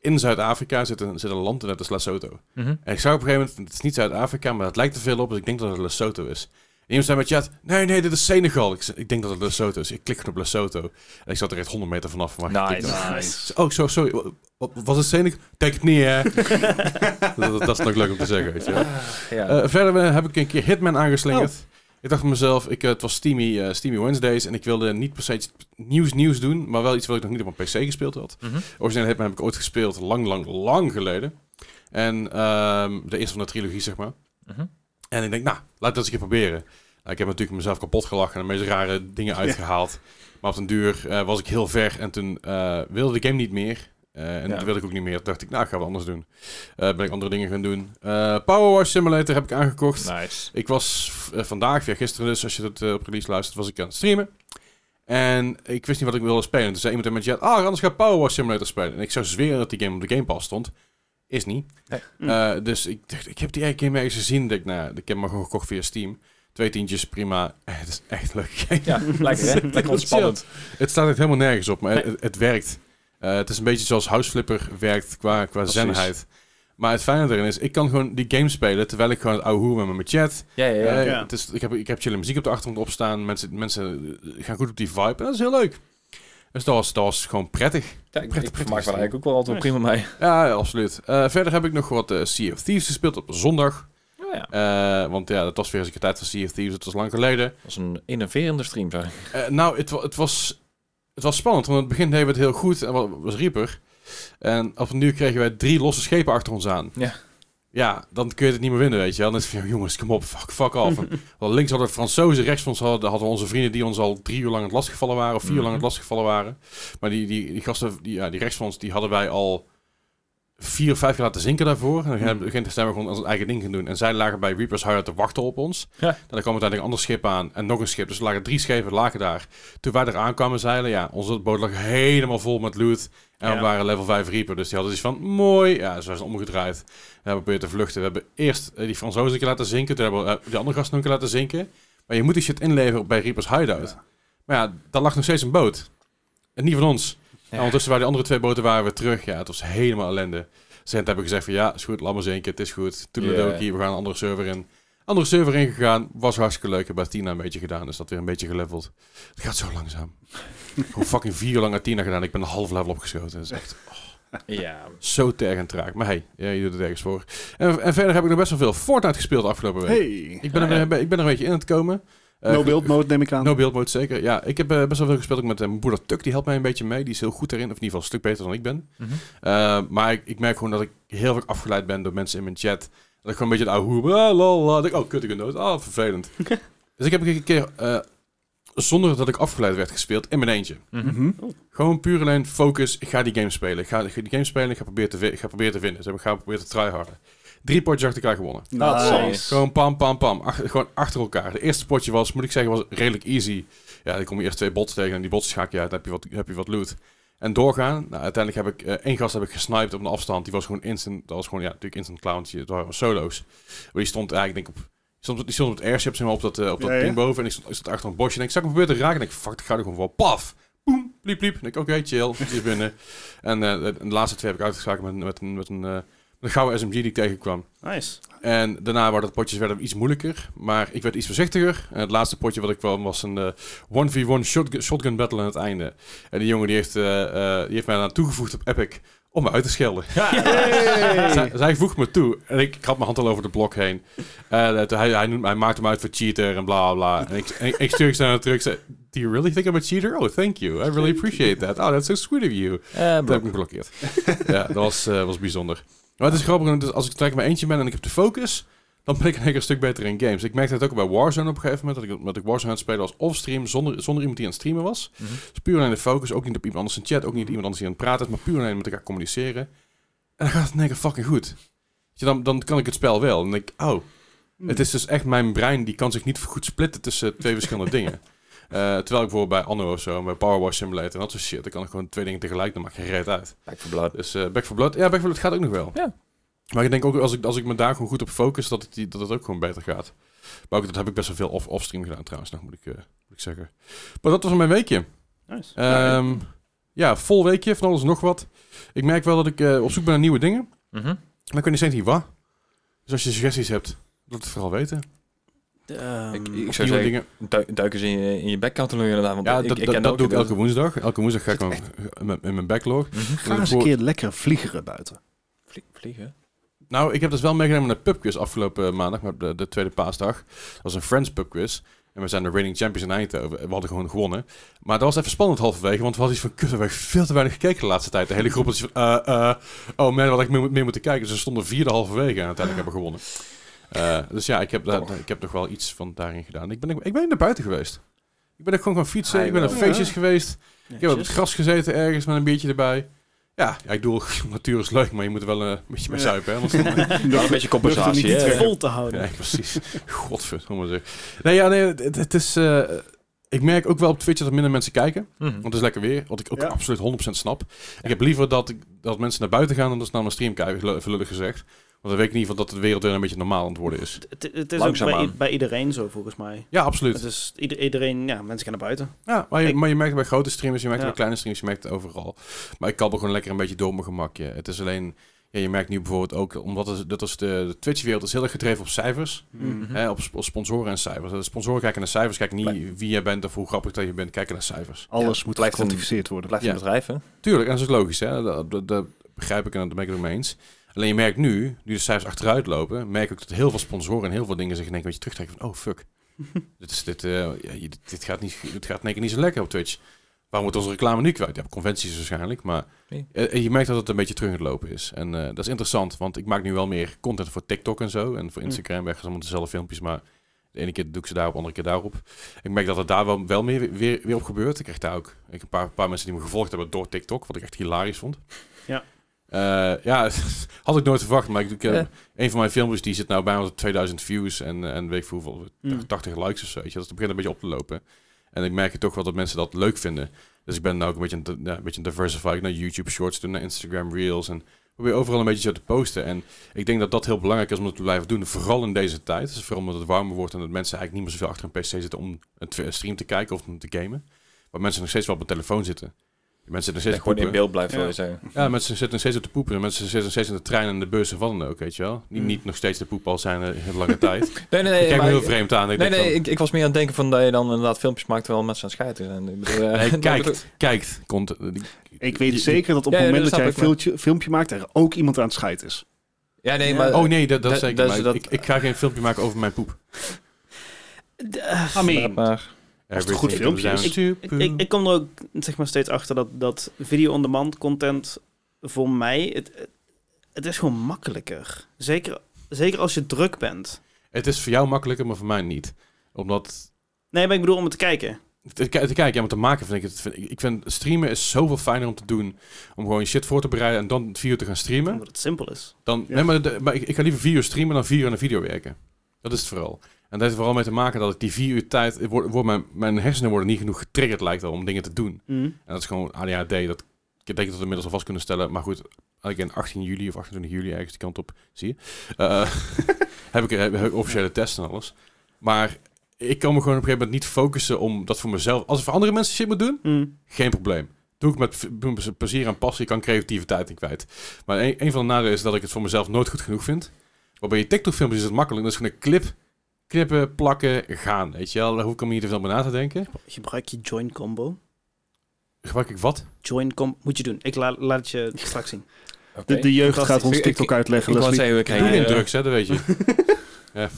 S2: In Zuid-Afrika zit een, zit een land en dat is Lesotho.
S3: Mhm.
S2: En ik zou op een gegeven moment... Het is niet Zuid-Afrika, maar het lijkt er veel op. Dus ik denk dat het Lesotho is. En iemand zei met chat... Nee, nee, dit is Senegal. Ik, zei, ik denk dat het Lesotho is. Ik klik op Lesotho. En ik zat er echt 100 meter vanaf. Maar ik
S3: Nice.
S2: klikte.
S4: Nice.
S2: Oh, zo, sorry. Wa- wa- Was het Senegal? Denk het niet, hè? dat, dat is nog leuk om te zeggen, weet je wel.
S3: Ja.
S2: Eh, verder eh, heb ik een keer Hitman aangeslingerd. Ik dacht van mezelf, ik, eh, het was Steamy, eh, Steamy Wednesdays en ik wilde niet per se iets nieuws nieuws doen, maar wel iets wat ik nog niet op mijn PC gespeeld had.
S3: Mhm.
S2: Origineel Hitman heb ik ooit gespeeld, lang, lang, lang geleden. En ehm, de eerste van de trilogie, zeg maar.
S3: Mhm.
S2: En ik denk, nou, laat dat eens een keer proberen. Nou, ik heb natuurlijk mezelf kapot gelachen en de meest rare dingen uitgehaald. Maar op den duur eh, was ik heel ver en toen eh, wilde de game niet meer. Eh, en
S3: Ja.
S2: dat wilde ik ook niet meer. Toen dacht ik, nou, ik ga wat anders doen. Eh, ben ik andere dingen gaan doen. Eh Power Wash Simulator heb ik aangekocht.
S3: Nice.
S2: Ik was v- eh, vandaag, ja, gisteren dus, als je dat eh, op release luistert, was ik aan het streamen. En ik wist niet wat ik wilde spelen. Toen zei iemand in mijn chat, ah, anders ga ik Power Wash Simulator spelen. En ik zou zweren dat die game op de Game Pass stond. Is niet.
S3: Nee.
S1: Mm.
S2: Eh, dus ik dacht, ik heb die eigenlijk game ergens gezien. Ik Dacht, nou, ik heb hem maar gewoon gekocht via Steam. Twee tientjes, prima. Eh, Het is echt leuk.
S3: Ja, lekker hè? Lekker ontspannend.
S2: Het staat echt helemaal nergens op, maar het, het werkt. Eh, het is een beetje zoals Houseflipper werkt qua, qua
S4: Precies.
S2: zenheid. Maar het fijne erin is, ik kan gewoon die game spelen terwijl ik gewoon het ouwe hoer ben met mijn chat.
S3: Ja, ja, ja.
S2: Eh,
S1: Ja.
S2: het is, ik, heb, ik heb chille muziek op de achtergrond opstaan. Mensen, mensen eh, gaan goed op die vibe. En dat is heel leuk. Dus dat was, dat was gewoon prettig.
S3: Ja, ik,
S2: prettig,
S3: ik vermaak me
S2: prettig.
S3: er eigenlijk ook wel altijd prima mee.
S2: Ja, absoluut. Eh, verder heb ik nog wat eh Sea of Thieves gespeeld op zondag.
S3: Oh ja,
S2: Eh, want ja, dat was weer eens een keer tijd van Sea of Thieves. Het was lang geleden.
S3: dat is een innoverende stream, zeg.
S2: Eh, nou, het, wa- het, was, het was spannend, want in het begin deden we het heel goed en wa- was Reaper. En op een duur kregen wij drie losse schepen achter ons aan.
S3: Ja.
S2: Ja, dan kun je het niet meer winnen, weet je wel. Dan is het van, ja, jongens, kom op, fuck, fuck off. En, wel, links hadden we Fransozen, rechts van ons hadden, hadden we onze vrienden die ons al drie uur lang het lastiggevallen waren, of vier uur lang het
S3: Mhm.
S2: lastiggevallen waren. Maar die, die, die gasten, die, ja, die rechts van ons, die hadden wij al vier of vijf keer laten zinken daarvoor.
S3: Mhm.
S2: En dan gaan we zijn we gewoon ons eigen ding gaan doen. En zij lagen bij Reapers Hire te wachten op ons.
S3: Ja.
S2: En dan kwam uiteindelijk een ander schip aan en nog een schip. Dus er lagen drie schepen, lagen daar. Toen wij er aankwamen, zeiden ja, onze boot lag helemaal vol met loot. En we
S1: Ja.
S2: waren level 5 Reaper, dus die hadden iets van, mooi. Ja, ze zijn omgedraaid. We hebben geprobeerd te vluchten. We hebben eerst eh, die Fransozen een keer laten zinken. Toen hebben we eh, die andere gasten ook een keer laten zinken. Maar je moet die shit inleveren bij Reaper's Hideout. Maar ja, daar lag nog steeds een boot. En niet van ons. En ondertussen waren die andere twee boten waren we terug. Ja, het was helemaal ellende. Cent hebben gezegd van ja, is goed, laat maar zinken. Het is goed. Toen we gaan een andere server in. Andere server ingegaan. Was hartstikke leuk. Hebben Tina een beetje gedaan. Dus dat weer een beetje geleveld. Het gaat zo langzaam. Gewoon fucking vier uur lang Athena gedaan. Ik ben een half level opgeschoten. Dat is echt
S3: Ja.
S2: zo terg en traag. Maar hey, ja, je doet het ergens voor. En, en verder heb ik nog best wel veel Fortnite gespeeld de afgelopen week.
S4: Hey.
S2: Ik, ben er,
S3: Ah, ja.
S2: weer- ik ben er een beetje in aan het komen. Eh,
S4: No build mode neem ik aan.
S2: No build mode, zeker. Ja, ik heb eh, best wel veel gespeeld ook met eh, mijn broeder Tuk. Die helpt mij een beetje mee. Die is heel goed daarin. Of in ieder geval een stuk beter dan ik ben. Eh, maar ik, ik merk gewoon dat ik heel vaak afgeleid ben door mensen in mijn chat. Dat ik gewoon een beetje het oude hoer ben. Ah, lol, lol. Ik denk, oh, kut, ik ben dood. Ah, vervelend. dus ik heb een keer, eh, zonder dat ik afgeleid werd gespeeld, in mijn eentje.
S4: Mhm.
S2: Gewoon puur alleen focus. Ik ga die game spelen. Ik ga ik ga die game spelen. Ik ga proberen te, vi- ik ga proberen te winnen. Dus ik ga proberen te tryharden. Drie potjes achter elkaar gewonnen.
S4: Nice.
S2: Gewoon pam, pam, pam. Ach- gewoon achter elkaar. De eerste potje was, moet ik zeggen, was redelijk easy. Ja, dan kom je eerst twee bots tegen en die bots schaak je uit. Dan heb je wat, heb je wat loot. En doorgaan. Nou, uiteindelijk heb ik eh, één gast heb ik gesniped op een afstand. Die was gewoon instant. Dat was gewoon, ja, natuurlijk instant clown. Dat waren solo's. Maar die stond eigenlijk, denk ik, op... Die stond, die stond op het airship, zeg maar, op dat, eh, op dat
S4: Ja, ja.
S2: ding boven. En ik stond, ik stond achter een bosje. En ik zag hem proberen te raken. En ik, fuck, ik ga er gewoon voor. Paf! Boem, pliep, pliep. En ik, oké, chill. Die is binnen. en eh, de, de laatste twee heb ik uitgeschakeld met, een- met, een- met een, eh, met een gouden SMG die ik tegenkwam.
S1: Nice.
S2: En daarna waren de potjes werden iets moeilijker. Maar ik werd iets voorzichtiger. En het laatste potje wat ik kwam was een eh, 1v1 shotgun, shotgun battle aan het einde. En die jongen die heeft, eh, eh, die heeft mij aan toegevoegd op Epic om me uit te schelden. Zij, zij voegt me toe. En ik, ik had mijn hand al over de blok heen. En, eh, toen hij, hij, noemt- hij maakte me uit voor cheater en bla bla. bla. En ik, en ik- ik stuur ze naar hem terug. Ik zei, do you really think I'm a cheater? Oh, thank you. I really appreciate that. Oh, that's so sweet of you.
S3: Eh,
S2: Dat
S3: bro.
S2: heb ik geblokkeerd. ja, dat was, eh, was bijzonder. Maar het is grappig, want als ik trek maar eentje ben en ik heb de focus, dan ben ik in één keer een stuk beter in games. Ik merkte dat ook bij Warzone op een gegeven moment, dat ik, dat ik Warzone aan het spelen was off-stream, zonder, zonder iemand die aan het streamen was.
S3: Mhm.
S2: Dus puur alleen de focus, ook niet op iemand anders in chat, ook niet iemand anders die aan het praten is, maar puur alleen met elkaar communiceren. En dan gaat het in één keer fucking goed. Weet je, dan, dan kan ik het spel wel. En dan denk ik, oh, het is dus echt mijn brein die kan zich niet goed splitten tussen twee verschillende dingen. Eh, terwijl ik bijvoorbeeld bij Anno of zo, en bij Power Wash Simulator en dat soort shit, dan kan ik gewoon twee dingen tegelijk, dan maak je reet uit.
S3: Back for blood.
S2: Dus eh Back for Blood, ja, Back for Blood gaat ook nog wel.
S3: Ja.
S2: Maar ik denk ook als ik, als ik me daar gewoon goed op focus, dat het, die- dat het ook gewoon beter gaat. Maar ook dat heb ik best wel veel off- off-stream gedaan trouwens, nog moet ik, eh, moet ik zeggen. Maar dat was mijn weekje.
S1: Nice.
S2: Ehm, ja, vol weekje, van alles en nog wat. Ik merk wel dat ik eh, op zoek ben naar nieuwe dingen.
S3: Mhm.
S2: Maar ik weet niet steeds niet wat. Dus als je suggesties hebt, laat het vooral weten.
S1: Ehm,
S3: Ik- ik-
S2: Of
S3: zou
S2: nieuwe
S3: zeggen,
S2: dingen.
S3: Duik, duik eens in je, in je backcatalog inderdaad. Want
S2: Ja,
S3: ik,
S2: dat,
S3: ik
S2: dat-
S3: ken
S2: dat doe ik elke
S3: beeld.
S2: woensdag. Elke woensdag ga ik gewoon in mijn- in mijn backlog.
S3: Mhm.
S4: Ga eens een keer lekker vliegeren buiten.
S3: Vlie- Vliegen.
S2: Nou, ik heb dus wel meegenomen naar de pubquiz afgelopen eh, maandag, maar de, de tweede paasdag. Dat was een Friends pubquiz. En we zijn de reigning champions in Eindhoven. En We hadden gewoon gewonnen. Maar dat was even spannend halverwege, want we hadden iets van... Kut, we hebben veel te weinig gekeken de laatste tijd. De hele groep was van... eh, eh, oh man, wat had ik meer, meer moeten kijken. Dus we stonden vierde halverwege en uiteindelijk hebben we gewonnen. Eh, dus ja, ik heb, daar- ik heb nog wel iets van daarin gedaan. Ik ben, ik ben naar buiten geweest. Ik ben ook gewoon gaan fietsen.
S3: Ah,
S2: ik ben naar
S3: ja.
S2: feestjes geweest. Ik heb op het
S1: netjes.
S2: gras gezeten ergens met een biertje erbij. Ja, ja ik bedoel, natuur is leuk, maar je moet er wel eh, een beetje mee
S4: Ja.
S2: zuipen. Hè? Anders dan-
S3: Wel een beetje compensatie.
S4: niet
S3: hè.
S4: te
S1: vol te houden.
S2: nee, precies. Godverdomme zeg. Nee, ja, nee, het, het is... eh, ik merk ook wel op Twitch dat er minder mensen
S1: Hm.
S2: kijken.
S3: Mhm.
S2: Want het is lekker weer. Wat ik ook
S4: Ja.
S2: absoluut 100% snap. Ik heb liever dat, ik, dat mensen naar buiten gaan dan dat ze naar mijn stream kijken, lu- even lullig gezegd. Want dan weet ik in ieder geval dat de wereld weer een beetje normaal aan het worden is.
S1: Het, het is ook bij,
S3: Langzaamaan.
S1: i- bij iedereen zo, volgens mij.
S2: Ja, absoluut.
S1: Het is ieder- iedereen, ja, mensen gaan naar buiten.
S2: Ja, maar je,
S1: Ik-
S2: maar je merkt het bij grote streamers, je merkt het
S1: Ja.
S2: bij kleine streamers, je merkt het overal. Maar ik kabbel gewoon lekker een beetje door mijn gemakje. Het is alleen, ja, je merkt nu bijvoorbeeld ook, omdat het, dat is de, de Twitch-wereld is heel erg gedreven op cijfers.
S1: Mhm.
S3: Mm-hmm.
S2: Hè, op, sp- op sponsoren en cijfers. De sponsoren kijken naar cijfers, kijken niet wie jij bent of hoe grappig dat je bent, kijken naar cijfers.
S4: Alles moet
S3: blijft een-
S4: gekwantificeerd worden.
S3: Blijft een
S2: Ja.
S3: bedrijf, hè?
S2: Tuurlijk, en dat is logisch, hè? Dat, dat- dat begrijp ik en dat ben ik het ook mee eens. Alleen je merkt nu, nu de cijfers achteruit lopen, merk ik dat heel veel sponsoren en heel veel dingen zich in één keer een beetje terugtrekken van, oh fuck, dit, is, dit, eh, ja, je- dit, dit gaat niet, dit gaat in één keer niet zo lekker op Twitch. Waar moeten we onze reclame nu kwijt? Ja, op conventies waarschijnlijk. Maar
S3: Nee.
S2: eh, je merkt dat het een beetje terug aan het lopen is. En eh, dat is interessant, want ik maak nu wel meer content voor TikTok en zo. En voor Instagram weg allemaal dezelfde filmpjes. Maar de ene keer doe ik ze daarop, de andere keer daarop. Ik merk dat het daar wel, wel meer weer, weer op gebeurt. Ik krijg daar ook ik, een paar, paar mensen die me gevolgd hebben door TikTok. Wat ik echt hilarisch vond.
S1: Ja.
S2: Eh, ja, had ik nooit verwacht. Maar ik, ik, eh,
S3: Ja.
S2: een van mijn filmpjes die zit nou bijna op 2000 views. En, en weet ik veel hoeveel,
S1: Mm.
S2: 80 likes of zo. Weet je, dat begint een beetje op te lopen. En ik merk toch wel dat mensen dat leuk vinden. Dus ik ben nou ook een beetje, aan het- ja, een beetje diversified naar YouTube Shorts, doen naar Instagram Reels en probeer overal een beetje zo te posten. En ik denk dat dat heel belangrijk is om dat te blijven doen, vooral in deze tijd. Dus vooral omdat het warmer wordt en dat mensen eigenlijk niet meer zoveel achter een PC zitten om een tw- een stream te kijken of om te gamen. Maar mensen nog steeds wel op hun telefoon zitten. Mensen nog steeds
S3: gewoon in
S2: poepen.
S3: beeld blijft, wil
S1: Ja.
S3: je zeggen.
S2: Ja, mensen zitten nog steeds op de poepen. En Mensen zitten nog steeds in de trein en de bus en wat dan ook, weet je wel. Die
S1: Hmm.
S2: niet nog steeds de poep al zijn eh, heel lange tijd. Ik
S3: Nee, nee, nee.
S2: kijk me
S3: maar
S2: heel
S3: ik-
S2: vreemd aan. Ik
S3: nee,
S2: denk
S3: nee,
S2: van,
S3: ik, ik was meer aan het denken van dat je dan inderdaad filmpjes maakt terwijl mensen aan het scheiden zijn. Ik bedoel, eh,
S2: nee,
S3: dat bedoel-
S2: kijkt, kijkt. Komt, eh,
S4: Ik weet
S2: je-
S4: zeker dat op het
S3: Ja, ja,
S4: moment
S3: dat
S4: dat jij een
S3: snap ik,
S4: filmpje, filmpje maakt, er ook iemand aan het schijt is.
S3: Ja, nee,
S1: Ja.
S3: maar...
S2: oh nee, dat, dat,
S3: Eh, dat-
S2: zeker.
S3: dat-
S2: maar
S3: dat-
S2: ik, ik ga geen filmpje maken over mijn poep.
S4: I mean,
S3: Maar,
S4: Als het een goed
S2: Everything
S4: filmpje
S2: comes
S4: is.
S2: down
S1: Ah, Ik,
S2: to
S1: ik,
S2: poop.
S1: ik kom er ook zeg maar, steeds achter dat, dat video-on-demand content voor mij, het, het is gewoon makkelijker. Zeker, zeker als je druk bent.
S2: Het is voor jou makkelijker, maar voor mij niet. Omdat...
S1: Nee, maar ik bedoel om het te kijken.
S2: Te, ki- te kijken, ja, maar te maken vind ik het... Vind, ik- ik vind streamen is zoveel fijner om te doen. Om gewoon je shit voor te bereiden en dan vier uur te gaan streamen.
S1: Omdat het simpel is.
S2: Dan,
S4: Ja.
S2: nee, maar, de- maar ik, ik ga liever vier uur streamen dan vier uur aan een video werken. Dat is het vooral. En dat heeft vooral mee te maken dat ik die vier uur tijd... ik Word, word mijn, mijn hersenen worden niet genoeg getriggerd, lijkt al, om dingen te doen.
S1: Mhm.
S2: En dat is gewoon ADHD. Dat, ik denk dat we het inmiddels al vast kunnen stellen. Maar goed, in 18 juli of 28 juli ergens die kant op, zie je. Eh, heb, ik, heb, heb ik officiële test en alles. Maar ik kan me gewoon op een gegeven moment niet focussen om dat voor mezelf. Als ik voor andere mensen shit moet doen,
S1: Mhm.
S2: geen probleem. Doe ik met doe ik met plezier en passie, kan creativiteit in kwijt. Maar een, een van de nadelen is dat ik het voor mezelf nooit goed genoeg vind. Maar bij je TikTok-filmpjes is het makkelijk. dus Dat is gewoon een clip, knippen, plakken, gaan. Weet je wel, daar hoef ik hem niet te veel bij na te denken.
S1: Gebruik je join combo.
S2: Gebruik ik wat?
S1: Join combo moet je doen. Ik la- laat het je straks zien.
S4: De, de jeugd
S1: Fantastisch.
S4: gaat ons
S3: Ik-
S4: TikTok uitleggen.
S3: ik wou
S4: Leslie.
S3: zeggen, we
S2: Ik doe
S3: krijgen...
S2: geen
S3: eh,
S2: drugs, hè, dat weet je. ja.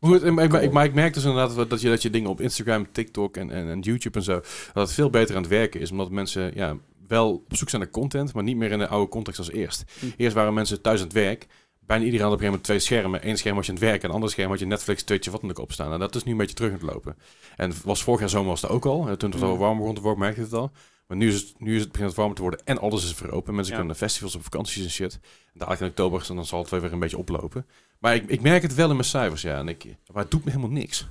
S2: Maar goed, ik, ik, ik, maar ik merk dus inderdaad dat- dat je, dat je dingen op Instagram, TikTok en, en, en YouTube en zo, dat het veel beter aan het werken is. Omdat mensen ja, wel op zoek zijn naar content, maar niet meer in de oude context als eerst.
S1: Hm.
S2: Eerst waren mensen thuis aan het werk. Bijna iedereen had op een gegeven moment twee schermen. Eén scherm was je aan het werk en een ander scherm had je Netflix, Twitch of wat dan ook op staan. En dat is nu een beetje terug aan het lopen. En was vorig jaar zomer was dat ook al. En Toen het al
S1: Hm.
S2: warm begon te worden, merkte je het al. Maar nu is het, nu is het begint het warmer te worden en alles is weer open. Mensen
S1: Ja.
S2: kunnen naar festivals op vakanties en shit. Dadelijk in oktober, dan zal het weer een beetje oplopen. Maar ik, ik merk het wel in mijn cijfers, ja. En ik, maar het doet me helemaal niks.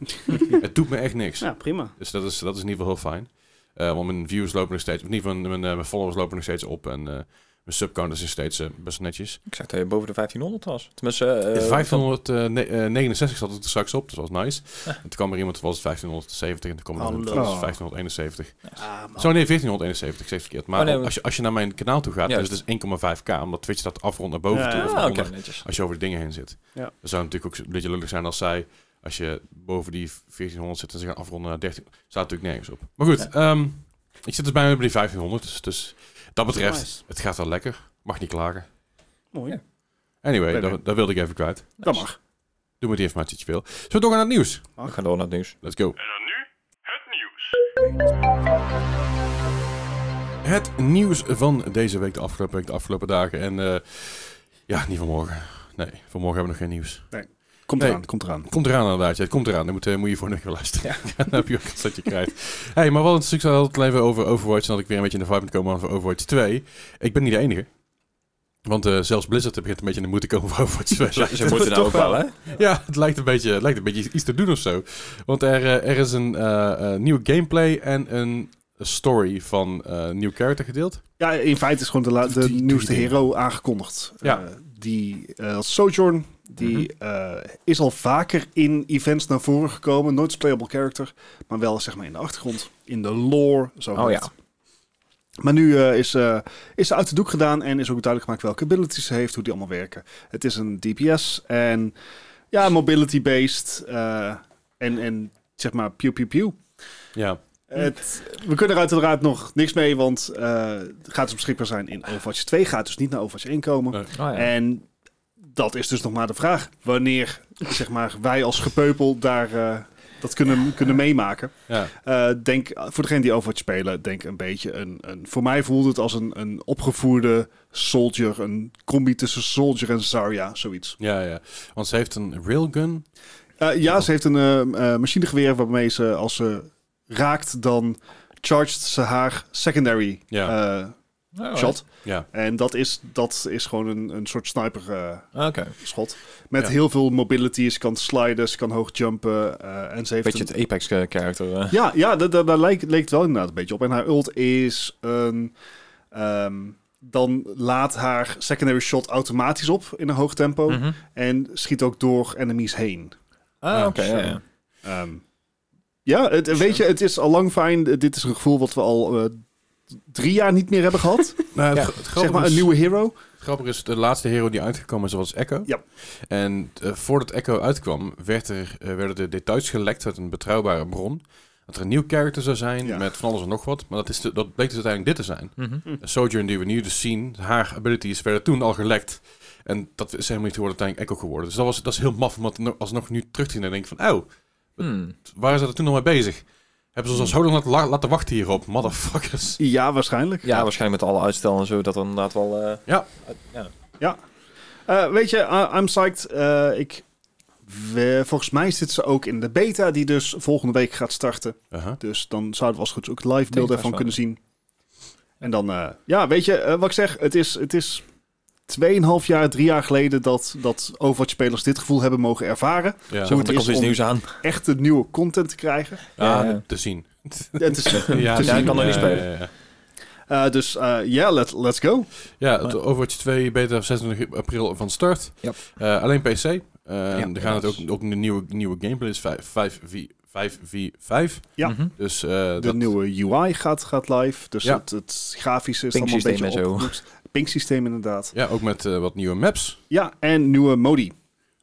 S2: het doet me echt niks.
S1: Ja, prima.
S2: Dus dat is, dat is in ieder geval heel fijn. Eh, want mijn views lopen nog steeds, of in ieder geval mijn, eh, mijn followers lopen nog steeds op. En eh, mijn subcounters is steeds eh, best netjes.
S3: Ik zag dat je boven de 1500 was. Tenminste... eh,
S2: 569 eh, zat het er straks op, dat was nice.
S3: Ja.
S2: En toen kwam er iemand, toen was het 1570 en toen kwam er iemand,
S1: Hallo.
S2: toen was het 1571.
S1: Ah, man.
S2: Zo, nee, 1471, ik zeg het verkeerd. Maar
S3: Oh, nee,
S2: als, je, als je naar mijn kanaal toe gaat, dan is
S3: Juist.
S2: het dus 1,5k, omdat Twitch dat afrond naar boven
S1: Ja,
S2: toe.
S1: ja.
S2: of
S3: Ah,
S2: naar
S3: oké,
S2: onder.
S3: netjes.
S2: als je over de dingen heen zit.
S1: Ja.
S2: Dat zou natuurlijk ook een beetje lullig zijn als zij, als je boven die 1400 zit en ze gaan afronden naar 13, staat natuurlijk nergens op. Maar goed, ehm, ik zit dus bijna bij die 1500, dus, dus dat betreft,
S1: Nice.
S2: het gaat wel lekker. Mag niet klagen.
S1: Mooi.
S3: Ja.
S2: Anyway,
S4: Nee,
S2: dat,
S4: nee.
S2: dat wilde ik even kwijt.
S4: Dat mag.
S2: Doe met die informatie wat je wil. Zullen we doorgaan naar het nieuws?
S3: We gaan door naar het nieuws.
S2: Let's go.
S5: En dan nu het nieuws.
S2: Het nieuws van deze week, de afgelopen week, de afgelopen dagen. En eh, ja, niet vanmorgen. Nee, vanmorgen hebben we nog geen nieuws.
S4: Komt
S2: Nee.
S4: eraan, komt eraan.
S2: Komt eraan inderdaad, ja, het komt eraan. Dan moet, eh, moet je voor nog wel luisteren. Dan heb je ook iets dat je krijgt. Hey, maar wat een succes had het even over Overwatch. En dat ik weer een beetje in de vibe moet komen over Overwatch 2. Ik ben niet de enige. Want eh, zelfs Blizzard begint een beetje in de moed te komen voor Overwatch 2.
S3: Ze, ze moeten nou ook wel, hè?
S2: Ja, het lijkt een beetje, het lijkt een beetje iets te doen of zo. Want er, eh, er is een eh, eh, nieuwe gameplay en een story van eh, een nieuw character gedeeld.
S4: Ja, in feite is gewoon de, la- de
S2: Die- die
S4: nieuwste
S2: dingen.
S4: hero aangekondigd.
S2: Ja. Mhm.
S4: Eh, die eh, als Sojourn, die eh, is al vaker in events naar voren gekomen. Nooit als playable character, maar wel zeg maar in de achtergrond, in de lore. Zo
S3: Oh
S4: heet.
S3: ja.
S4: Maar nu eh, is, eh, is ze uit de doek gedaan en is ook duidelijk gemaakt welke abilities ze heeft, hoe die allemaal werken. Het is een DPS en ja, mobility-based eh, en, en zeg maar pew pew pew.
S2: Ja.
S4: Het, we kunnen er uiteraard nog niks mee, want eh, het gaat dus beschikbaar zijn in Overwatch 2. Gaat dus niet naar Overwatch 1 komen.
S2: Nee.
S3: Oh, ja.
S4: En dat is dus nog maar de vraag. Wanneer zeg maar, wij als gepeupel daar eh, dat kunnen, kunnen meemaken.
S2: Ja.
S4: Eh, denk, voor degene die Overwatch spelen, denk een beetje een... een voor mij voelde het als een, een opgevoerde soldier. Een combi tussen soldier en Zarya, zoiets.
S2: Ja, ja. Want ze heeft een railgun.
S4: Eh, ja, ze heeft een eh, eh, machinegeweer waarmee ze, als ze raakt, dan charged ze haar secondary
S2: Ja.
S4: eh, shot.
S2: Ja.
S4: En dat is, dat is gewoon een, een soort sniper eh,
S3: Ah, Oké.
S4: schot. Met
S2: Ja.
S4: heel veel mobility. Ze kan sliden, ze kan hoog jumpen. eh, en ze heeft
S3: Beetje
S4: een-
S3: het eh, Apex-character.
S4: Ja, ja da- da- daar leek, leek het wel inderdaad een beetje op. En haar ult is een... ehm, dan laat haar secondary shot automatisch op in een hoog tempo.
S3: Mhm.
S4: En schiet ook door enemies heen.
S3: Ah,
S4: Oh,
S2: Ja,
S3: oké. ja,
S2: sure.
S3: ja.
S4: Ehm, ja, het, weet je, het is al lang fijn. Dit is een gevoel wat we al eh, drie jaar niet meer hebben gehad. Eh,
S2: Nou,
S3: Ja.
S2: het, het grappige
S4: zeg maar
S2: is-
S4: een nieuwe hero.
S2: Grappig is, de laatste hero die uitgekomen is, was Echo.
S4: Ja.
S2: En eh, voordat Echo uitkwam, werd er, eh, werden de details gelekt uit een betrouwbare bron. Dat er een nieuw character zou zijn,
S4: Ja.
S2: met van alles en nog wat. Maar dat, is de- dat bleek dus uiteindelijk dit te zijn.
S3: Mhm.
S2: De Sojourn die we nu dus zien, haar abilities werden toen al gelekt. En dat is helemaal niet geworden, uiteindelijk Echo geworden. Dus dat, was, dat is heel maf, om dat no- alsnog nu terug te zien en denk ik van... Oh,
S3: Hmm.
S2: waar is dat toen nog mee bezig? Hebben ze ons al zo lang laten, la- laten wachten hierop, motherfuckers.
S4: Ja, waarschijnlijk.
S3: Ja, waarschijnlijk met alle uitstel en zo, dat er inderdaad wel... eh,
S2: Ja.
S3: uit- ja.
S4: Eh, weet je, I- I'm psyched. Eh, ik, we- volgens mij zit ze ook in de beta die dus volgende week gaat starten.
S2: Uh-huh.
S4: Dus dan zouden we als goed ook live beelden
S3: Beta
S4: ervan
S3: starten.
S4: kunnen zien. En dan, eh, ja, weet je, eh, wat ik zeg, het is, het is 2,5 jaar, drie jaar geleden dat, dat Overwatch-spelers dit gevoel hebben mogen ervaren.
S2: Ja.
S3: Zo,
S4: het
S3: er komt
S4: is
S3: iets
S4: om-
S3: nieuws aan.
S4: Echt de nieuwe content te krijgen.
S2: Ah,
S3: Ja, ja.
S2: te zien.
S4: Ja, het is,
S2: Ja,
S4: te
S3: ja,
S4: zien.
S3: ik kan er niet
S2: ja,
S3: spelen.
S2: ja, ja.
S4: Eh, dus eh, ja, let, let's go.
S2: Ja, het Overwatch 2 beta 26 april van start.
S3: Yep.
S2: Eh, alleen PC. Eh, en er gaan het
S3: dat is-
S2: ook, ook een nieuwe, nieuwe gameplay is 5, 5, v, 5 v 5.
S4: Ja.
S3: Mhm.
S2: Dus eh,
S4: De
S2: dat,
S4: nieuwe UI gaat, gaat live. Dus
S2: Ja.
S4: het, het grafische is allemaal een
S3: Ping-systeem
S4: beetje
S3: en zo.
S4: opgeknopt. Ping-systeem inderdaad.
S2: ja, ook met eh, wat nieuwe maps.
S4: Ja, en nieuwe modi.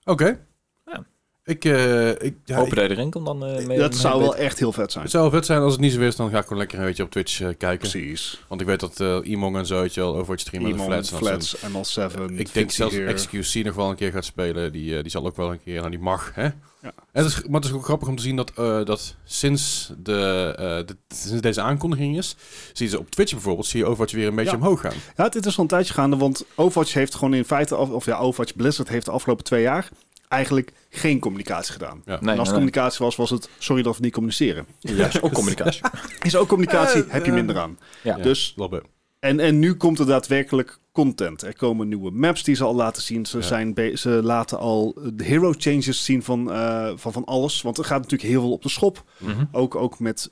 S2: Oké.
S3: Ja.
S2: Ik, eh, ik, ja,
S3: Hopen
S2: ik-
S3: dat je erin komt dan eh, mee.
S4: dat
S3: mee
S4: zou wel
S3: beter.
S4: echt heel vet zijn.
S2: het zou wel vet zijn als het niet zo is, dan ga ik gewoon lekker een beetje op Twitch eh, kijken.
S4: Precies.
S2: Want ik weet dat eh Imong en zo, weet je wel, Overwatch streamen en de
S4: Iemand,
S2: flats. en dat soort-
S4: Flats, ML7,
S2: ik denk zelfs
S4: Gear.
S2: XQC nog wel een keer gaat spelen. Die, eh, die zal ook wel een keer, nou die mag. Hè?
S4: Ja.
S2: En het is, maar het is ook grappig om te zien dat, eh, dat sinds, de, eh, de- sinds deze aankondiging is, zie je ze op Twitch bijvoorbeeld, zie je Overwatch weer een beetje
S4: Ja.
S2: omhoog gaan.
S4: Ja, dit is al een tijdje gaande, want Overwatch heeft gewoon in feite, af- of ja, Overwatch Blizzard heeft de afgelopen twee jaar eigenlijk geen communicatie gedaan.
S3: Nee,
S4: en als
S3: nee,
S4: het communicatie was, was het sorry dat we niet communiceren.
S3: nee. Ja, is ook communicatie.
S4: Is ook communicatie,
S2: Eh,
S4: heb je
S2: eh.
S4: minder aan.
S3: Ja.
S4: Dus
S2: Lobbe.
S4: En, en nu komt er daadwerkelijk content. Er komen nieuwe maps die ze al laten zien. Ze,
S2: Ja.
S4: zijn be- ze laten al de hero changes zien van, eh, van van alles. Want er gaat natuurlijk heel veel op de schop.
S2: Mhm.
S4: Ook, ook met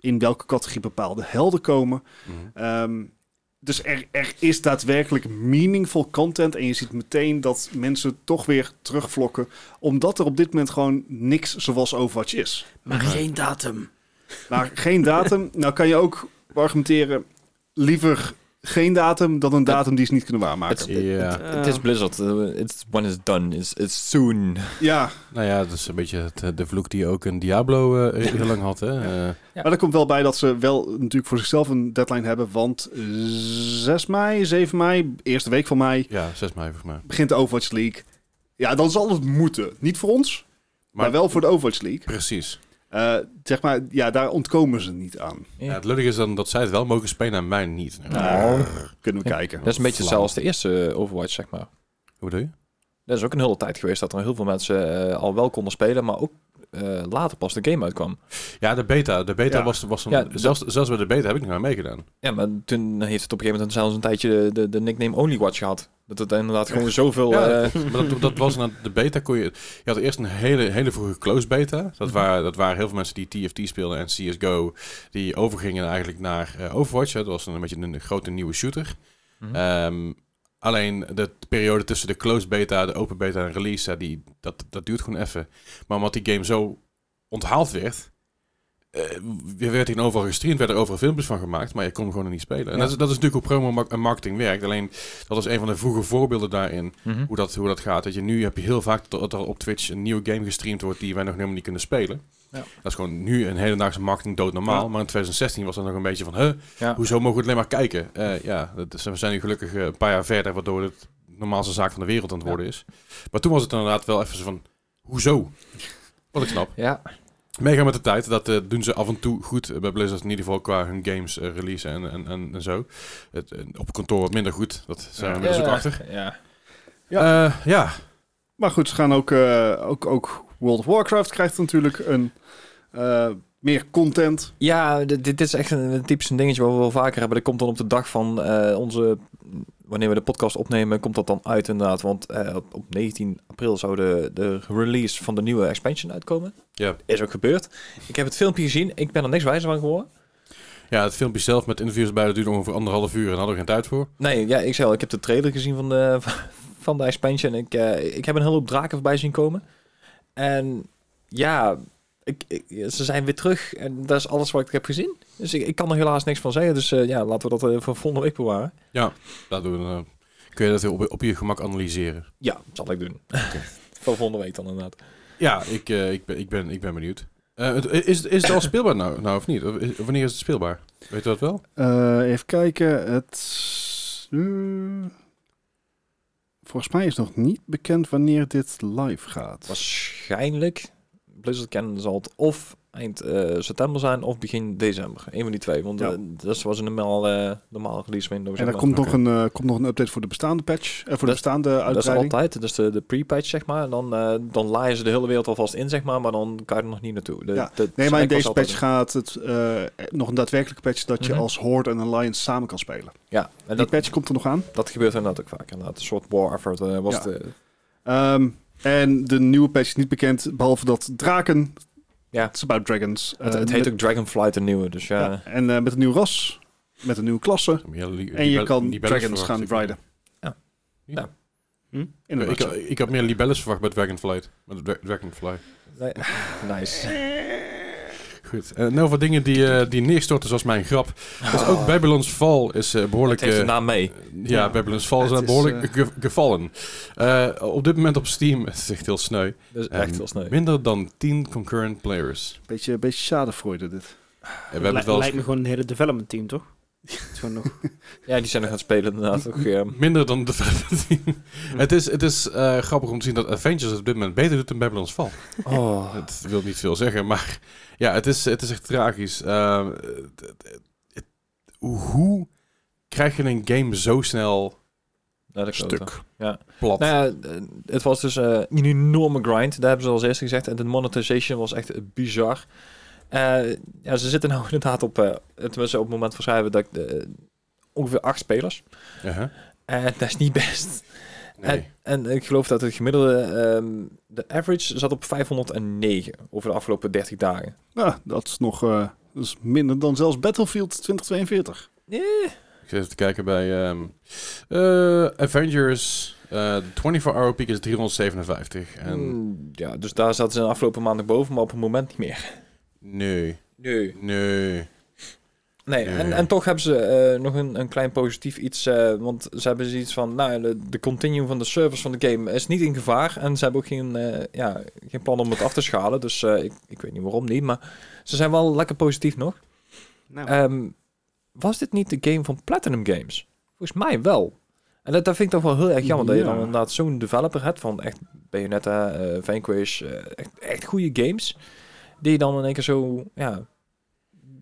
S4: in welke categorie bepaalde helden komen.
S2: Mhm.
S4: Ehm, dus er, er is daadwerkelijk meaningful content. En je ziet meteen dat mensen toch weer terugvlokken. Omdat er op dit moment gewoon niks zoals Overwatch is.
S1: Maar geen datum.
S4: Maar geen datum. Nou kan je ook argumenteren, liever geen datum dan een datum die ze niet kunnen waarmaken.
S3: Het
S2: Ja.
S3: het is Blizzard. eh, It's when it's done. It's, it's soon.
S4: Ja,
S2: Nou ja, dat is een beetje het, eh, de vloek die ook een Diablo eh, heel lang had. Hè? Eh,
S4: maar er komt wel bij dat ze wel natuurlijk voor zichzelf een deadline hebben. Want 6 mei, 7 mei, eerste week van mei,
S2: ja, 6 mei volgens mij.
S4: begint de Overwatch League. Ja, dan zal het moeten. Niet voor ons, maar, wel voor de Overwatch League.
S2: Precies.
S4: Eh, zeg maar, ja, daar ontkomen ze niet aan.
S2: Ja, het lullige is dan dat zij het wel mogen spelen en mij niet.
S4: Nou, kunnen we
S3: Ja.
S4: kijken.
S3: Dat is een beetje
S2: Flauw.
S3: hetzelfde als de eerste eh, Overwatch, zeg maar.
S2: Hoe bedoel je?
S3: Dat is ook een hele tijd geweest dat er heel veel mensen eh, al wel konden spelen, maar ook eh, later pas de game uitkwam.
S2: Ja, de beta. De beta
S4: Ja.
S2: was, was een,
S3: Ja, dat-
S2: zelfs, zelfs bij de beta heb ik nog aan meegedaan.
S3: Ja, maar toen heeft het op een gegeven moment zelfs een tijdje de, de, de nickname Only Watch gehad. Dat het inderdaad gewoon zoveel...
S2: Ja,
S3: eh,
S2: Maar dat, dat was na de beta kon je... Je had eerst een hele, hele vroege close beta.
S3: Mhm.
S2: Dat waren, dat waren heel veel mensen die TFT speelden en CSGO. Die overgingen eigenlijk naar eh, Overwatch. hè. Dat was een beetje een grote nieuwe shooter.
S3: Mhm.
S2: Ehm, alleen de periode tussen de close beta, de open beta en release... ja, die, dat, dat duurt gewoon even. Maar omdat die game zo onthaald werd... eh, werd in overal gestreamd, werden er overal filmpjes van gemaakt, maar je kon hem gewoon niet spelen. En
S3: Ja.
S2: dat, is, dat is natuurlijk hoe promo en marketing werkt. Alleen dat is een van de vroege voorbeelden daarin
S3: mhm.
S2: hoe dat, hoe dat gaat. Dat je, nu heb je heel vaak dat er op Twitch een nieuwe game gestreamd wordt die wij nog helemaal niet kunnen spelen.
S3: Ja.
S2: Dat is gewoon nu een hedendaagse marketing doodnormaal. Maar in 2016 was dat nog een beetje van, huh,
S3: Ja.
S2: hoezo mogen we het alleen maar kijken? Eh, ja, dat is- we zijn nu gelukkig eh, een paar jaar verder, waardoor het de normaalste zaak van de wereld aan het worden is. Maar toen was het inderdaad wel even zo van, hoezo? Wat ik snap.
S3: Ja.
S2: Meegaan met de tijd, dat eh, doen ze af en toe goed eh, bij Blizzard, in ieder geval qua hun games eh, releasen en, en, en, en zo. Het, eh, op kantoor wat minder goed, dat zijn we
S4: Ja.
S2: inmiddels ook achter.
S3: Ja.
S2: Ja, ja.
S4: Maar goed, ze gaan ook, eh, ook, ook World of Warcraft krijgt natuurlijk een, eh, meer content.
S3: Ja, dit, dit is echt een, een typisch een dingetje wat we wel vaker hebben. Dat komt dan op de dag van eh, onze... Wanneer we de podcast opnemen, komt dat dan uit inderdaad. Want eh, op, op 19 april zou de, de release van de nieuwe expansion uitkomen.
S2: Ja.
S3: Is ook gebeurd. Ik heb het filmpje gezien. Ik ben er niks wijzer van geworden.
S2: ja, het filmpje zelf met interviews bij, dat duurde ongeveer anderhalf uur en daar hadden we geen tijd voor.
S3: Nee, ja, ik zei al, ik heb de trailer gezien van de, van de expansion. Ik, eh, ik heb een hele hoop draken voorbij zien komen. En ja, ik, ik- ze zijn weer terug. En dat is alles wat ik heb gezien. Dus ik, ik kan er helaas niks van zeggen. Dus eh, ja, laten we dat eh, voor volgende week bewaren.
S2: Daar doen we, dan, eh, kun je dat weer op, op je gemak analyseren.
S3: Ja, dat zal ik doen. voor volgende week dan inderdaad.
S2: Ja, ik, eh, ik, ben, ik, ben, ik ben benieuwd. Eh, het- is, is het al speelbaar nou, nou of niet? Of is- wanneer is het speelbaar? Weet je dat wel?
S4: Eh, even kijken, het... is, eh, volgens mij is nog niet bekend wanneer dit live gaat.
S3: Waarschijnlijk, Blizzard kennen zal het of eind eh, september zijn of begin december. Eén van die twee, want
S4: Ja.
S3: eh, dat was een normaal, eh, normaal release window.
S4: En
S3: zeg
S4: er
S3: maar.
S4: komt, nog
S2: Oké.
S4: een, eh, komt nog een update voor de bestaande patch. eh, voor de
S3: Dat-
S4: bestaande
S3: Dat is
S4: uitbreiding.
S3: altijd, dus de, de pre-patch zeg maar. En Dan, eh dan laaien ze de hele wereld alvast in zeg maar, maar dan kan je er nog niet naartoe. De,
S4: Ja.
S3: de-
S4: Nee, maar in
S3: ik was
S4: deze
S3: altijd-
S4: patch gaat het eh, nog een daadwerkelijke patch dat je
S3: Mhm.
S4: als Horde en Alliance samen kan spelen.
S3: Ja, en
S4: Die
S3: dat,
S4: patch komt er nog aan.
S3: dat gebeurt inderdaad ook vaak. Inderdaad. Een soort war effort eh, was
S4: Ja.
S3: het. eh.
S4: Ehm, en de nieuwe patch is niet bekend, behalve dat draken.
S3: Ja.
S4: It's about dragons.
S3: het,
S4: eh,
S3: het heet
S4: met-
S3: ook Dragonflight de nieuwe, dus ja.
S4: ja, en eh, met een nieuw ras, met een nieuwe klasse.
S2: Ja, die- die
S4: En je
S2: bel-
S4: kan
S2: die bellus
S4: dragons gaan
S2: verwacht ik.
S4: riden.
S3: Ja. Ja.
S1: Hm?
S4: In
S2: Ik, eh, ik, ik had meer libelles verwacht bij Dragonflight. Met Dra- Dragonfly.
S3: Nee, nice.
S2: Goed. En nou wat dingen die, eh die neerstorten zoals mijn grap. Dus ook Babylon's Fall is eh,
S3: Het
S2: behoorlijk...
S3: heeft de
S2: eh,
S3: naam mee.
S2: Ja,
S4: Ja.
S2: Babylon's Fall is,
S4: Het
S2: eh,
S4: is,
S2: behoorlijk
S4: eh,
S2: ge- gevallen. Eh, op dit moment op Steam, het is echt heel sneu,
S3: Dus
S2: Ehm,
S3: echt heel snel.
S2: minder dan 10 concurrent players.
S4: Beetje, beetje schadefreude dit.
S2: En we hebben het
S1: Lij-
S2: wel
S1: lijkt
S2: eens-
S1: me gewoon een hele development team, toch? Het is gewoon nog...
S3: Ja, die zijn nog aan het spelen inderdaad. Ook, eh,
S2: minder dan de 15. Het is, het is eh, grappig om te zien dat Avengers het op dit moment beter doet dan Babylon's Fall.
S3: oh.
S2: Het wil niet veel zeggen, maar ja, het is, het is echt tragisch. Eh, het- het- het- hoe krijg je een game zo snel
S3: Ja, dat klote.
S2: stuk?
S3: Ja.
S2: Plat.
S3: Nou ja, eh, het was dus eh, een enorme grind. Daar hebben ze als eerste gezegd. En de monetization was echt eh, bizar. Eh, ja, ze zitten nou inderdaad op... eh, tenminste, op het moment van schrijven dat ik... eh, ongeveer acht spelers.
S2: Uh-huh.
S3: En dat is niet best.
S2: Nee.
S3: En, en ik geloof dat het gemiddelde... ehm, de average zat op 509 over de afgelopen 30 dagen.
S4: Nou, dat is nog eh, dat is minder dan zelfs Battlefield 2042.
S2: Ik zit even te kijken bij ehm, eh, Avengers. eh, De 24-hour peak is 357. En
S3: Mm, ja, dus daar zaten ze de afgelopen maanden boven, maar op het moment niet meer.
S2: nee,
S3: Nee.
S2: nee.
S3: Nee,
S2: Ja,
S3: en,
S2: ja.
S3: en toch hebben ze eh, nog een, een klein positief iets. eh, want ze hebben zoiets van, nou, ja, de, de continuum van de service van de game is niet in gevaar. En ze hebben ook geen, eh, ja, geen plan om het af te schalen. Dus eh, ik, ik weet niet waarom niet. Maar ze zijn wel lekker positief nog.
S1: Nou,
S3: Ehm, was dit niet de game van Platinum Games? Volgens mij wel. En dat, dat vind ik toch wel heel erg jammer. Dat je
S4: Ja.
S3: dan inderdaad zo'n developer hebt van echt Bayonetta, eh Vanquish. eh, echt, echt goede games. Die je dan in één keer zo, ja,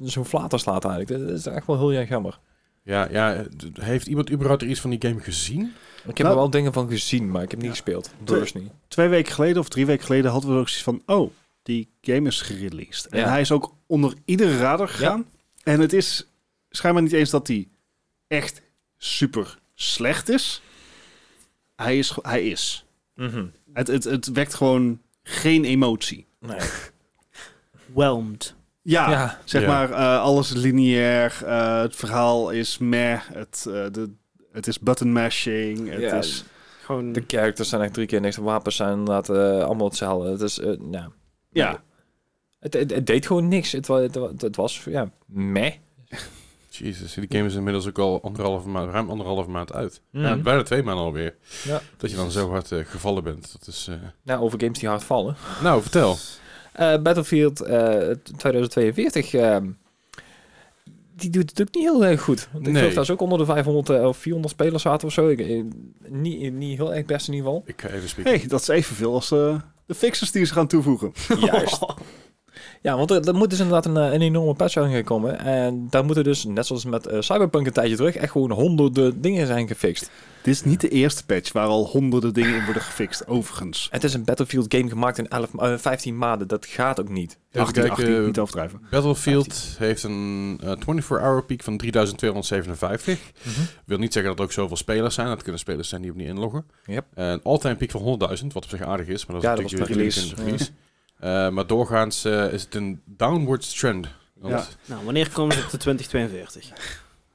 S3: zo'n flater slaat eigenlijk. Dat is echt wel heel erg jammer.
S2: Ja, ja, d- heeft iemand überhaupt er iets van die game gezien?
S3: Ik heb
S4: Nou-
S3: er wel dingen van gezien, maar ik heb niet gespeeld. Bewust niet.
S4: Twee weken geleden of drie weken geleden hadden we ook zoiets van... Oh, die game is gereleased. En
S3: Ja.
S4: hij is ook onder iedere radar gegaan. En het is schijnbaar niet eens dat die echt super slecht is. Hij is. ge- Hij is.
S3: Mhm.
S4: Het, het, het wekt gewoon geen emotie.
S3: Nee.
S1: whelmed.
S4: Ja,
S3: Ja.
S4: zeg
S2: Ja.
S4: maar, eh, alles is lineair. eh, het verhaal is meh. Het, eh, de, het is button mashing. Het
S3: Ja.
S4: is...
S1: Gewoon...
S3: De characters zijn echt drie keer niks. De wapens zijn inderdaad eh, allemaal hetzelfde. Het is, eh, ja.
S4: Ja.
S3: Het, het, het deed gewoon niks. Het, wa- het, wa- het was, ja, meh.
S2: Jezus, die game is inmiddels ook al anderhalve maand, ruim anderhalve maand uit. Ja,
S3: Mhm.
S2: bijna twee maanden alweer.
S3: Ja.
S2: Dat je dan zo hard eh, gevallen bent. Dat is, eh,
S3: Nou, over games die hard vallen.
S2: Nou, vertel.
S3: Eh, Battlefield eh, 2042, ehm, die doet het ook niet heel erg goed. Want ik
S2: Nee.
S3: geloof dat ze ook onder de 500 eh, of 400 spelers zaten of zo. Ik, eh, niet, niet heel erg best in ieder geval.
S2: Ik ga even spieken.
S4: Hey, dat is evenveel als eh, de fixes die ze gaan toevoegen.
S3: Juist. Ja, want er, er moet dus inderdaad een, eh, een enorme patchversion gaan komen. En daar moeten dus, net zoals met eh, Cyberpunk een tijdje terug, echt gewoon honderden dingen zijn gefixt.
S4: Dit is niet de eerste patch waar al honderden dingen in worden gefixt, overigens.
S3: Het is een Battlefield game gemaakt in 11, ma- eh, 15 maanden. Dat gaat ook niet.
S2: Even
S4: 18,
S2: kijken,
S4: 18,
S2: eh,
S4: niet overdrijven.
S2: Battlefield heeft een 24-hour piek van 3257. Wil niet zeggen dat er ook zoveel spelers zijn. Dat kunnen spelers zijn die opnieuw inloggen.
S3: Yep.
S2: Een all-time piek van 100.000, wat op zich aardig is. Maar dat
S3: Ja,
S2: is
S3: dat
S2: natuurlijk
S3: was met
S2: weer
S3: release.
S2: Eh, maar doorgaans eh, is het een downwards trend. Want,
S4: Ja.
S1: Nou, wanneer komen ze op de 2042?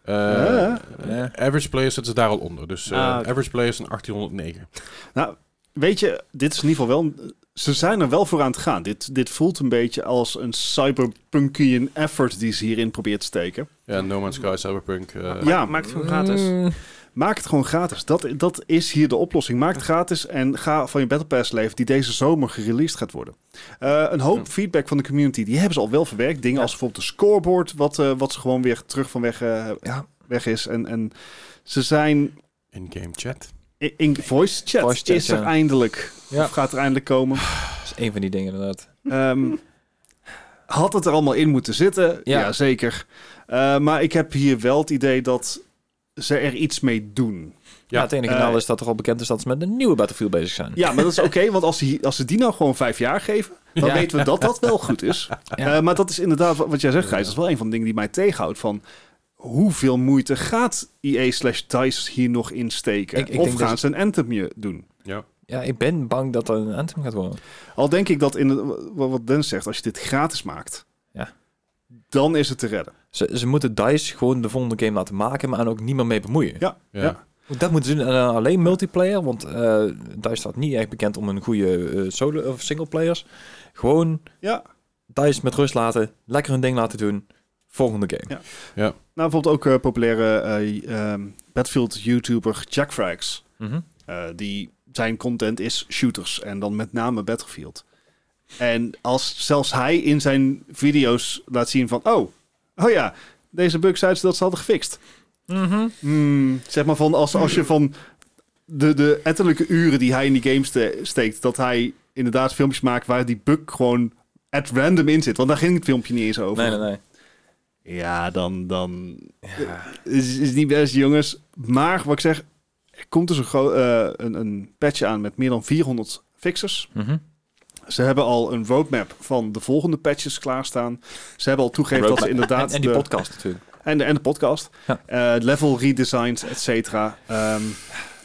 S2: eh,
S4: Eh?
S2: eh, Average players zitten ze daar al onder. Dus eh,
S1: Ah, oké.
S2: average players zijn 1809.
S4: Nou, weet je, dit is in ieder geval wel... Ze zijn er wel voor aan het gaan. Dit, dit voelt een beetje als een cyberpunkian effort die ze hierin probeert te steken.
S2: Ja, No Man's Sky, Cyberpunk. eh,
S4: Ja.
S6: Maak- Maak het gewoon gratis.
S3: Mm,
S4: Maak het gewoon gratis. Dat, dat is hier de oplossing. Maak het gratis en ga van je Battle Pass leven die deze zomer gereleased gaat worden. Eh, een hoop feedback van de community, die hebben ze al wel verwerkt. Dingen
S3: Ja.
S4: als bijvoorbeeld de scoreboard, wat, eh, wat ze gewoon weer terug van weg, eh,
S3: Ja.
S4: weg is. En, en ze zijn...
S2: In-game chat.
S4: In, in voice chat
S3: Voice chat,
S4: is er
S3: ja.
S4: eindelijk.
S3: Ja.
S4: Of gaat er eindelijk komen.
S3: dat is één van die dingen inderdaad.
S4: Ehm, had het er allemaal in moeten zitten?
S3: Ja.
S4: Ja, zeker. Eh, maar ik heb hier wel het idee dat ze er iets mee doen.
S3: Ja, het enige
S4: eh,
S3: nadeel is dat er al bekend is dat ze met een nieuwe Battlefield bezig zijn.
S4: Ja, maar dat is oké, want als, die, als ze die nou gewoon vijf jaar geven, dan
S3: Ja.
S4: weten we dat dat wel goed is.
S3: Ja.
S4: Eh, maar dat is inderdaad wa- wat jij zegt, Gijs. Dat is wel een van de dingen die mij tegenhoudt. Van hoeveel moeite gaat EA slash DICE hier nog in steken?
S3: Ik- ik
S4: of
S3: denk dat
S4: gaan ze een anthemje doen?
S3: Ja, ik ben bang dat er een Anthem gaat worden.
S4: Al denk ik dat, in de- wa- wat Dennis zegt, als je dit gratis maakt,
S3: Ja.
S4: dan is het te redden.
S3: Ze, ze moeten DICE gewoon de volgende game laten maken, maar en ook niemand mee bemoeien.
S4: Ja,
S2: Ja.
S4: Ja.
S3: Dat moeten ze doen. En, eh, alleen multiplayer, want eh DICE staat niet echt bekend om een goede eh solo of singleplayers. Gewoon
S4: ja.
S3: DICE met rust laten, lekker hun ding laten doen. Volgende game.
S4: Ja. Nou, bijvoorbeeld ook eh, populaire eh, ehm, Battlefield-YouTuber Jack Frags.
S3: Mhm.
S4: Eh, die, zijn content is shooters en dan met name Battlefield. En als zelfs hij in zijn video's laat zien van... Oh, oh ja, deze bug zei ze dat ze hadden gefixt.
S3: Mhm.
S4: Hmm, zeg maar van als, als je van de, de ettelijke uren die hij in die games ste- steekt... dat hij inderdaad filmpjes maakt waar die bug gewoon at random in zit. Want daar ging het filmpje niet eens over.
S3: Nee, nee, nee.
S4: Ja, dan... dan is, is niet best, jongens. Maar wat ik zeg, er komt dus een, gro- eh, een, een patch aan met meer dan 400 fixers.
S3: Mhm.
S4: Ze hebben al een roadmap van de volgende patches klaarstaan. Ze hebben al toegegeven dat ze
S3: En,
S4: inderdaad...
S3: en die
S4: de-
S3: podcast natuurlijk.
S4: en de, en de podcast.
S3: Ja.
S4: Eh, level redesigns, et cetera. Ehm,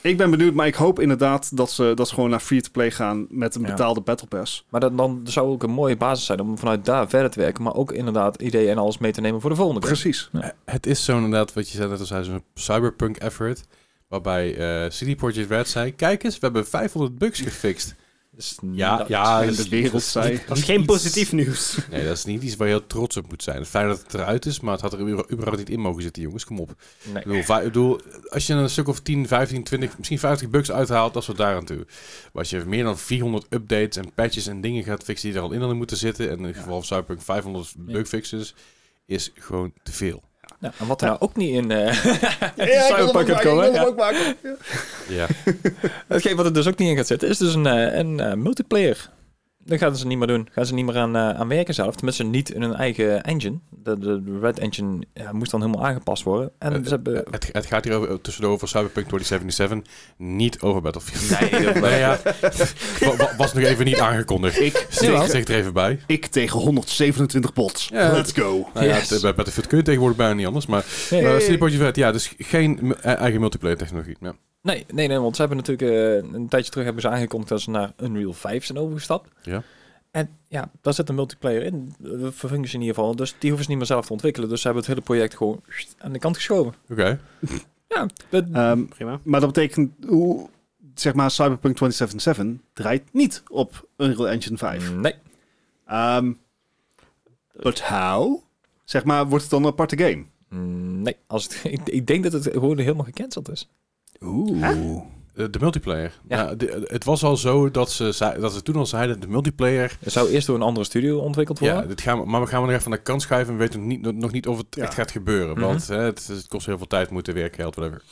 S4: ik ben benieuwd, maar ik hoop inderdaad dat ze, dat ze gewoon naar free-to-play gaan met een
S3: Ja.
S4: betaalde battle pass.
S3: Maar dat, dan zou ook een mooie basis zijn om vanuit daar verder te werken. Maar ook inderdaad ideeën en alles mee te nemen voor de volgende game.
S4: Precies.
S3: Ja.
S2: Eh, Het is zo inderdaad, wat je zei net al zei, zo'n cyberpunk effort. Waarbij eh CD Projekt Red zei, kijk eens, we hebben 500 bugs gefixt.
S3: Dus
S2: Ja,
S3: dat-
S2: ja.
S4: en
S2: dat is-
S4: de wereld
S2: dat is
S4: zei-
S2: niet-
S1: Dat is
S2: niet
S1: geen
S2: iets-
S1: positief nieuws.
S2: Nee, dat is niet iets waar je heel trots op moet zijn. Het feit dat het eruit is, maar het had er überhaupt überhaupt niet in mogen zitten, jongens. Kom op. Ik
S3: Nee.
S2: bedoel, vij- ik bedoel, als je een stuk of 10, 15, 20, misschien 50 bugs uithaalt, dat is wat daaraan toe. Maar als je meer dan 400 updates en patches en dingen gaat fixen die er al in hadden moeten zitten, en in het geval van Cyberpunk 500 bugfixes, is gewoon te veel.
S3: Ja, en wat er nou ook niet in eh
S4: ik wil hem ook
S3: Cyberpunk gaat
S4: maken, ik wil
S3: komen.
S4: hem
S3: ja.
S4: ook maken.
S2: Ja.
S3: Hetgeen wat er dus ook niet in gaat zitten, is dus een, eh, een eh, multiplayer. Dat gaan ze niet meer doen. Gaan ze niet meer aan, eh, aan werken zelf. Tenminste, niet in hun eigen engine. De, de Red Engine ja, moest dan helemaal aangepast worden. En
S2: Eh,
S3: ze hebben...
S2: Eh, Het, het gaat hier over, tussendoor over Cyberpunk 2077, niet over Battlefield.
S3: Nee, dat-
S2: Nou ja, wa- wa- was nog even niet aangekondigd.
S4: Ik,
S2: Zeg,
S4: tegen,
S2: zeg er even bij.
S4: ik tegen 127 bots.
S2: Ja.
S4: Let's go.
S2: Nou ja,
S3: Yes.
S2: het- bij Battlefield kun je tegenwoordig bijna niet anders. Maar
S3: Nee.
S2: eh, maar CD Projekt Red, ja, dus geen mu- eh, eigen multiplayer technologie. Ja.
S3: nee, nee, nee, want ze hebben natuurlijk... eh, een tijdje terug hebben ze aangekondigd dat ze naar Unreal 5 zijn overgestapt.
S2: Ja.
S3: En ja, daar zit een multiplayer in. Eh, Verfunctie in ieder geval. Dus die hoeven ze niet meer zelf te ontwikkelen. Dus ze hebben het hele project gewoon aan de kant geschoven.
S2: Oké.
S3: Ja, dat-
S4: Ehm,
S1: Prima.
S4: Maar dat betekent, hoe, zeg maar, Cyberpunk 2077 draait niet op Unreal Engine
S2: Eh,
S4: 5.
S3: nee.
S4: Ehm but how? Zeg maar, wordt het dan een aparte game?
S3: Nee. Als het, ik, ik denk dat het gewoon helemaal gecanceld is.
S4: Oeh.
S2: Eh, De, de multiplayer.
S3: Ja.
S2: Nou, de- het was al zo dat ze, zei- dat ze toen al zeiden, de multiplayer...
S3: Het zou eerst door een andere studio ontwikkeld worden.
S2: Ja, dit gaan we, maar we gaan we nog even aan de kant schuiven. We weten nog niet, nog niet of het
S4: Ja.
S2: echt gaat gebeuren.
S3: Mhm.
S2: Want hè, het, het kost heel veel tijd, moeten werken, geld, whatever.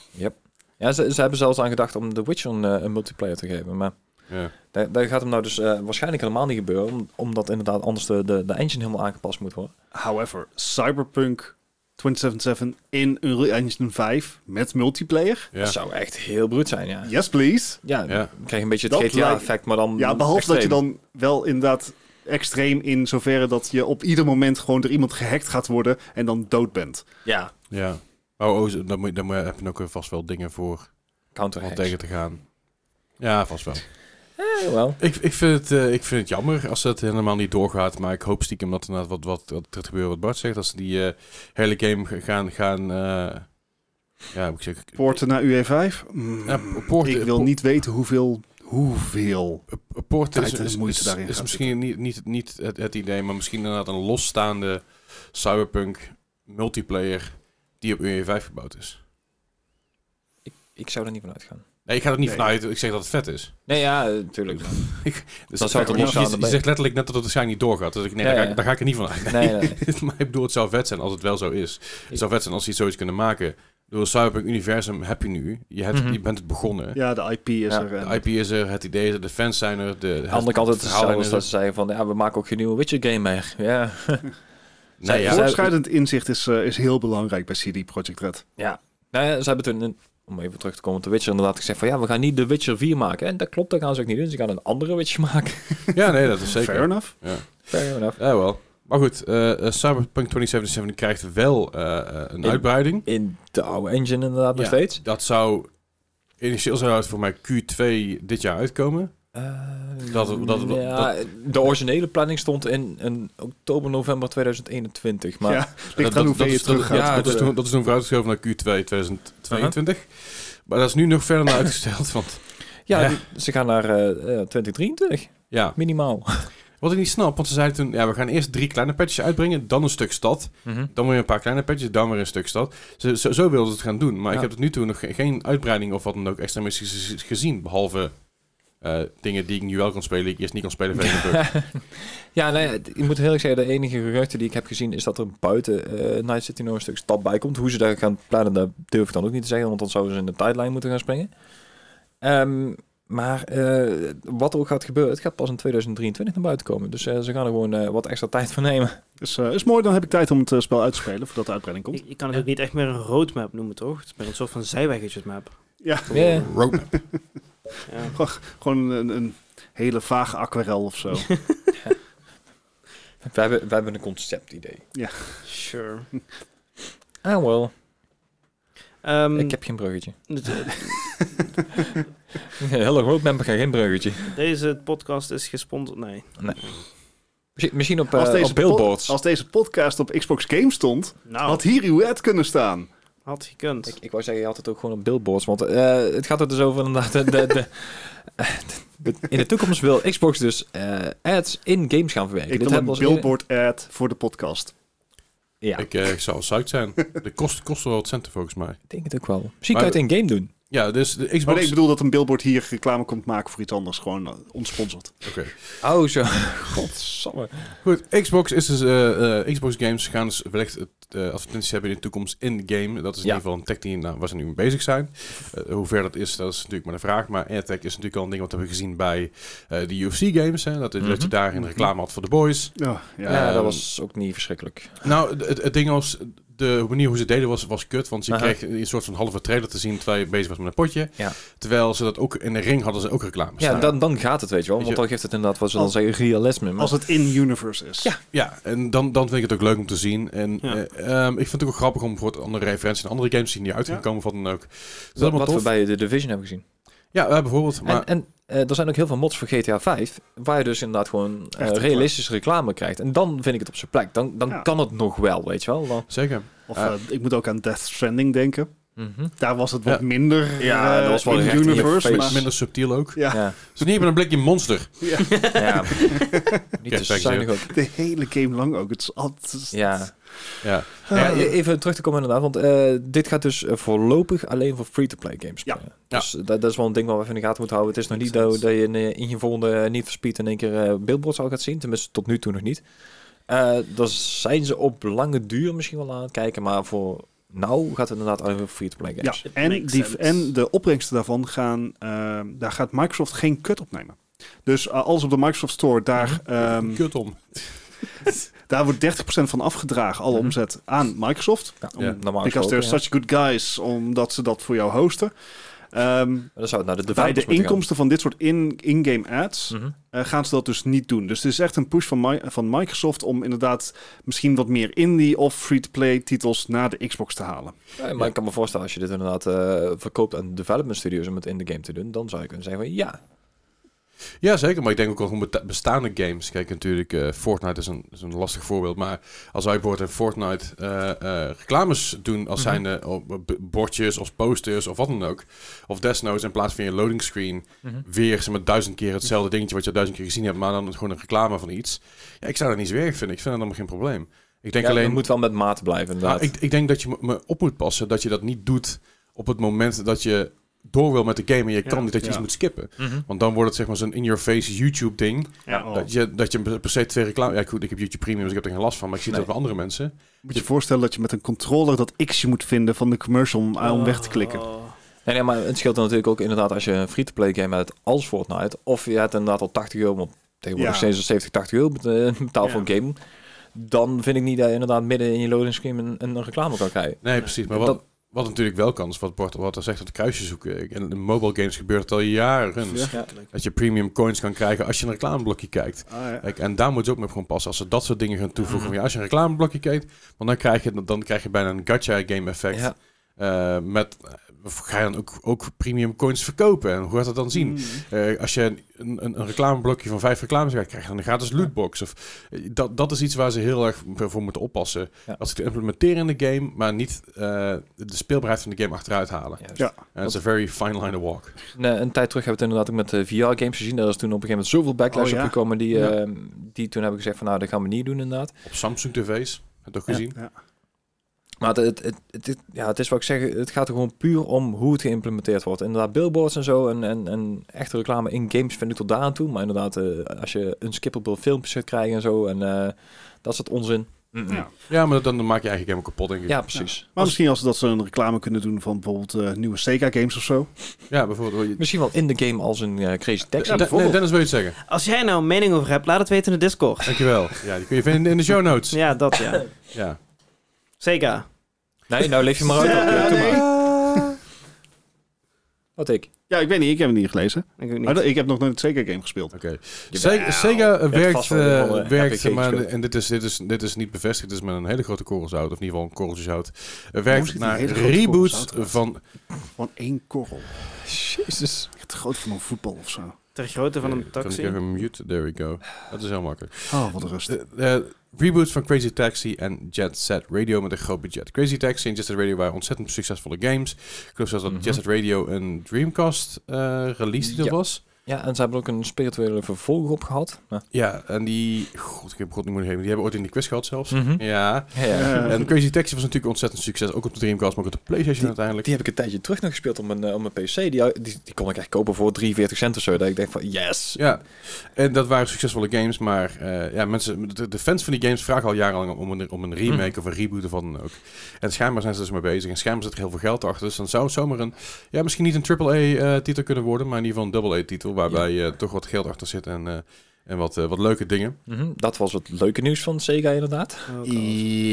S3: Ja, ze, ze hebben zelfs aan gedacht om The Witcher een, eh, een multiplayer te geven. Maar
S2: Ja.
S3: Daar, daar gaat hem nou dus eh, waarschijnlijk helemaal niet gebeuren, om- omdat inderdaad anders de, de, de engine helemaal aangepast moet worden.
S4: However, Cyberpunk 2077 in Unreal Engine 5 met multiplayer?
S2: Ja.
S3: Dat zou echt heel bruut zijn, ja.
S4: Yes, please.
S3: Ja,
S2: Ja.
S3: dan krijg je een beetje het
S4: Dat
S3: GTA-effect, maar dan
S4: Ja, behalve dat je
S3: extreem.
S4: dan wel inderdaad extreem in zoverre dat je op ieder moment gewoon door iemand gehackt gaat worden en dan dood bent.
S3: Ja,
S2: Ja. Oh, oh zo- dan, moet, je- dan moet je- heb je ook eh, vast wel dingen voor
S3: counter
S2: om tegen te gaan. Ja, vast wel.
S3: wel.
S2: Ik, ik, vind het, eh, ik vind het jammer als het helemaal niet doorgaat. Maar ik hoop stiekem dat er inderdaad wat, wat, wat er gebeurt wat Bart zegt. Als ze die eh, hele game g- gaan... gaan eh, ja, moet ik eh, zeggen...
S4: Poorten naar UE5? Mm,
S2: Ja, poorten-
S4: ik wil niet weten hoeveel, hoeveel.
S2: eh, Poorten is,
S4: tijd en
S2: is,
S4: moeite
S2: is,
S4: daarin
S2: is
S4: gaat
S2: misschien niet, niet, niet het, het idee, maar misschien inderdaad een losstaande cyberpunk multiplayer die op UE5 gebouwd is.
S3: Ik zou er niet van uitgaan.
S2: Nee, ik ga er niet
S4: Nee.
S2: vanuit. Ik zeg dat het vet is.
S3: Nee, ja, natuurlijk.
S2: Dus
S3: Dan zou het een
S2: je,
S3: losstaande
S2: je
S3: be-
S2: zegt letterlijk net dat het waarschijnlijk niet doorgaat. Dus ik, nee,
S3: Ja,
S2: daar, ga,
S3: ja.
S2: ik- daar ga ik er niet van uit.
S3: Nee, nee.
S2: maar ik bedoel, het zou vet zijn als het wel zo is. Het zou vet zijn als ze zoiets kunnen maken. Door Cyberpunk Universum heb je nu. Je, hebt,
S3: Mhm.
S2: je bent het begonnen.
S4: Ja, de IP is
S3: Ja,
S4: er. en-
S2: De IP is er, het idee is er, de fans zijn er. De, het
S3: Aan de andere kant het is
S2: verhaal
S3: hetzelfde als
S2: is
S3: dat
S2: er.
S3: ze zeiden van, ja, we maken ook geen nieuwe Witcher game meer. Ja,
S2: Nee, ja.
S3: Zij-
S4: Voortschrijdend inzicht is, eh, is heel belangrijk bij CD Projekt Red.
S3: nou ja, ze hebben toen, een- om even terug te komen op de Witcher, inderdaad gezegd van, ja, we gaan niet de Witcher 4 maken. En dat klopt, dat gaan ze ook niet doen. Ze gaan een andere Witcher maken.
S2: ja, nee, dat is zeker.
S4: Fair enough.
S3: Fair enough.
S2: Ja, wel. Maar goed, eh, eh, Cyberpunk 2077 krijgt wel eh, eh, een
S3: In-
S2: uitbreiding.
S3: In de oude engine inderdaad nog
S2: Ja.
S3: steeds.
S2: Dat zou... Initieel zou het voor mij Q2 dit jaar uitkomen.
S3: Eh,
S2: Dat- dat- dat-
S3: ja, de originele planning stond in, in oktober, november 2021. Maar
S4: ja,
S2: Dat-
S4: ligt eraan
S2: dat-
S4: hoeveel je
S2: dat is-
S4: terug gaat.
S2: Ja,
S3: Ja,
S2: dat is
S3: de-
S2: toen, dat is toen vooruitgeschoven naar Q2 2022. Maar dat is nu nog verder naar uitgesteld, want...
S3: ja,
S2: Ja.
S3: die- ze gaan naar eh, eh, 2023,
S2: Ja,
S3: minimaal.
S2: Wat ik niet snap, want ze zeiden toen, ja, we gaan eerst drie kleine patches uitbrengen, dan een stuk stad, dan weer een paar kleine patches, dan weer een stuk stad. Zo, zo, zo wilden ze het gaan doen, maar ik
S3: Ja.
S2: heb tot nu toe nog ge- geen uitbreiding of wat dan ook extremistisch is gezien, behalve eh, dingen die ik nu wel kon spelen, die ik eerst niet kon spelen vanwege een bug.
S3: Ja, nee, het- ik moet heel erg zeggen, de enige geruchten die ik heb gezien is dat er buiten eh Night City nog een stuk stad bij komt. Hoe ze daar gaan plannen, dat durf ik dan ook niet te zeggen, want dan zouden ze in de tijdlijn moeten gaan springen. Ehm, maar eh, wat er ook gaat gebeuren, het gaat pas in 2023 naar buiten komen. Dus eh, ze gaan er gewoon eh, wat extra tijd voor nemen.
S4: Dus eh, is mooi, dan heb ik tijd om het eh, spel uit te spelen voordat de uitbreiding komt.
S1: Je, je kan het ook niet echt meer een roadmap noemen, toch? Het is meer een soort van zijweggetjesmap.
S4: Ja,
S3: Ja.
S2: Roadmap.
S1: Ja.
S4: gewoon een, een hele vage aquarel of zo.
S3: We hebben, we hebben een conceptidee.
S1: Sure.
S3: Ah, wel.
S1: Ehm,
S3: Ik heb geen bruggetje.
S1: het-
S3: Heel erg roadmapper, geen bruggetje.
S1: Deze podcast is gesponsord. Nee.
S3: Misschien, misschien op,
S4: Als
S3: eh,
S4: deze
S3: op billboards.
S4: pod- als deze podcast op Xbox Game stond,
S1: Nou,
S4: had
S1: had,
S4: hier uw ad kunnen staan.
S1: gekund.
S3: Ik, ik wou zeggen, je had het ook gewoon op billboards. Want eh, het gaat er dus over inderdaad. De, de, de- de- in de toekomst wil Xbox dus eh, ads in games gaan verwerken.
S4: Ik
S3: Dit
S4: wil
S3: hebben
S4: een
S3: we als eerder-
S4: billboard ad voor de podcast.
S3: Ja, ik
S2: Ik eh, ik zou zout zijn. De kost, kost wel wat centen volgens mij.
S3: denk het ook wel. Misschien
S2: Maar-
S3: kan je het in game doen.
S2: Ja, dus de Xbox...
S4: Maar nee, ik bedoel dat een billboard hier reclame komt maken voor iets anders. Gewoon eh, ontsponsord.
S2: Oké.
S3: Oh, zo. Godsamme.
S2: Goed, Xbox, is dus, eh, eh, Xbox games gaan dus wellicht eh, advertenties hebben in de toekomst in-game. Dat is in ieder
S3: Ja.
S2: geval een tech die, nou, waar ze nu mee bezig zijn. Eh, hoe ver dat is, dat is natuurlijk maar de vraag. Maar AirTag is natuurlijk al een ding wat we hebben gezien bij eh, de UFC-games. Dat, dat
S3: Mhm.
S2: je daar een reclame had voor de boys.
S4: Ja, ja.
S3: Ja,
S2: Ehm,
S3: dat was ook niet verschrikkelijk.
S2: Nou, het, het ding was, de manier hoe ze het deden was, was kut. Want je
S3: Aha.
S2: kreeg een soort van halve trailer te zien terwijl je bezig was met een potje.
S3: Ja.
S2: Terwijl ze dat ook in de ring hadden ze ook reclame
S3: Ja,
S2: staan.
S3: dan, dan gaat het, weet je wel.
S2: Weet
S3: Want
S2: je-
S3: dan geeft het inderdaad wat ze dan
S4: Als-
S3: zeggen, realisme. Maar
S4: Als het in-universe is.
S3: Ja.
S2: Ja, en dan, dan vind ik het ook leuk om te zien. En
S1: Ja.
S2: eh, ehm, ik vind het ook wel grappig om bijvoorbeeld andere referenties en andere games te zien die uitgekomen van dan ook. Dat is
S3: wat
S2: allemaal
S3: wat we
S2: tof.
S3: bij de Division hebben gezien.
S2: Ja, eh, bijvoorbeeld. Maar
S3: En, en eh, er zijn ook heel veel mods voor GTA 5, waar je dus inderdaad gewoon eh,
S4: reclame.
S3: realistische reclame krijgt. En dan vind ik het op zijn plek. Dan, dan
S4: Ja.
S3: kan het nog wel, weet je wel. Dan,
S2: zeker.
S4: Of
S2: Ja.
S4: eh, ik moet ook aan Death Stranding denken. Daar was het wat
S2: Ja.
S4: minder
S3: Ja,
S4: eh,
S3: dat was wel recht in je
S4: in-universe.
S3: face.
S2: Min-
S4: maar-
S2: minder subtiel ook.
S4: Ja.
S3: Ja.
S2: Dus niet hebben een blikje monster.
S4: Ja.
S3: ja. Niet
S2: Kijk,
S3: te
S2: kijk,
S3: zuinig ook.
S4: De hele game lang ook. Het is altijd...
S3: Ja.
S2: Ja.
S3: Ja,
S2: Ja,
S3: even terug te komen inderdaad, want eh, dit gaat dus eh, voorlopig alleen voor free-to-play games
S4: Ja.
S3: spelen. Dus dat, dat is wel een ding waar we even in de gaten moeten houden. Het is nog niet dat,
S4: Makes
S3: dat je in, eh, in je volgende eh, niet verspied in één keer eh, billboards al gaat zien. Tenminste, tot nu toe nog niet. Eh dan zijn ze op lange duur misschien wel aan het kijken, maar voor nou gaat het inderdaad alleen voor free-to-play games.
S4: Ja,
S1: It
S4: en,
S1: makes
S4: die,
S1: sense.
S4: en de opbrengsten daarvan gaan... eh, daar gaat Microsoft geen kut op nemen. Dus eh, alles op de Microsoft Store, daar, ehm,
S2: Kut om.
S4: daar wordt 30% van afgedragen, alle
S3: Mhm.
S4: omzet, aan Microsoft.
S3: Ja,
S2: Ja.
S3: normaal
S4: Because
S3: gesproken,
S4: they're
S3: ja.
S4: such good guys, omdat ze dat voor jou hosten. Ehm,
S3: Dan zou het naar de
S4: bij de
S3: developers moeten gaan.
S4: inkomsten van dit soort in- in-game ads
S3: Mhm.
S4: eh, gaan ze dat dus niet doen. Dus het is echt een push van, Mi- van Microsoft om inderdaad misschien wat meer indie of free-to-play titels naar de Xbox te halen.
S3: Ja, maar ik kan me voorstellen, als je dit inderdaad eh, verkoopt aan development studios om het in de game te doen, dan zou je kunnen zeggen van ja.
S2: Ja, zeker. Maar ik denk ook wel gewoon beta- bestaande games. Kijk, natuurlijk, eh, Fortnite is een, is een lastig voorbeeld. Maar als wij bijvoorbeeld in Fortnite eh, eh, reclames doen als
S3: Mhm.
S2: zijn eh, op b- bordjes of posters of wat dan ook. Of desnoods in plaats van je loading screen weer zeg maar, duizend keer hetzelfde dingetje wat je al duizend keer gezien hebt. Maar dan gewoon een reclame van iets. Ja, ik zou dat niet zo erg vinden. Ik vind dat allemaal geen probleem. Ik denk
S3: ja,
S2: alleen...
S3: Het moet wel met maat blijven
S2: Nou,
S3: inderdaad.
S2: ik, ik denk dat je me- me op moet passen dat je dat niet doet op het moment dat je door wil met de game en je
S4: Ja,
S2: kan niet dat je
S4: ja.
S2: iets moet skippen.
S3: Mhm.
S2: Want dan wordt het zeg maar zo'n in-your-face YouTube ding.
S4: Ja,
S3: Oh.
S2: Dat, je, dat je per se twee reclame... Ja goed, ik heb YouTube Premium, dus ik heb er geen last van. Maar ik zie
S3: Nee.
S2: dat bij andere mensen.
S4: Moet je je voorstellen dat je met een controller dat Xje moet vinden van de commercial om, eh, om weg te klikken.
S3: Nee, nee, maar het scheelt dan natuurlijk ook inderdaad als je een free-to-play game hebt als Fortnite. Of je hebt inderdaad al 80 euro, want tegenwoordig
S4: Ja.
S3: steeds al 70, 80 euro bet- eh, betaald voor een game. Dan vind ik niet dat je inderdaad midden in je loading screen een, een reclame kan krijgen.
S2: Nee, precies. Maar wat,
S3: Dat-
S2: wat natuurlijk wel kan, is wat Bart wat er zegt, dat kruisje zoeken. En in mobile games gebeurt het al jaren. Dat je premium coins kan krijgen als je een reclameblokje kijkt.
S4: Ah,
S2: Kijk, en daar moet je ook mee op gaan passen. Als ze dat soort dingen gaan
S3: Mhm.
S2: toevoegen. van, ja, als je een reclameblokje kijkt, want dan krijg je, dan krijg je bijna een gacha game effect.
S3: Ja.
S2: Eh, met, of ga je dan ook, ook premium coins verkopen? En hoe gaat dat dan zien?
S3: Mhm.
S2: Eh, als je een, een, een reclameblokje van vijf reclames krijgt, krijg je dan een gratis lootbox. Of, eh, dat, dat is iets waar ze heel erg voor moeten oppassen.
S3: Ja.
S2: Als ze het implementeren in de game, maar niet eh, de speelbaarheid van de game achteruit halen.
S3: Juist.
S4: Ja.
S2: En it's a very fine line to walk.
S3: Nee, een tijd terug hebben we het inderdaad ook met eh, VR-games gezien. Daar is toen op een gegeven moment zoveel backlash
S4: Oh, ja.
S3: op gekomen. Die,
S4: Ja.
S3: eh, die toen hebben gezegd van nou, dat gaan we niet doen inderdaad.
S2: Op Samsung TV's, heb je dat gezien?
S4: Ja.
S3: Maar het, het, het, het- het- ja, het is wat ik zeg, het gaat er gewoon puur om hoe het geïmplementeerd wordt. Inderdaad, billboards en zo en, en, en echte reclame in games vind ik tot daar aan toe. Maar inderdaad, eh, als je een skippable filmpjes gaat krijgen en zo en eh, dat soort onzin. Mm-mm.
S4: Ja.
S2: Ja, maar dan, dan maak je eigen game ook kapot, denk ik.
S3: Ja, precies.
S4: Maar misschien als ze dat ze een reclame kunnen doen van bijvoorbeeld eh, nieuwe Sega games of zo.
S2: Ja, bijvoorbeeld. je-
S3: Misschien wel in de game als een eh, crazy
S2: Ja,
S3: taxi.
S2: Den- nee, Dennis wil je iets zeggen.
S1: Als jij nou een mening over hebt, laat het weten in de Discord.
S2: Dankjewel. Ja, die kun je vinden in de show notes. Ja.
S1: Ja, dat ja. Zeker.
S3: Nee, nou leef je maar uit.
S4: Ja,
S3: Oké, doe
S4: nee.
S3: maar. Wat ik.
S4: Ja, ik weet niet, ik heb het niet gelezen.
S1: Ik ook niet.
S4: Maar dat- ik heb nog nooit een Sega game gespeeld.
S2: Oké. Sega, Sega werkt,
S3: vast wel weer
S2: eh,
S3: wel, eh,
S2: werkt
S3: epic games
S2: maar,
S3: gespeeld.
S2: en dit is, dit, is, dit is niet bevestigd, dit is met een hele grote korrel zout, of in ieder geval een korreltje zout. eh,
S4: Hoe
S2: werkt
S4: ziet een
S2: naar
S4: hele grote korrel
S2: reboots
S4: zout eruit?
S2: van...
S4: Van één korrel.
S3: Jezus.
S4: Echt groot van een voetbal of zo.
S1: Ter grootte van een
S2: Kan ik
S1: taxi.
S2: even mute? There we go. Dat is heel makkelijk.
S4: Oh, wat een rust.
S2: De, de reboots van Crazy Taxi en Jet Set Radio met een groot budget. Crazy Taxi en Jet Set Radio waren ontzettend succesvolle games. Ik geloof zelfs dat
S3: Mhm.
S2: Jet Set Radio een Dreamcast eh release titel
S3: Ja.
S2: was.
S3: Ja, en ze hebben ook een spirituele Nou, vervolger op gehad. Ja.
S2: Ja, en die... God, ik heb God niet meer heen. Die hebben ooit in de quiz gehad zelfs.
S3: Mhm.
S2: Ja.
S3: Ja, ja.
S4: Eh,
S2: En Crazy Taxi was natuurlijk ontzettend succes. Ook op de Dreamcast, maar ook op de PlayStation uiteindelijk.
S3: Die heb ik een tijdje terug nog gespeeld op mijn, eh, op mijn PC. Die, die, die kon ik echt kopen voor 43 cent of zo. Dat ik denk van, yes.
S2: Ja, en dat waren succesvolle games, maar eh, ja, mensen, de, de fans van die games vragen al jarenlang om een, om een remake of een reboot of wat dan ook. En schijnbaar zijn ze dus mee bezig en schijnbaar zit er heel veel geld achter. Dus dan zou het zomaar een, ja, misschien niet een AAA-titel kunnen worden, maar in ieder geval een AA-titel waarbij eh, toch wat geld achter zit en, eh, en wat, eh, wat leuke dingen.
S3: Mhm, Dat was het leuke nieuws van Sega inderdaad.
S1: Oh, God.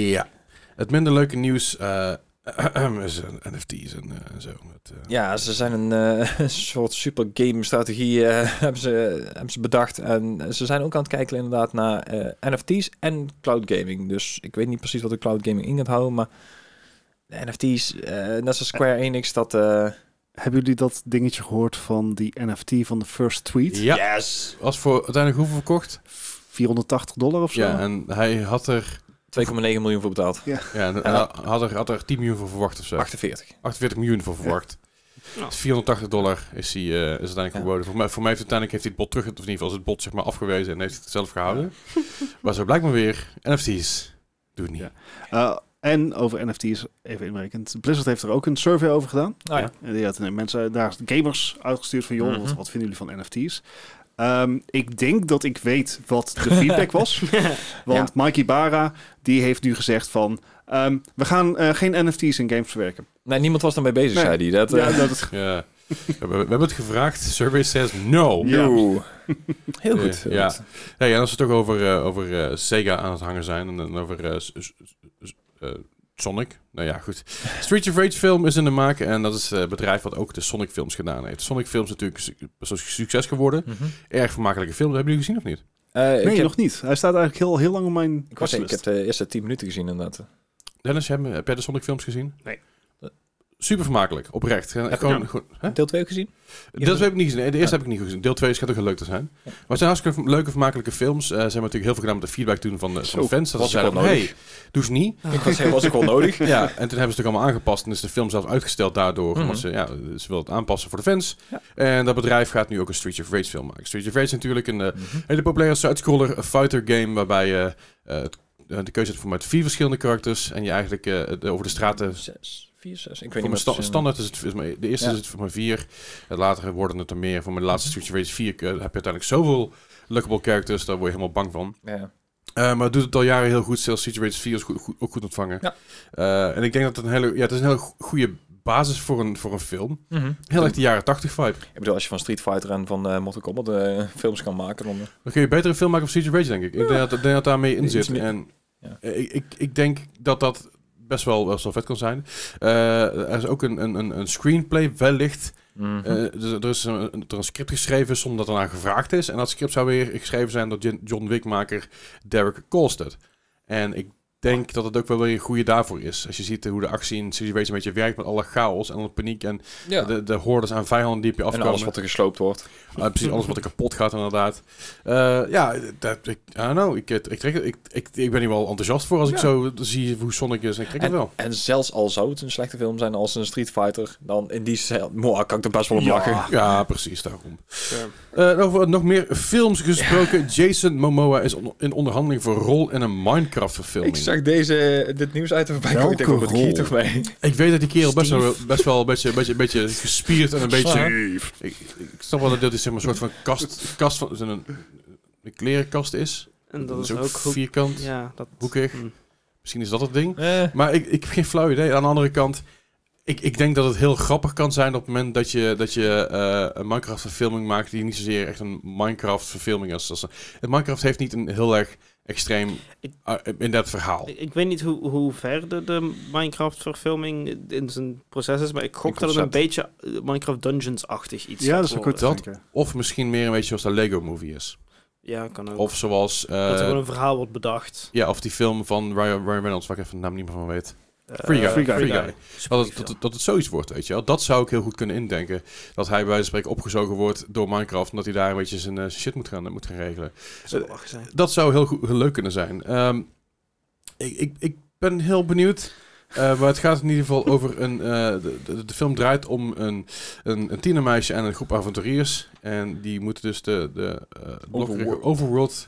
S2: Ja. Het minder leuke nieuws eh, is eh, NFT's en, eh, en zo. Het, eh,
S3: Ja, ze zijn een eh, soort super game strategie eh, hebben, ze, hebben ze bedacht. En ze zijn ook aan het kijken inderdaad naar eh, NFT's en cloud gaming. Dus ik weet niet precies wat de cloud gaming in gaat houden, maar de NFT's, eh, net zoals Square Enix, dat... eh,
S4: Hebben jullie dat dingetje gehoord van die NFT van de first tweet?
S2: ja.
S3: Yes!
S2: Was voor uiteindelijk hoeveel verkocht?
S4: 480 dollar of zo?
S2: Ja, en hij had er,
S3: 2,9 miljoen voor betaald.
S2: ja, en, hij had er, had er 10 miljoen voor verwacht of zo.
S3: 48.
S2: 48 miljoen voor verwacht.
S1: Ja.
S2: 480 dollar is, hij, eh, is uiteindelijk
S3: Ja.
S2: geboden. Voor mij, voor mij heeft uiteindelijk heeft hij het bot terug, of in ieder geval is het bot zeg maar afgewezen en heeft hij het zelf gehouden. maar zo blijkt maar weer, NFT's doe het niet.
S4: Ja. Eh, en over NFT's, even inmerkend. Blizzard heeft er ook een survey over gedaan.
S3: Oh ja.
S4: En die had eh, mensen, daar gamers uitgestuurd van, joh, wat,
S3: Mhm.
S4: wat vinden jullie van NFT's? Ehm, ik denk dat ik weet wat de feedback was. Want Mikey Bara, die heeft nu gezegd van, ehm, we gaan eh, geen NFT's in games verwerken.
S3: Nee, niemand was daarmee bezig,
S4: Nee.
S3: zei hij. Dat, eh,
S4: Ja, dat,
S2: Ja. We hebben, we hebben het gevraagd. Survey says no.
S4: Ja.
S3: Yo. Heel goed.
S2: Ja. Hey, en als we het toch over, eh, over eh, Sega aan het hangen zijn en, en over eh, s- s- s- eh, Sonic. Nou ja, goed. Street of Rage film is in de maak en dat is eh, het bedrijf wat ook de Sonic films gedaan heeft. Sonic films natuurlijk su- een succes geworden.
S3: Mhm.
S2: Erg vermakelijke film. Hebben jullie gezien of niet?
S3: Eh, ik,
S4: Nee,
S3: heb,
S4: nog niet. Hij staat eigenlijk heel, heel lang op mijn
S3: ik, was, ik
S4: watchlist.
S3: heb de eerste 10 minuten gezien inderdaad.
S2: Dennis, heb, heb jij de Sonic films gezien? Eh,
S1: Nee.
S2: Super vermakelijk, oprecht. En Gewoon, gewoon, hè?
S3: Deel 2 gezien?
S2: Dat heb ik niet gezien. De eerste heb ik niet gezien. Deel 2 schijnt ook heel leuk te zijn. Maar het zijn hartstikke leuke, vermakelijke films. Eh, ze hebben natuurlijk heel veel gedaan met de feedback toen van de, van de
S4: Zo,
S2: fans. Dat ze
S3: was
S2: zeiden,
S3: ook
S2: van,
S3: wel
S2: hey,
S3: nodig.
S2: doe ze niet.
S3: Ik was, was ook wel nodig.
S2: Ja, en toen hebben ze het ook allemaal aangepast. En is de film zelf uitgesteld daardoor. Omdat
S3: Mhm.
S2: ze, ja, ze wil het aanpassen voor de fans.
S3: Ja.
S2: En dat bedrijf gaat nu ook een Street of Rage film maken. Street of Rage is natuurlijk een eh,
S3: Mhm.
S2: hele populaire side-scroller eh, fighter game... waarbij je eh, het- eh, de keuze hebt voor met vier verschillende karakters... en je eigenlijk eh, de- over de straten...
S3: Zes, vier, zes. Ik
S2: Voor
S3: weet niet
S2: mijn
S3: meer.
S2: sta-
S3: precies.
S2: standaard is het, is maar- de eerste
S3: Ja.
S2: is het voor mijn vier. En later worden het er meer. Voor mijn laatste Street of Rage 4 eh, heb je uiteindelijk zoveel lookable characters. Daar word je helemaal bang van.
S3: Ja.
S2: Eh, maar het doet het al jaren heel goed. Zelfs Situated 4 is goed, goed- ook goed ontvangen.
S3: Ja.
S2: Eh, en ik denk dat het een hele, ja, het is een hele go- goede basis voor een, voor een film.
S3: Mhm.
S2: Heel echt de jaren 80 vibe.
S3: Ik bedoel, als je van Street Fighter en van eh Mortal Kombat eh, films kan maken, dan... eh,
S2: Dan kun je beter een film maken op Siege Rage, denk ik. Ik denk dat, ik denk dat daarmee in
S3: Iets
S2: zit.
S3: meer-
S2: En
S3: Ja.
S2: eh, ik, ik, ik denk dat dat best wel, best wel vet kan zijn. Eh, er is ook een, een, een, een screenplay wellicht
S3: mhm.
S2: Eh, dus er is een, een- er een script geschreven zonder dat ernaar gevraagd is. En dat script zou weer geschreven zijn door Jin- John Wickmaker Derek Kolstad. En ik denk dat het ook wel weer een goede daarvoor is. Als je ziet eh, hoe de actie in Situation een beetje werkt met alle chaos en alle paniek en
S3: ja.
S2: de, de hordes aan vijanden die op je
S3: en
S2: afkomen.
S3: alles wat er gesloopt wordt.
S2: Ah, precies, alles wat er kapot gaat inderdaad. Eh, ja, dat, ik, I don't know. Ik, eh, ik, trek het- ik, ik, ik ben hier wel enthousiast voor als ik
S3: Ja.
S2: zo zie hoe Sonic is. En ik trek het wel.
S3: En zelfs al zou het een slechte film zijn als een Street Fighter, dan in die cel, Mwah, kan ik er best wel om lachen.
S2: Ja, precies, daarom. Eh, over nog meer films gesproken. Jason Momoa is on- in onderhandeling voor een rol in een Minecraft-verfilming.
S3: Ik zag deze, eh, dit nieuws uit voorbij komen. Ik denk,
S4: Welke
S3: wat moet ik hier
S4: rol?
S3: toch mee?
S2: Ik weet dat die kerel best wel, best wel een, beetje, een, beetje, een beetje gespierd en een beetje...
S4: Steve.
S2: Ik, ik snap wel dat dit zeg maar, een soort van kast, kast van... Een, een, een klerenkast is.
S1: En dat is ook goed.
S2: vierkant,
S1: Ja, dat...
S2: hoekig.
S1: Mm.
S2: Misschien is dat het ding.
S3: Eh,
S2: Maar ik, ik heb geen flauw idee. Aan de andere kant, ik, ik denk dat het heel grappig kan zijn op het moment dat je, dat je eh, een Minecraft-verfilming maakt die niet zozeer echt een Minecraft-verfilming is. Dat is- Het Minecraft heeft niet een heel erg extreem
S1: Ik-
S2: eh, in dat verhaal.
S1: Ik, ik weet niet hoe, hoe ver de, de Minecraft-verfilming in zijn proces is, maar ik gok
S3: In
S1: dat het een
S3: concept.
S1: beetje eh, Minecraft Dungeons-achtig iets
S4: Ja,
S1: gaat
S4: dat is ook
S1: worden.
S4: goed.
S2: Dat- Of misschien meer een beetje zoals de Lego-movie is.
S1: Ja, kan ook.
S2: Of zoals... eh,
S1: dat er gewoon een verhaal wordt bedacht.
S2: ja, of die film van Ryan, Ryan Reynolds, waar ik even de naam niet meer van weet.
S1: Eh,
S2: Free Guy.
S4: Free Guy.
S2: Free Guy. Dat het, dat, het- dat het zoiets wordt, weet je wel. Dat zou ik heel goed kunnen indenken. Dat hij bij wijze van spreken opgezogen wordt door Minecraft... omdat hij daar een beetje zijn eh, shit moet gaan, moet gaan regelen.
S1: Zou wel lachen zijn.
S2: Dat zou heel, goed, heel leuk kunnen zijn. Ehm, ik, ik, ik ben heel benieuwd. Eh, maar het gaat in ieder geval over een. eh, de, de, de film draait om een, een, een tienermeisje en een groep avonturiers. En die moeten dus de, de eh, blokkerige
S3: Overworld.
S2: Overworld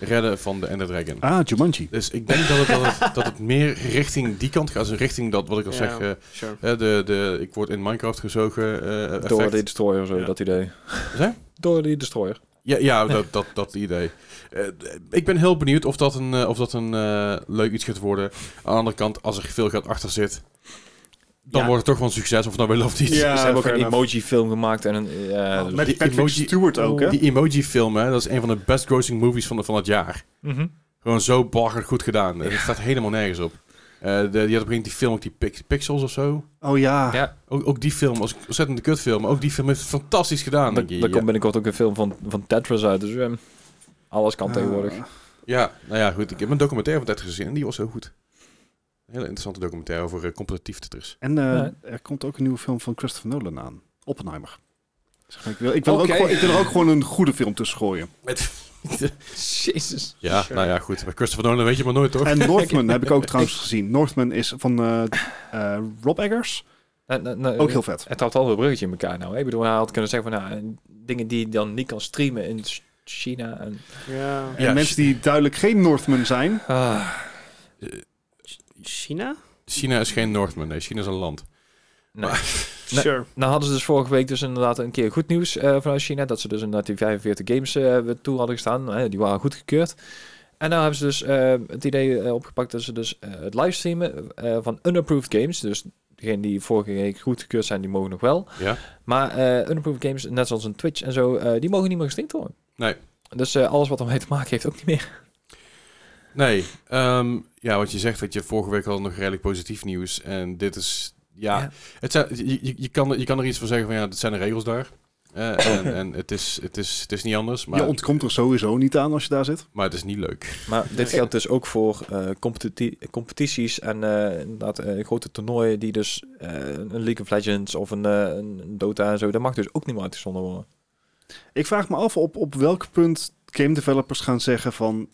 S2: redden van de Ender Dragon.
S4: Ah, Jumanji.
S2: Dus ik denk dat het, dat, het, dat het meer richting die kant gaat. Dus richting dat, wat ik al
S1: Ja.
S2: zeg. eh,
S1: Sure.
S2: eh, de, de, ik word in Minecraft gezogen. eh effect.
S3: Door die Destroyer, zo,
S2: Ja.
S3: dat idee.
S2: Zeg?
S3: Door die Destroyer.
S2: Ja, ja dat, dat, dat idee. Eh, ik ben heel benieuwd of dat een, eh, of dat een eh, leuk iets gaat worden. Aan de andere kant, als er veel geld achter zit, dan
S1: Ja.
S2: wordt het toch wel een succes, of het nou wel of niet.
S4: Ja,
S3: Ze hebben ook
S4: fair
S3: een
S4: enough.
S3: emoji-film gemaakt en een... eh, dus-
S4: Met
S2: die
S4: Patrick
S2: emoji-
S4: Stewart ook, hè?
S2: Die emoji-film, hè, dat is een van de best grossing movies van, de, van het jaar.
S3: Mhm.
S2: Gewoon zo bagger goed gedaan. Het staat helemaal nergens op. Eh, de, die had op een gegeven moment die film, ook die Pix- Pixels of zo.
S4: Oh ja.
S3: Ja.
S2: Ook, ook die film was een ontzettende kutfilm. maar Ook die film heeft het fantastisch gedaan.
S3: Er
S2: denk je.
S3: er
S2: Ja.
S3: komt binnenkort ook een film van, van Tetris uit, dus eh, alles kan tegenwoordig.
S4: Ah.
S2: Ja, nou ja, goed. Ik heb een documentaire van tijd gezien en die was heel goed. Een hele interessante documentaire over eh, competitief Tetris.
S4: En eh,
S3: Ja.
S4: er komt ook een nieuwe film van Christopher Nolan aan. Oppenheimer. Zeg maar, ik, wil, ik, wil er
S3: Oké.
S4: ook gewoon, ik wil er ook gewoon een goede film tussen gooien.
S3: Jezus.
S2: Ja, nou ja, goed. Bij Christopher Nolan weet je maar nooit, toch?
S4: En Northman heb ik ook trouwens gezien. Northman is van eh, eh, Rob Eggers.
S3: Nou, nou, nou,
S4: Ook heel vet.
S3: Het had al een bruggetje in elkaar nou. hè. Ik bedoel, hij had kunnen zeggen van, nou, en dingen die je dan niet kan streamen in S- China. En,
S1: Ja.
S4: En
S2: Ja,
S4: mensen die duidelijk geen Northman zijn.
S3: ah,
S1: China?
S2: China is geen Northman, nee. China is een land.
S3: nee. Nee.
S1: Sure.
S3: Nou hadden ze dus vorige week dus inderdaad een keer goed nieuws eh, vanuit China. Dat ze dus inderdaad die 45 games eh, toe hadden gestaan. Eh, die waren goedgekeurd. En nou hebben ze dus eh, het idee eh, opgepakt dat ze dus eh, het livestreamen eh, van unapproved games. Dus degenen die vorige week goedgekeurd zijn, die mogen nog wel.
S2: Ja.
S3: Maar eh unapproved games, net zoals een Twitch en zo, eh, die mogen niet meer gestreamd worden.
S2: Nee.
S3: Dus eh, alles wat ermee te maken heeft ook niet meer.
S2: Nee, ehm, ja, wat je zegt, dat je vorige week al nog redelijk positief nieuws. En dit is, ja,
S3: Ja.
S2: Het zijn, je, je- je, kan, er- je kan er iets van zeggen van, ja, dit zijn de regels daar. Eh, en en het, is, het, is, het is niet anders, maar,
S4: je ontkomt er sowieso niet aan als je daar zit.
S2: maar het is niet leuk.
S3: Maar dit geldt dus ook voor eh, competi- competities en eh, inderdaad, eh, grote toernooien die dus eh, een League of Legends of een, eh, een Dota en zo, dat mag dus ook niet meer uitgezonden worden.
S4: Ik vraag me af op, op welk punt game developers gaan zeggen van...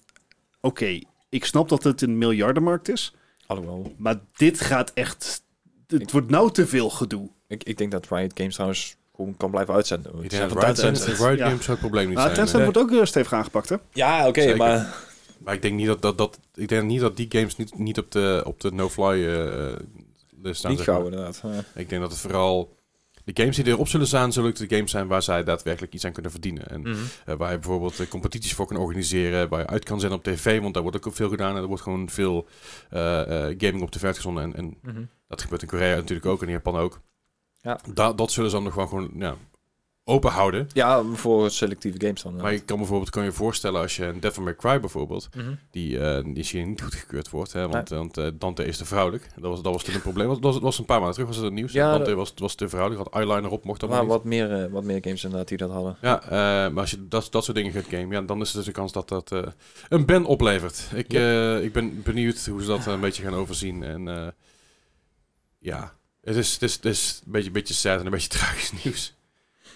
S4: Oké, ik snap dat het een miljardenmarkt is,
S3: Alhoewel,
S4: maar dit gaat echt... Het
S3: Ik-
S4: wordt nou te veel gedoe.
S3: ik, ik denk dat Riot Games trouwens gewoon kan blijven uitzenden.
S2: Ik
S3: Het
S2: denk
S3: zijn
S2: dat
S3: van
S2: Riot Games,
S3: Tencent.
S2: Riot
S4: Ja.
S2: Games zou het probleem niet
S4: Maar
S2: zijn.
S4: Tencent
S2: hè.
S4: wordt ook eh, stevig aangepakt, hè?
S3: Ja, oké,
S2: Zeker.
S3: maar
S2: Maar ik denk niet dat, dat, dat, ik denk niet dat die games niet, niet op de, op de no-fly eh, eh, list staan.
S3: niet
S2: zeg maar.
S3: gauw inderdaad. Ja.
S2: Ik denk dat het vooral... De games die erop zullen staan, zullen ook de games zijn waar zij daadwerkelijk iets aan kunnen verdienen.
S3: Mm.
S2: En Eh, waar je bijvoorbeeld eh, competities voor kan organiseren, waar je uit kan zenden op tv, want daar wordt ook veel gedaan en er wordt gewoon veel eh, eh, gaming op tv uitgezonden. En, en
S3: Mhm.
S2: dat gebeurt in Korea natuurlijk ook en in Japan ook.
S3: Ja.
S2: Da- dat zullen ze dan nog wel gewoon ja, open houden.
S3: Ja, voor selectieve games dan.
S2: Maar je kan bijvoorbeeld kan je voorstellen als je een Devil May Cry bijvoorbeeld,
S3: Mhm.
S2: die, eh die is hier niet goedgekeurd wordt, hè, want, want eh, Dante is te vrouwelijk. Dat was, dat was toen een probleem. Dat was, dat was een paar maanden terug was het het nieuws.
S3: Ja,
S2: Dante was, was te vrouwelijk, had eyeliner op, mocht dat maar
S3: maar
S2: niet.
S3: wat meer, eh, wat meer games inderdaad die dat hadden.
S2: Ja, eh, maar als je dat, dat soort dingen gaat gamen, ja, dan is er dus een kans dat dat eh, een ban oplevert. Ik,
S3: Ja.
S2: eh, ik ben benieuwd hoe ze dat een beetje gaan overzien. En eh, ja, het is, het, is, het is een beetje, beetje sad en een beetje tragisch nieuws.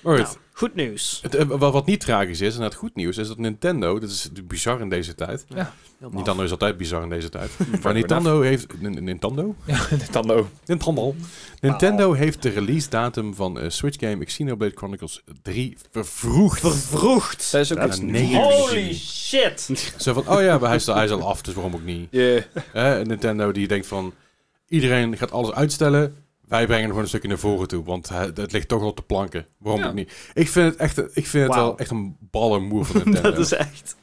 S2: Alright.
S1: Nou, goed nieuws.
S2: Het, eh, wat, wat niet tragisch is, en het goed nieuws, is dat Nintendo, dat is bizar in deze tijd. Nintendo is altijd bizar in deze tijd. maar Nintendo heeft... Nin- Nintendo?
S3: Ja, Nintendo.
S2: Nintendo. Nintendo heeft de release datum van eh, Switch game Xenoblade Chronicles 3 vervroegd.
S1: Vervroegd.
S3: Dat is ook
S4: Dat
S3: iets-
S4: is
S2: Nee.
S1: Holy shit.
S2: Zo van, oh ja, maar hij is, al, hij is al af, dus waarom ook niet?
S3: Yeah.
S2: Hè, en Nintendo die denkt van, iedereen gaat alles uitstellen. Wij brengen hem gewoon een stukje naar voren toe, want het, het ligt toch al op de planken. Waarom
S3: Ja.
S2: ook niet? Ik vind het, echt, ik vind het
S1: Wauw.
S2: wel echt een ballen move van Nintendo.
S1: Dat is echt.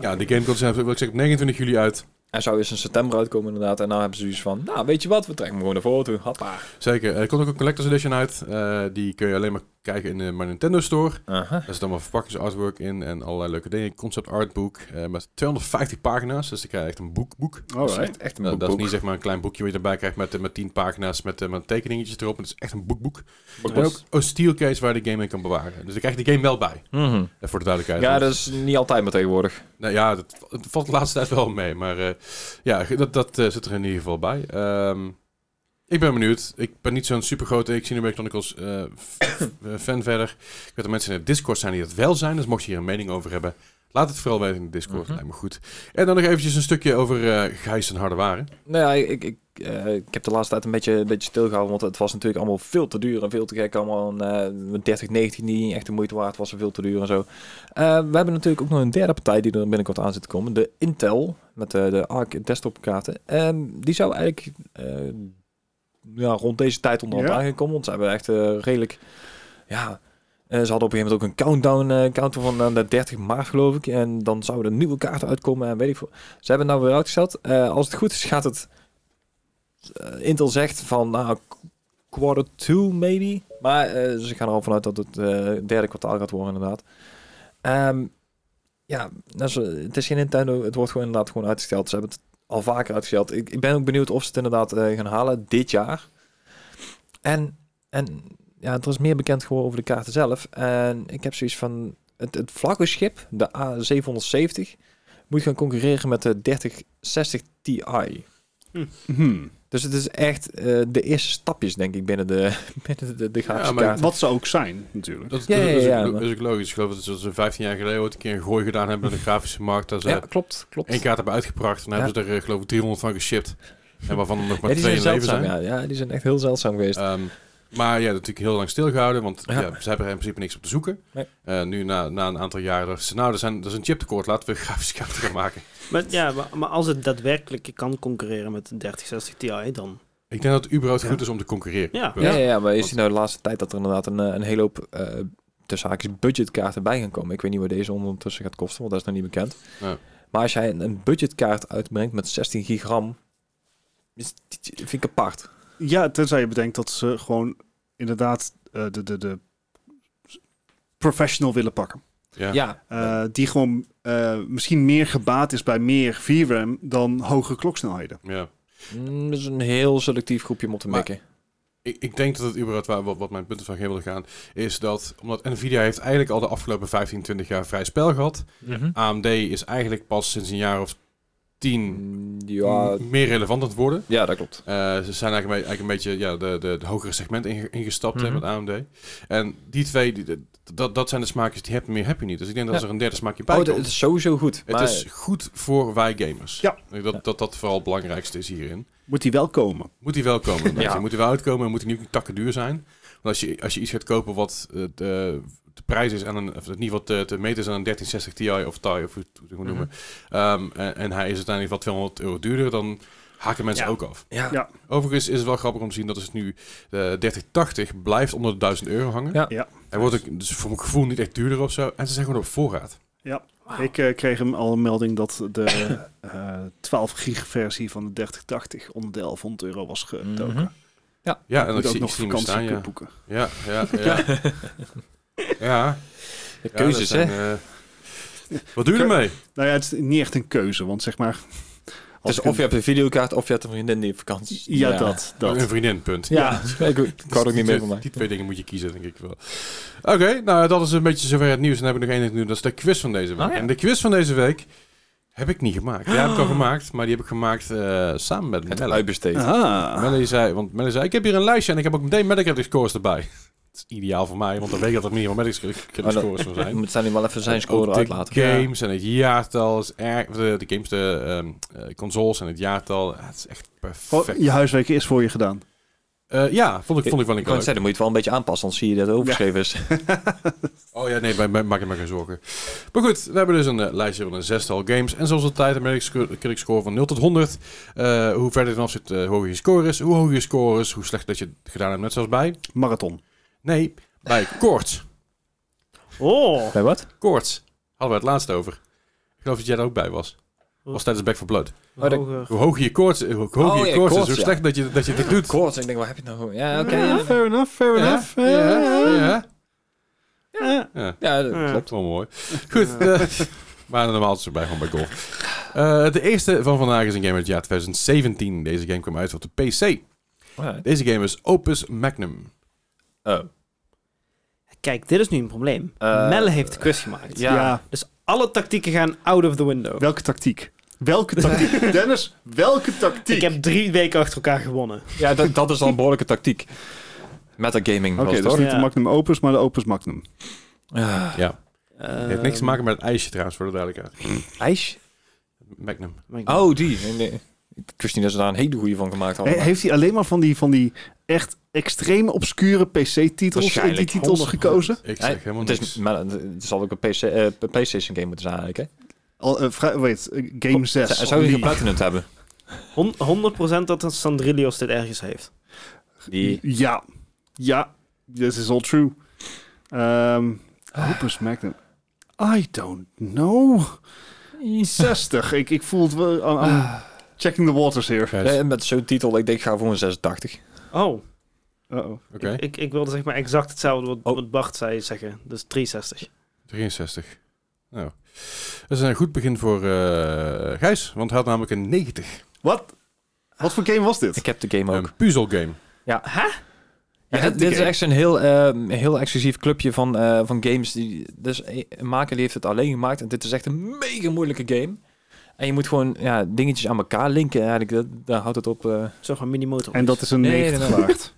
S2: Ja, de game komt zelfs, wil ik zeggen, op 29 juli uit.
S3: Hij zou eens in september uitkomen inderdaad. En nou hebben ze dus van, nou weet je wat, we trekken hem gewoon naar voren toe. Hoppa.
S2: Zeker. eh, Er komt ook een Collector's Edition uit. Eh, die kun je alleen maar kijken in de My Nintendo Store.
S3: Aha.
S2: Daar zit allemaal verpakkingsartwork in en allerlei leuke dingen. Concept artboek eh, met 250 pagina's. Dus dan krijg je echt een boek, boek.
S3: Dat is
S4: Alright.
S3: echt, echt een
S2: Nou,
S3: boek.
S2: dat is
S3: boek.
S2: niet zeg maar een klein boekje wat je erbij krijgt met, eh, met tien pagina's met, eh, met tekeningetjes erop. Het is echt een boekboek.
S3: Boek,
S2: En
S3: boek.
S2: ook een steelcase waar je de game in kan bewaren. Dus dan krijg je de game wel bij,
S3: Mhm.
S2: eh, voor de duidelijkheid.
S3: Ja,
S2: Want-
S3: dat is niet altijd maar tegenwoordig.
S2: nou, ja dat, het valt de laatste tijd wel mee. Maar eh, ja, dat, dat eh, zit er in ieder geval bij. Ehm, ik ben benieuwd. Ik ben niet zo'n super grote Xenoblade Chronicles eh, f- eh, fan verder. Ik weet dat mensen in het Discord zijn die dat wel zijn. Dus mocht je hier een mening over hebben, laat het vooral weten in de Discord.
S3: Mhm.
S2: Lijkt me goed. En dan nog eventjes een stukje over eh Gijs en Harde Waren.
S3: Nou ja, ik, ik, eh, ik heb de laatste tijd een beetje, een beetje stilgehouden. Want het was natuurlijk allemaal veel te duur en veel te gek. Allemaal een eh, 30, 19 die niet echt de moeite waard was. En veel te duur en zo. Eh, we hebben natuurlijk ook nog een derde partij die er binnenkort aan zit te komen. De Intel. Met eh, de ARC desktop kaarten. Ehm, die zou eigenlijk eh, ja, rond deze tijd onder andere
S4: Ja.
S3: aangekomen. Want ze hebben echt eh, redelijk... Ja, eh, ze hadden op een gegeven moment ook een countdown eh counter van eh, de 30 maart geloof ik. En dan zouden er nieuwe kaarten uitkomen en weet ik veel. Ze hebben het nou weer uitgesteld. Eh, als het goed is gaat het... eh, Intel zegt van nou, quarter two maybe. Maar eh, ze gaan er al vanuit dat het eh, derde kwartaal gaat worden inderdaad. Ehm, ja, dat is, eh, het is geen Nintendo. Het wordt gewoon inderdaad gewoon uitgesteld. Ze hebben het al vaker uitgesteld. Ik, ik ben ook benieuwd of ze het inderdaad eh, gaan halen dit jaar. En, en ja, er is meer bekend geworden over de kaarten zelf. En ik heb zoiets van... Het, het vlaggenschip, de A770, moet gaan concurreren met de 3060 Ti.
S4: Hmm.
S3: Dus het is echt eh, de eerste stapjes, denk ik, binnen de, binnen de, de grafische
S2: maar-
S3: kaarten.
S4: Wat ze ook zijn, natuurlijk.
S2: Dat,
S3: Ja,
S2: dat- dat is,
S3: ja, ja,
S2: ook,
S3: maar-
S2: dat is ook logisch. Ik geloof dat ze zo'n 15 jaar geleden ooit een keer een gooi gedaan hebben naar de grafische markt. Dat ze
S3: Ja, klopt, klopt.
S2: één kaart hebben uitgebracht. En dan
S3: Ja.
S2: hebben ze er eh, geloof ik 300 van geshipped. En waarvan er nog maar
S3: Ja, die
S2: twee
S3: zijn
S2: in leven
S3: zeldzaam,
S2: zijn.
S3: ja. ja. Die zijn echt heel zeldzaam geweest.
S2: Ehm, maar ja, natuurlijk heel lang stilgehouden, want ja.
S3: Ja.
S2: ze hebben er in principe niks op te zoeken.
S3: Nee.
S2: Eh, nu na, na een aantal jaren dachten ze, nou, er, zijn, er is een chiptekort, laten we grafische kaarten gaan maken.
S1: Maar, ja, maar, maar als het daadwerkelijk kan concurreren met een 3060 Ti, dan...
S2: Ik denk dat het überhaupt
S1: Ja.
S2: goed is om te concurreren.
S1: Ja.
S3: Ja, ja, ja, maar is het nou de laatste tijd dat er inderdaad een, eh, een hele hoop eh tussen haakjes budgetkaarten bij gaan komen? Ik weet niet wat deze ondertussen gaat kosten, want dat is nog niet bekend.
S2: Ja.
S3: Maar als jij een, een budgetkaart uitbrengt met 16 gigram, is, vind ik apart.
S4: Ja, tenzij je bedenkt dat ze gewoon inderdaad eh, de, de, de professional willen pakken.
S2: Ja.
S3: Ja,
S4: Eh, Die gewoon eh, misschien meer gebaat is bij meer VRAM dan hogere kloksnelheden.
S2: Ja.
S3: Mm, dat is een heel selectief groepje om op te
S2: Maar-
S3: mikken.
S2: Ik, ik denk dat het überhaupt waar, wat, wat mijn punten van heen willen gaan, is dat omdat Nvidia heeft eigenlijk al de afgelopen 15, 20 jaar vrij spel gehad.
S3: Mhm.
S2: AMD is eigenlijk pas sinds een jaar of tien
S3: Mm, Ja,
S2: meer relevant aan het worden.
S3: ja, dat klopt.
S2: Eh, ze zijn eigenlijk een, be- eigenlijk een beetje ja, de, de, de hogere segment inge- ingestapt hè,
S3: Mhm.
S2: met AMD. En die twee, die- die- dat, dat zijn de smaakjes die heb, meer heb je niet. Dus ik denk dat
S3: Ja.
S2: als er een derde smaakje bij
S3: Oh,
S2: komt...
S3: dat- het is sowieso goed.
S2: het
S3: maar
S2: is goed voor wij gamers.
S4: Ja.
S2: Ik denk Dat, dat dat vooral het belangrijkste is hierin.
S4: Moet die wel komen?
S2: Moet die wel komen. inderdaad.
S3: Ja.
S2: Die Moet die wel uitkomen en moet die niet takken duur zijn. Want als je, als je iets gaat kopen wat eh, de, de prijs is aan een, of in ieder geval te, te meten is aan een 1360 Ti of Ti of hoe het- hoe het moet noemen.
S3: Mhm.
S2: Ehm, en, en hij is uiteindelijk wat 200 euro duurder, dan haken mensen
S4: Ja.
S2: ook af.
S3: ja,
S4: Ja.
S2: Overigens is het wel grappig om te zien dat het nu de 3080 blijft onder de 1000 euro hangen.
S3: Ja.
S4: Ja.
S2: Hij wordt ook, dus voor mijn gevoel niet echt duurder of zo. En ze zijn gewoon op voorraad.
S4: Ik eh, kreeg hem al een melding dat de eh 12 gig versie van de 3080 onder de 1100 euro was getoken.
S3: Mhm.
S2: Ja, en
S4: Moet
S2: dat
S4: ook
S2: zie ik
S4: nog
S2: zie hem
S4: vakantie
S2: staan. Ja,
S4: kunnen boeken.
S2: ja, ja. ja. ja.
S3: de keuzes,
S2: ja, dat
S3: hè?
S2: zijn, eh, Wat doe je ermee?
S4: Nou ja, het is niet echt een keuze, want zeg maar... als
S3: Dus
S4: ik
S3: of je
S4: een-
S3: hebt een videokaart of je hebt een vriendin die op vakantie is.
S4: Ja, dat. dat.
S2: Een vriendin, punt.
S3: Ja, ik, ik hou er ook niet meer van mij.
S2: Die twee dingen moet je kiezen, denk ik wel. Oké, nou dat is een beetje zover het nieuws. En dan heb ik nog één ding te doen. Dat is de quiz van deze week.
S3: Ah, ja.
S2: En de quiz van deze week heb ik niet gemaakt. Ja, heb ik al gemaakt, maar die heb ik gemaakt eh, samen met
S3: Het
S2: Melle.
S3: uitbesteed.
S4: Ah.
S2: Melly zei, want Melly zei, ik heb hier een lijstje en ik heb ook meteen Medicare scores erbij. Dat is ideaal voor mij, want dan weet ik dat er minimaal Medicare
S3: Maar Oh, dat-
S2: scores van zijn.
S3: Moet zijn wel even zijn score
S2: Ook
S3: eruit
S2: de
S3: laten.
S2: games en het jaartal is erg. De, de games, de ehm, eh, consoles en het jaartal. Ja, het is echt perfect.
S4: Oh, Je huiswerk is voor je gedaan.
S2: Eh, ja, vond ik, vond ik wel een
S3: Ik kan
S2: leuk.
S3: zeggen, dan moet je het wel een beetje aanpassen, anders zie je dat het overgeschreven is.
S2: Oh ja, nee, bij, bij, maak je maar geen zorgen. Maar goed, we hebben dus een eh, lijstje van een zestal games. En zoals altijd, een Metacritic score van 0 tot 100. Eh, hoe verder je vanaf zit, eh, hoe hoger je score is. Hoe hoger je score is, hoe slecht dat je het gedaan hebt. Net zoals bij...
S4: Marathon.
S2: Nee, bij koorts.
S1: Oh,
S3: Bij wat?
S2: Koorts. Hadden we het laatst over. Ik geloof dat jij daar ook bij was. Was tijdens Back for Blood.
S3: Oh, dat-
S1: hoger.
S2: Hoe hoger je koorts, hoe hoger je
S3: Oh, ja,
S2: koorts is,
S3: koorts,
S2: hoe
S3: ja.
S2: slecht dat je, dat je dit doet.
S3: Koorts, ik denk, waar heb je het nou gewoon? Ja, oké.
S4: Ja,
S3: ja.
S4: fair enough, fair
S2: Ja,
S4: enough.
S2: ja, ja,
S4: Ja.
S2: ja.
S3: Ja, dat klopt.
S2: Klopt wel mooi. Goed, eh, maar normaal is het bij gewoon bij golf. Eh, de eerste van vandaag is een game uit het jaar 2017. Deze game kwam uit op de PC.
S3: Alright.
S2: Deze game is Opus Magnum.
S3: Oh.
S1: Kijk, dit is nu een probleem.
S3: Eh,
S1: Melle heeft de quiz gemaakt.
S3: Ja.
S1: Dus alle tactieken gaan out of the window.
S4: Welke tactiek? Welke tactiek? Dennis, welke tactiek?
S1: Ik heb drie weken achter elkaar gewonnen.
S3: Ja, dat, dat is dan een behoorlijke tactiek. Metagaming
S4: Oké,
S3: was
S4: dus
S3: het,
S4: dat is
S3: hoor.
S4: niet
S1: Ja.
S4: de Magnum Opus, maar de Opus Magnum.
S3: Ah,
S2: Het heeft
S3: Ehm.
S2: niks te maken met het ijsje trouwens, voor de duidelijkheid.
S3: ijs?
S2: Magnum.
S1: met...
S3: Oh, die. Nee, nee. Ik wist niet dat ze daar een hele goede van gemaakt hadden.
S4: He- heeft hij alleen maar van die, van die echt extreem obscure PC-titels in die
S3: Waarschijnlijk,
S4: titels
S3: 100%.
S4: gekozen?
S2: Ik
S3: Hij-
S2: zeg helemaal
S3: het, is,
S2: niks.
S3: maar, het zal ook een PC, eh, PlayStation game moeten zijn eigenlijk, hè?
S4: Al, eh, vrij- weet, eh, game 6.
S3: Zou je
S4: Die-
S3: een platinum hebben?
S1: Hon- 100% dat Sandrilios dit ergens heeft.
S3: Die...
S4: Ja, ja, this is all true. Ehm Opus Magnum. I don't know. 60. Ik, ik voel het wel. I'm- I'm checking the waters here.
S2: Gijs,
S3: Eh, Ah. met zo'n titel, ik denk, ik ga voor een 86.
S1: Oh,
S4: Uh-oh.
S2: Oké,
S1: ik, ik wilde zeg maar exact hetzelfde wat,
S3: Oh.
S1: wat Bart zei zeggen. Dus 63.
S2: 63. Nou, dat is een goed begin voor eh, Gijs, want hij had namelijk een 90.
S4: Wat? Wat voor game was dit?
S3: Ik heb de game ook.
S2: Een puzzelgame.
S3: Ja,
S4: hebt
S3: dit
S4: de
S3: dit is
S4: game.
S3: echt een heel, ehm, heel exclusief clubje van, eh, van games. Die, dus een een maker die heeft het alleen gemaakt. En dit is echt een mega moeilijke game. En je moet gewoon ja, dingetjes aan elkaar linken. Eigenlijk, dat, daar houdt het op. eh.
S1: Zo van mini-motor.
S4: En dat is een
S3: Nee,
S4: 90
S3: nee, nee.
S4: waard.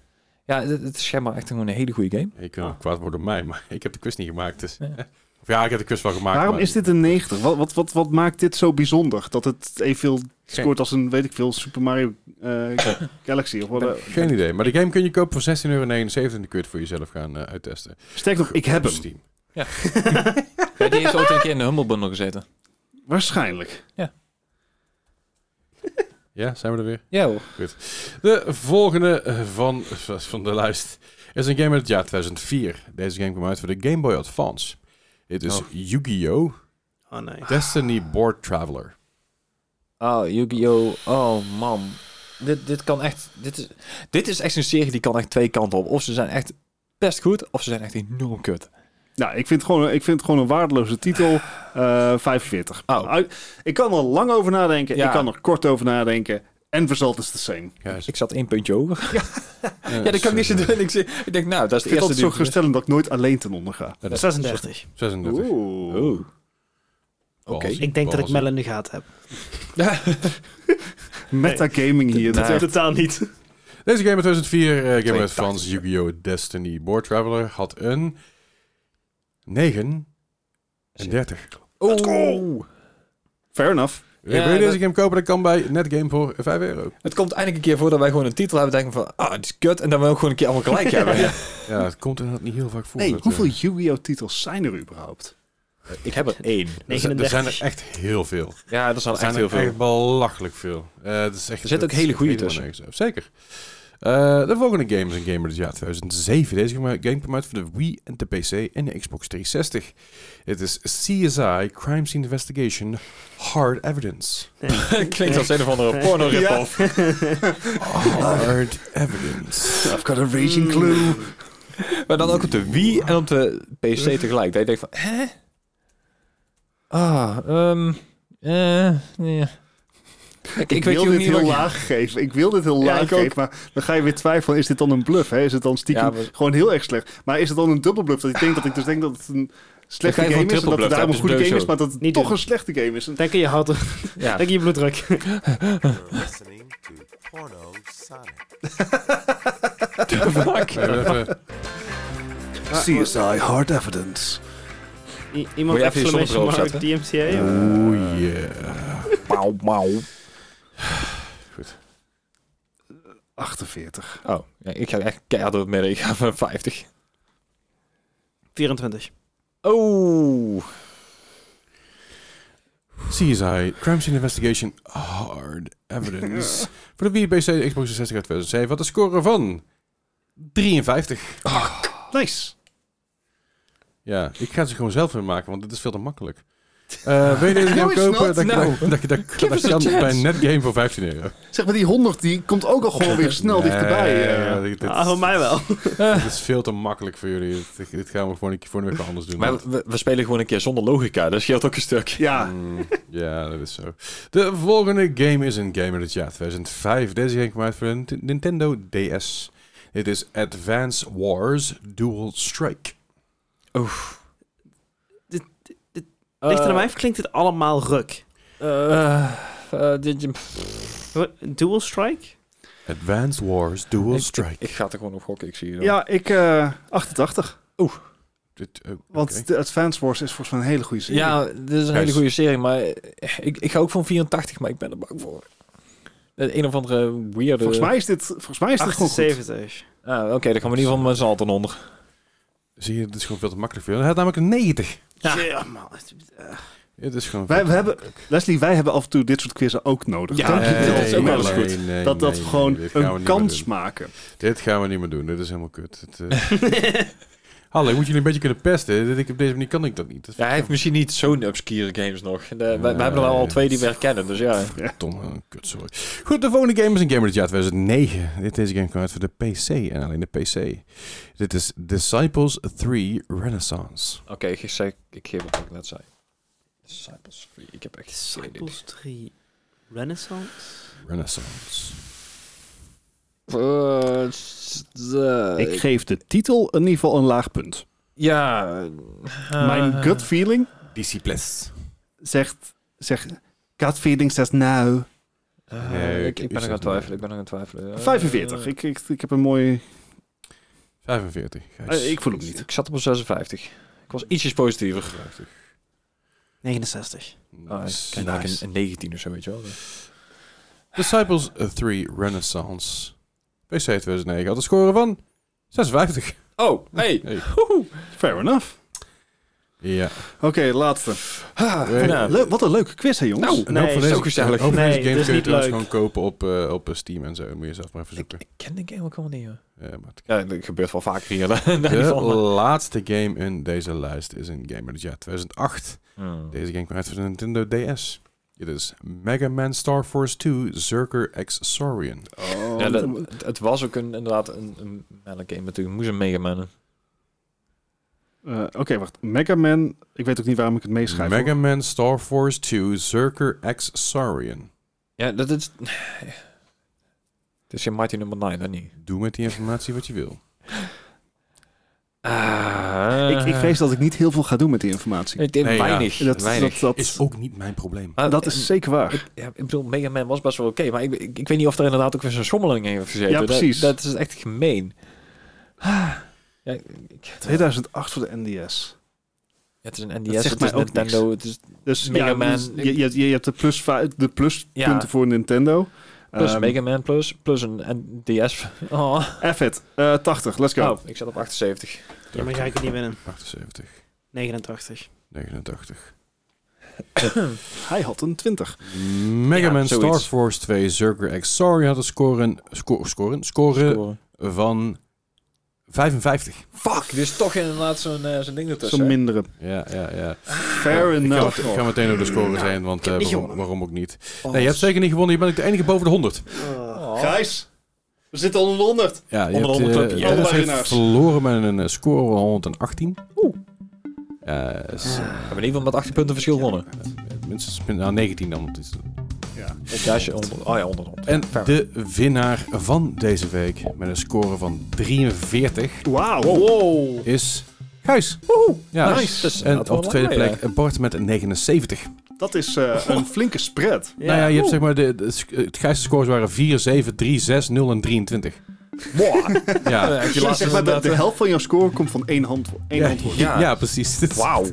S3: Ja, het het is schijnbaar echt gewoon een hele goede game.
S2: Ik kan ook
S1: Ah.
S2: kwaad worden op mij, maar ik heb de quiz niet gemaakt. Dus.
S3: Ja.
S2: Of ja, ik heb de quiz wel gemaakt.
S4: Waarom
S2: maar-
S4: is dit een 90? Wat, wat, wat, wat maakt dit zo bijzonder? Dat het evenveel scoort als een, weet ik veel, Super Mario eh, Galaxy of wat.
S2: Geen idee. Maar de game kun je kopen voor 16,79 euro en dan kun je het voor jezelf gaan eh, uittesten.
S4: Sterk nog, ik heb
S2: Op
S4: hem.
S2: Steam.
S3: Ja, die heeft ooit een keer in de Humble Bundle gezeten.
S4: Waarschijnlijk.
S2: Ja, zijn we er weer.
S3: Ja hoor.
S2: De volgende eh, van, van de lijst is een game uit het jaar 2004. Deze game kwam uit voor de Game Boy Advance. Dit is
S3: Oh.
S2: Yu-Gi-Oh!
S1: Oh nee.
S2: Destiny Board Traveler.
S3: Oh, Yu-Gi-Oh! Oh man. Dit, dit kan echt... Dit is, dit is echt een serie die kan echt twee kanten op. Of ze zijn echt best goed, of ze zijn echt enorm kut.
S4: Nou, ik vind het gewoon, ik vind het gewoon een waardeloze titel. Eh 45.
S3: Oh.
S4: Uit- Ik kan er lang over nadenken.
S3: Ja.
S4: Ik kan er kort over nadenken. En result is the same.
S2: Juist.
S3: Ik zat één puntje hoger.
S2: Ja,
S3: Ja,
S2: dat
S3: dat kan ik niet
S2: is,
S3: zo
S2: eh,
S3: doen. Ik, zie- ik denk, nou, dat is de
S4: Ik
S3: eerste
S4: vind het zo
S3: die... ik-
S4: geruststellend dat ik nooit alleen ten onder ga.
S2: dat is
S1: 36.
S2: 36.
S4: Oeh.
S3: Oeh. Oké.
S2: Balls.
S1: Ik denk dat ik
S2: Balls.
S1: Mel in de gaten heb.
S4: Metagaming hier. Dat
S3: Nee.
S4: is echt-
S1: Totaal niet.
S2: Deze game uit 2004, eh Game of
S3: 82,
S2: Advance, Yu-Gi-Oh! Destiny, Board Traveler, had een 9 en 30.
S3: Oeh.
S4: Fair enough.
S3: Ja,
S2: Eh, Wil je deze
S3: dat-
S2: game kopen? Dat kan bij Netgame voor 5 euro.
S3: Het komt eindelijk een keer voor dat wij gewoon een titel hebben. Denken van, ah, het is kut. En dan we ook gewoon een keer allemaal gelijk hebben.
S2: Ja, het komt inderdaad niet heel vaak voor.
S4: Hey,
S2: dat, eh,
S4: hoeveel Yu-Gi-Oh! titels zijn er überhaupt?
S3: Ik heb er één.
S2: er zijn-
S1: 39.
S2: Er zijn er echt heel veel.
S3: Ja, dat is
S2: Er
S3: al
S2: zijn
S3: echt
S2: er
S3: heel veel.
S2: echt belachelijk veel. Eh, het is echt,
S3: Er zitten ook
S2: het-
S3: hele goeie
S2: het weet
S3: tussen.
S2: helemaal nergens over. Zeker. Eh, de volgende game is een gamer dit jaar 2007. Deze game game kwam uit voor de Wii en de PC en de Xbox 360. Het is CSI Crime Scene Investigation Hard Evidence.
S3: Klinkt als een of andere porno rip-off.
S2: Hard Evidence.
S4: I've got a raging clue.
S3: Maar dan ook op de Wii en op de PC tegelijk. Dat je denkt van, hè? Ah, ehm, eh, nee. Ik,
S4: Ik,
S3: ik weet
S4: wil
S3: ook
S4: dit
S3: niet
S4: heel
S3: wat ik-
S4: laag geven. Ik wil dit heel laag
S3: ik ook.
S4: geven. Maar dan ga je weer twijfelen. Is dit dan een bluff? Hè? Is het dan stiekem
S3: Ja, maar-
S4: gewoon heel erg slecht? Maar is het dan een dubbelbluff? Dat ik denk dat ik dus denk dat het een slechte
S3: Dan ga je voor een
S4: game is. En dat
S3: triple
S4: het daarom
S3: bluff. Dat
S4: een goede
S3: is dus
S4: game is.
S3: sowieso.
S4: Maar dat het
S1: Niet
S4: toch
S1: doen.
S4: een slechte game is. En
S1: Denk aan je hart.
S3: Ja.
S1: Denk aan je bloeddruk.
S6: You're listening to Porno Sonic.
S4: Ah, CSI Hard Evidence.
S1: I-
S3: Moet
S1: iemand
S3: je even je zonnebril
S1: exclamation mark
S3: opzetten?
S1: DMCA?
S2: Oeh, yeah.
S3: Pauw, pauw.
S4: 48.
S3: Oh, ja, ik ga echt keihard door het midden. Ik ga van 50.
S1: 24.
S3: Oh.
S2: CSI Crime Scene Investigation Hard Evidence. voor de Wii, PC en Xbox 360 uit 2007. Wat de score van? 53.
S4: Nice.
S2: Ja, ik ga ze gewoon zelf weer maken, want dit is veel te makkelijk. Eh wil je deze game
S4: is
S2: kopen?
S4: not.
S2: Dat,
S3: Nou.
S2: dat, dat, dat,
S3: Give
S2: dat
S3: us a
S2: kan
S3: chance.
S2: bij Netgame voor 15 euro.
S4: Zeg maar die 100 die komt ook al gewoon weer snel dichterbij. eh.
S2: Nee, dit,
S1: Ah, voor mij wel.
S2: dit is veel te makkelijk voor jullie. Dit, dit gaan we gewoon een keer voor een week anders doen.
S3: Maar Ah. we, we spelen gewoon een keer zonder logica. Dat scheelt ook een stuk.
S4: Ja.
S2: Mm, ja, dat is zo. De volgende game is een game uit het jaar 2005. Deze game kwam uit voor een T- Nintendo DS. Dit is Advance Wars Dual Strike.
S1: Ligt het aan
S3: Eh,
S1: mij of klinkt dit allemaal ruk?
S3: eh, eh, dit- dit-
S1: Dual Strike?
S2: Advance Wars Dual
S3: ik-
S2: Strike.
S3: Ik ga er gewoon op gokken, ik zie je.
S4: Ja, ik eh 88.
S2: Dit, oh,
S4: Want
S2: oké.
S4: de Advance Wars is volgens mij een hele goede serie.
S3: Ja, dit is een hele goede serie, maar eh, ik, ik ga ook van 84, maar ik ben er bang voor. Eh, Een of andere weirde...
S4: volgens mij is dit, volgens mij is dit gewoon goed.
S1: 78.
S3: Ah, Oké, dan gaan we in ieder geval met z'n allen ten onder.
S2: Zie je, dit is gewoon veel te makkelijk voor jullie. Hij had namelijk een 90.
S1: Ja, man. Eh,
S2: Het is gewoon
S4: Wij, we hebben, Leslie, wij hebben af en toe dit soort quizzen ook nodig.
S1: Ja,
S4: Dank je wel.
S1: nee,
S4: dat is ook wel eens
S2: nee,
S4: goed.
S2: nee,
S4: dat dat
S2: nee, nee,
S4: gewoon
S2: dit gaan we
S4: een
S2: niet meer
S4: kans
S2: doen.
S4: maken.
S2: Dit gaan we niet meer doen. Dit is helemaal kut. Het, eh, Hallo, ik moet jullie een beetje kunnen pesten. Dit- ik- Op deze manier kan ik dat niet. Dat
S3: Ja, hij heeft misschien niet zo'n obscure games nog. De, wij, wij hebben er wel al twee die we herkennen, dus ja.
S2: Tom, eh, kut, sorry. Goed, de volgende game is een game uit het jaar 2009. Dit, deze game kwam uit voor de PC en alleen de PC. Dit is Disciples 3 Renaissance.
S3: Oké, ik, zei- ik geef wat ik net zei. Disciples Free, ik heb echt geen idee.
S1: Disciples 3. Renaissance?
S2: Renaissance.
S3: Eh, s- de-
S4: Ik geef de titel in ieder geval een laag punt.
S3: Ja. eh,
S4: Mijn gut feeling
S2: Disciples.
S4: zegt, zegt gut feeling zegt nou
S3: eh,
S2: Nee,
S3: ik, ik
S2: ik-
S3: ben nog aan
S2: ik-
S3: het twijfelen, ik ben nog aan het twijfelen. Eh,
S4: 45. Ik, ik, ik heb een mooie,
S2: 45. Gijs.
S4: eh, ik voel hem niet.
S3: Ah, Ik zat op een 56. Ik was ietsjes positiever.
S2: 50.
S1: 69.
S3: Ah,
S2: Nice.
S3: ik ken
S2: Nice.
S3: een, een 19 of zo, weet je wel.
S2: Disciples 3 Renaissance. PC 2009 had een score van 56.
S3: Oh, hey.
S2: Hey.
S4: Fair enough.
S2: Ja.
S4: Oké, laatste.
S2: Eh,
S3: nou.
S4: Leuk- wat een leuke quiz hè jongens.
S2: Een
S1: Nee,
S2: hoop van
S1: is
S2: deze,
S3: ook gezellig.
S2: een hoop van
S1: Nee,
S2: deze games
S1: dit is
S2: kun je
S1: niet
S2: trouwens
S1: leuk.
S2: gewoon kopen op, eh, op Steam en zo. Moet je zelf maar even zoeken.
S3: Ik ken de game ook helemaal niet, hoor.
S2: Eh, maar het-
S3: Ja, dat gebeurt wel vaker hier. daar niet
S2: de
S3: van, maar-
S2: laatste game in deze lijst is een game uit het jaar 2008. Deze game kwam uit voor de Nintendo DS. Dit is Mega Man Star Force 2 Zerker X Saurian.
S4: Oh,
S3: Ja, dat- het, het was ook een, inderdaad een, een melee game natuurlijk. Moest een Mega Man.
S4: Eh, Oké, wacht. Mega Man. Ik weet ook niet waarom ik het meeschrijf.
S2: Mega
S4: hoor.
S2: Man Star Force 2 Zerker X Saurian.
S3: Ja, dat is... Het is geen Mighty Number 9, dat niet.
S2: Doe met die informatie wat je wil.
S3: Ah.
S4: Ik, ik vrees dat ik niet heel veel ga doen met die informatie.
S3: Ik denk
S2: Nee, ja.
S3: weinig.
S4: dat,
S3: weinig.
S4: Dat, dat,
S2: Is ook niet mijn probleem.
S3: Maar
S4: dat
S3: ik-
S4: is zeker waar.
S3: Ik, ja, ik bedoel, Mega Man was best wel oké, maar ik, ik, ik weet niet of er inderdaad ook weer zo'n sommeling in heeft gezeten.
S4: Ja,
S3: Dat-
S4: precies.
S3: Dat, is echt gemeen. Ah. Ja, ik- ik-
S4: 2008 voor de NDS.
S3: ja, het is een
S4: Dat
S3: NDS,
S4: zegt
S3: het
S4: mij
S3: is
S4: ook
S3: Nintendo, het is
S4: Dus
S3: Mega
S4: ja,
S3: Man.
S4: dus Je, je, je hebt de, plus, va- de pluspunten
S3: Ja.
S4: voor Nintendo.
S3: plus
S4: Ehm,
S3: Mega Man plus, plus een NDS. Oh.
S4: F it. Eh, 80, let's go.
S3: oh, ik zat op 78.
S1: Ja, maar ga ik het niet winnen.
S2: 78,
S1: 89.
S2: 89.
S4: Hij had een 20.
S2: Mm, Mega
S3: Ja,
S2: Man
S3: zoiets.
S2: Star Force 2 Zerker X Saurian had een scoren, sco scoren, scoren
S3: Scoren.
S2: van 55.
S3: Fuck, er is toch inderdaad zo'n eh, zo'n ding ertussen.
S4: Zo'n mindere.
S2: Ja, ja, ja.
S4: Fair
S2: Ik
S4: enough.
S2: ga, ik ga meteen door de
S3: Nou,
S2: scoren zijn, want
S1: heb
S2: eh,
S1: niet
S2: waarom,
S1: gewonnen.
S2: waarom ook niet?
S3: Oh,
S2: Nee, je hebt zeker niet gewonnen. Je bent ook de enige boven de 100.
S3: oh.
S4: Gijs, we zitten onder de 100.
S2: Ja, je
S3: Onder
S2: hebt,
S3: de 100
S2: eh,
S3: heb je
S2: Dennis
S4: allemaal
S2: heeft
S4: winnaars.
S2: verloren met een eh, score van 118. Oeh. Ja, is, eh,
S3: We hebben in ieder geval met 18 punten verschil gewonnen.
S2: minstens nou, 19 dan. want het is-
S3: Een daasje onder. Oh ja, onder. onder.
S2: En
S3: Fair.
S2: de winnaar van deze week met een score van 43
S4: Wauw.
S2: is Gijs. Ja.
S3: Nice. Dus,
S2: En
S3: dat
S2: op de
S3: wel
S2: tweede
S3: lekker,
S2: plek eh, Bart met 79.
S4: Dat is eh, een flinke spread.
S1: Ja.
S2: Nou ja, je hebt zeg maar de, de sc- het Gijs' scores waren 4, 7, 3, 6, 0 en 23.
S3: ja.
S2: Ja.
S3: Ja, heb je
S4: Je
S3: laatst
S4: zeg maar, de,
S3: inderdaad,
S4: de
S3: eh,
S4: helft van jouw score komt van één, hand, één antwoord.
S2: Ja,
S3: Ja.
S2: ja, precies. Dit is-
S3: Wauw.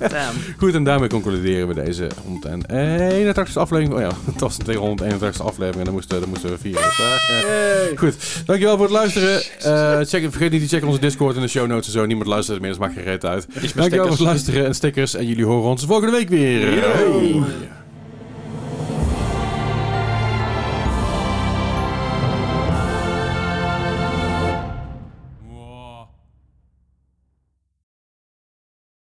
S1: Ah, Damn.
S2: Goed, en daarmee concluderen we deze 181 e aflevering. Oh ja, het was de 181 e aflevering en dan moesten, dan moesten we vieren. Dus, eh, Goed, dankjewel voor het luisteren. Eh, check, vergeet niet te checken onze Discord en de show notes en zo. Niemand luistert meer, dus maakt geen reet uit. Dankjewel voor het luisteren en stickers. En jullie horen ons volgende week weer. Hoi.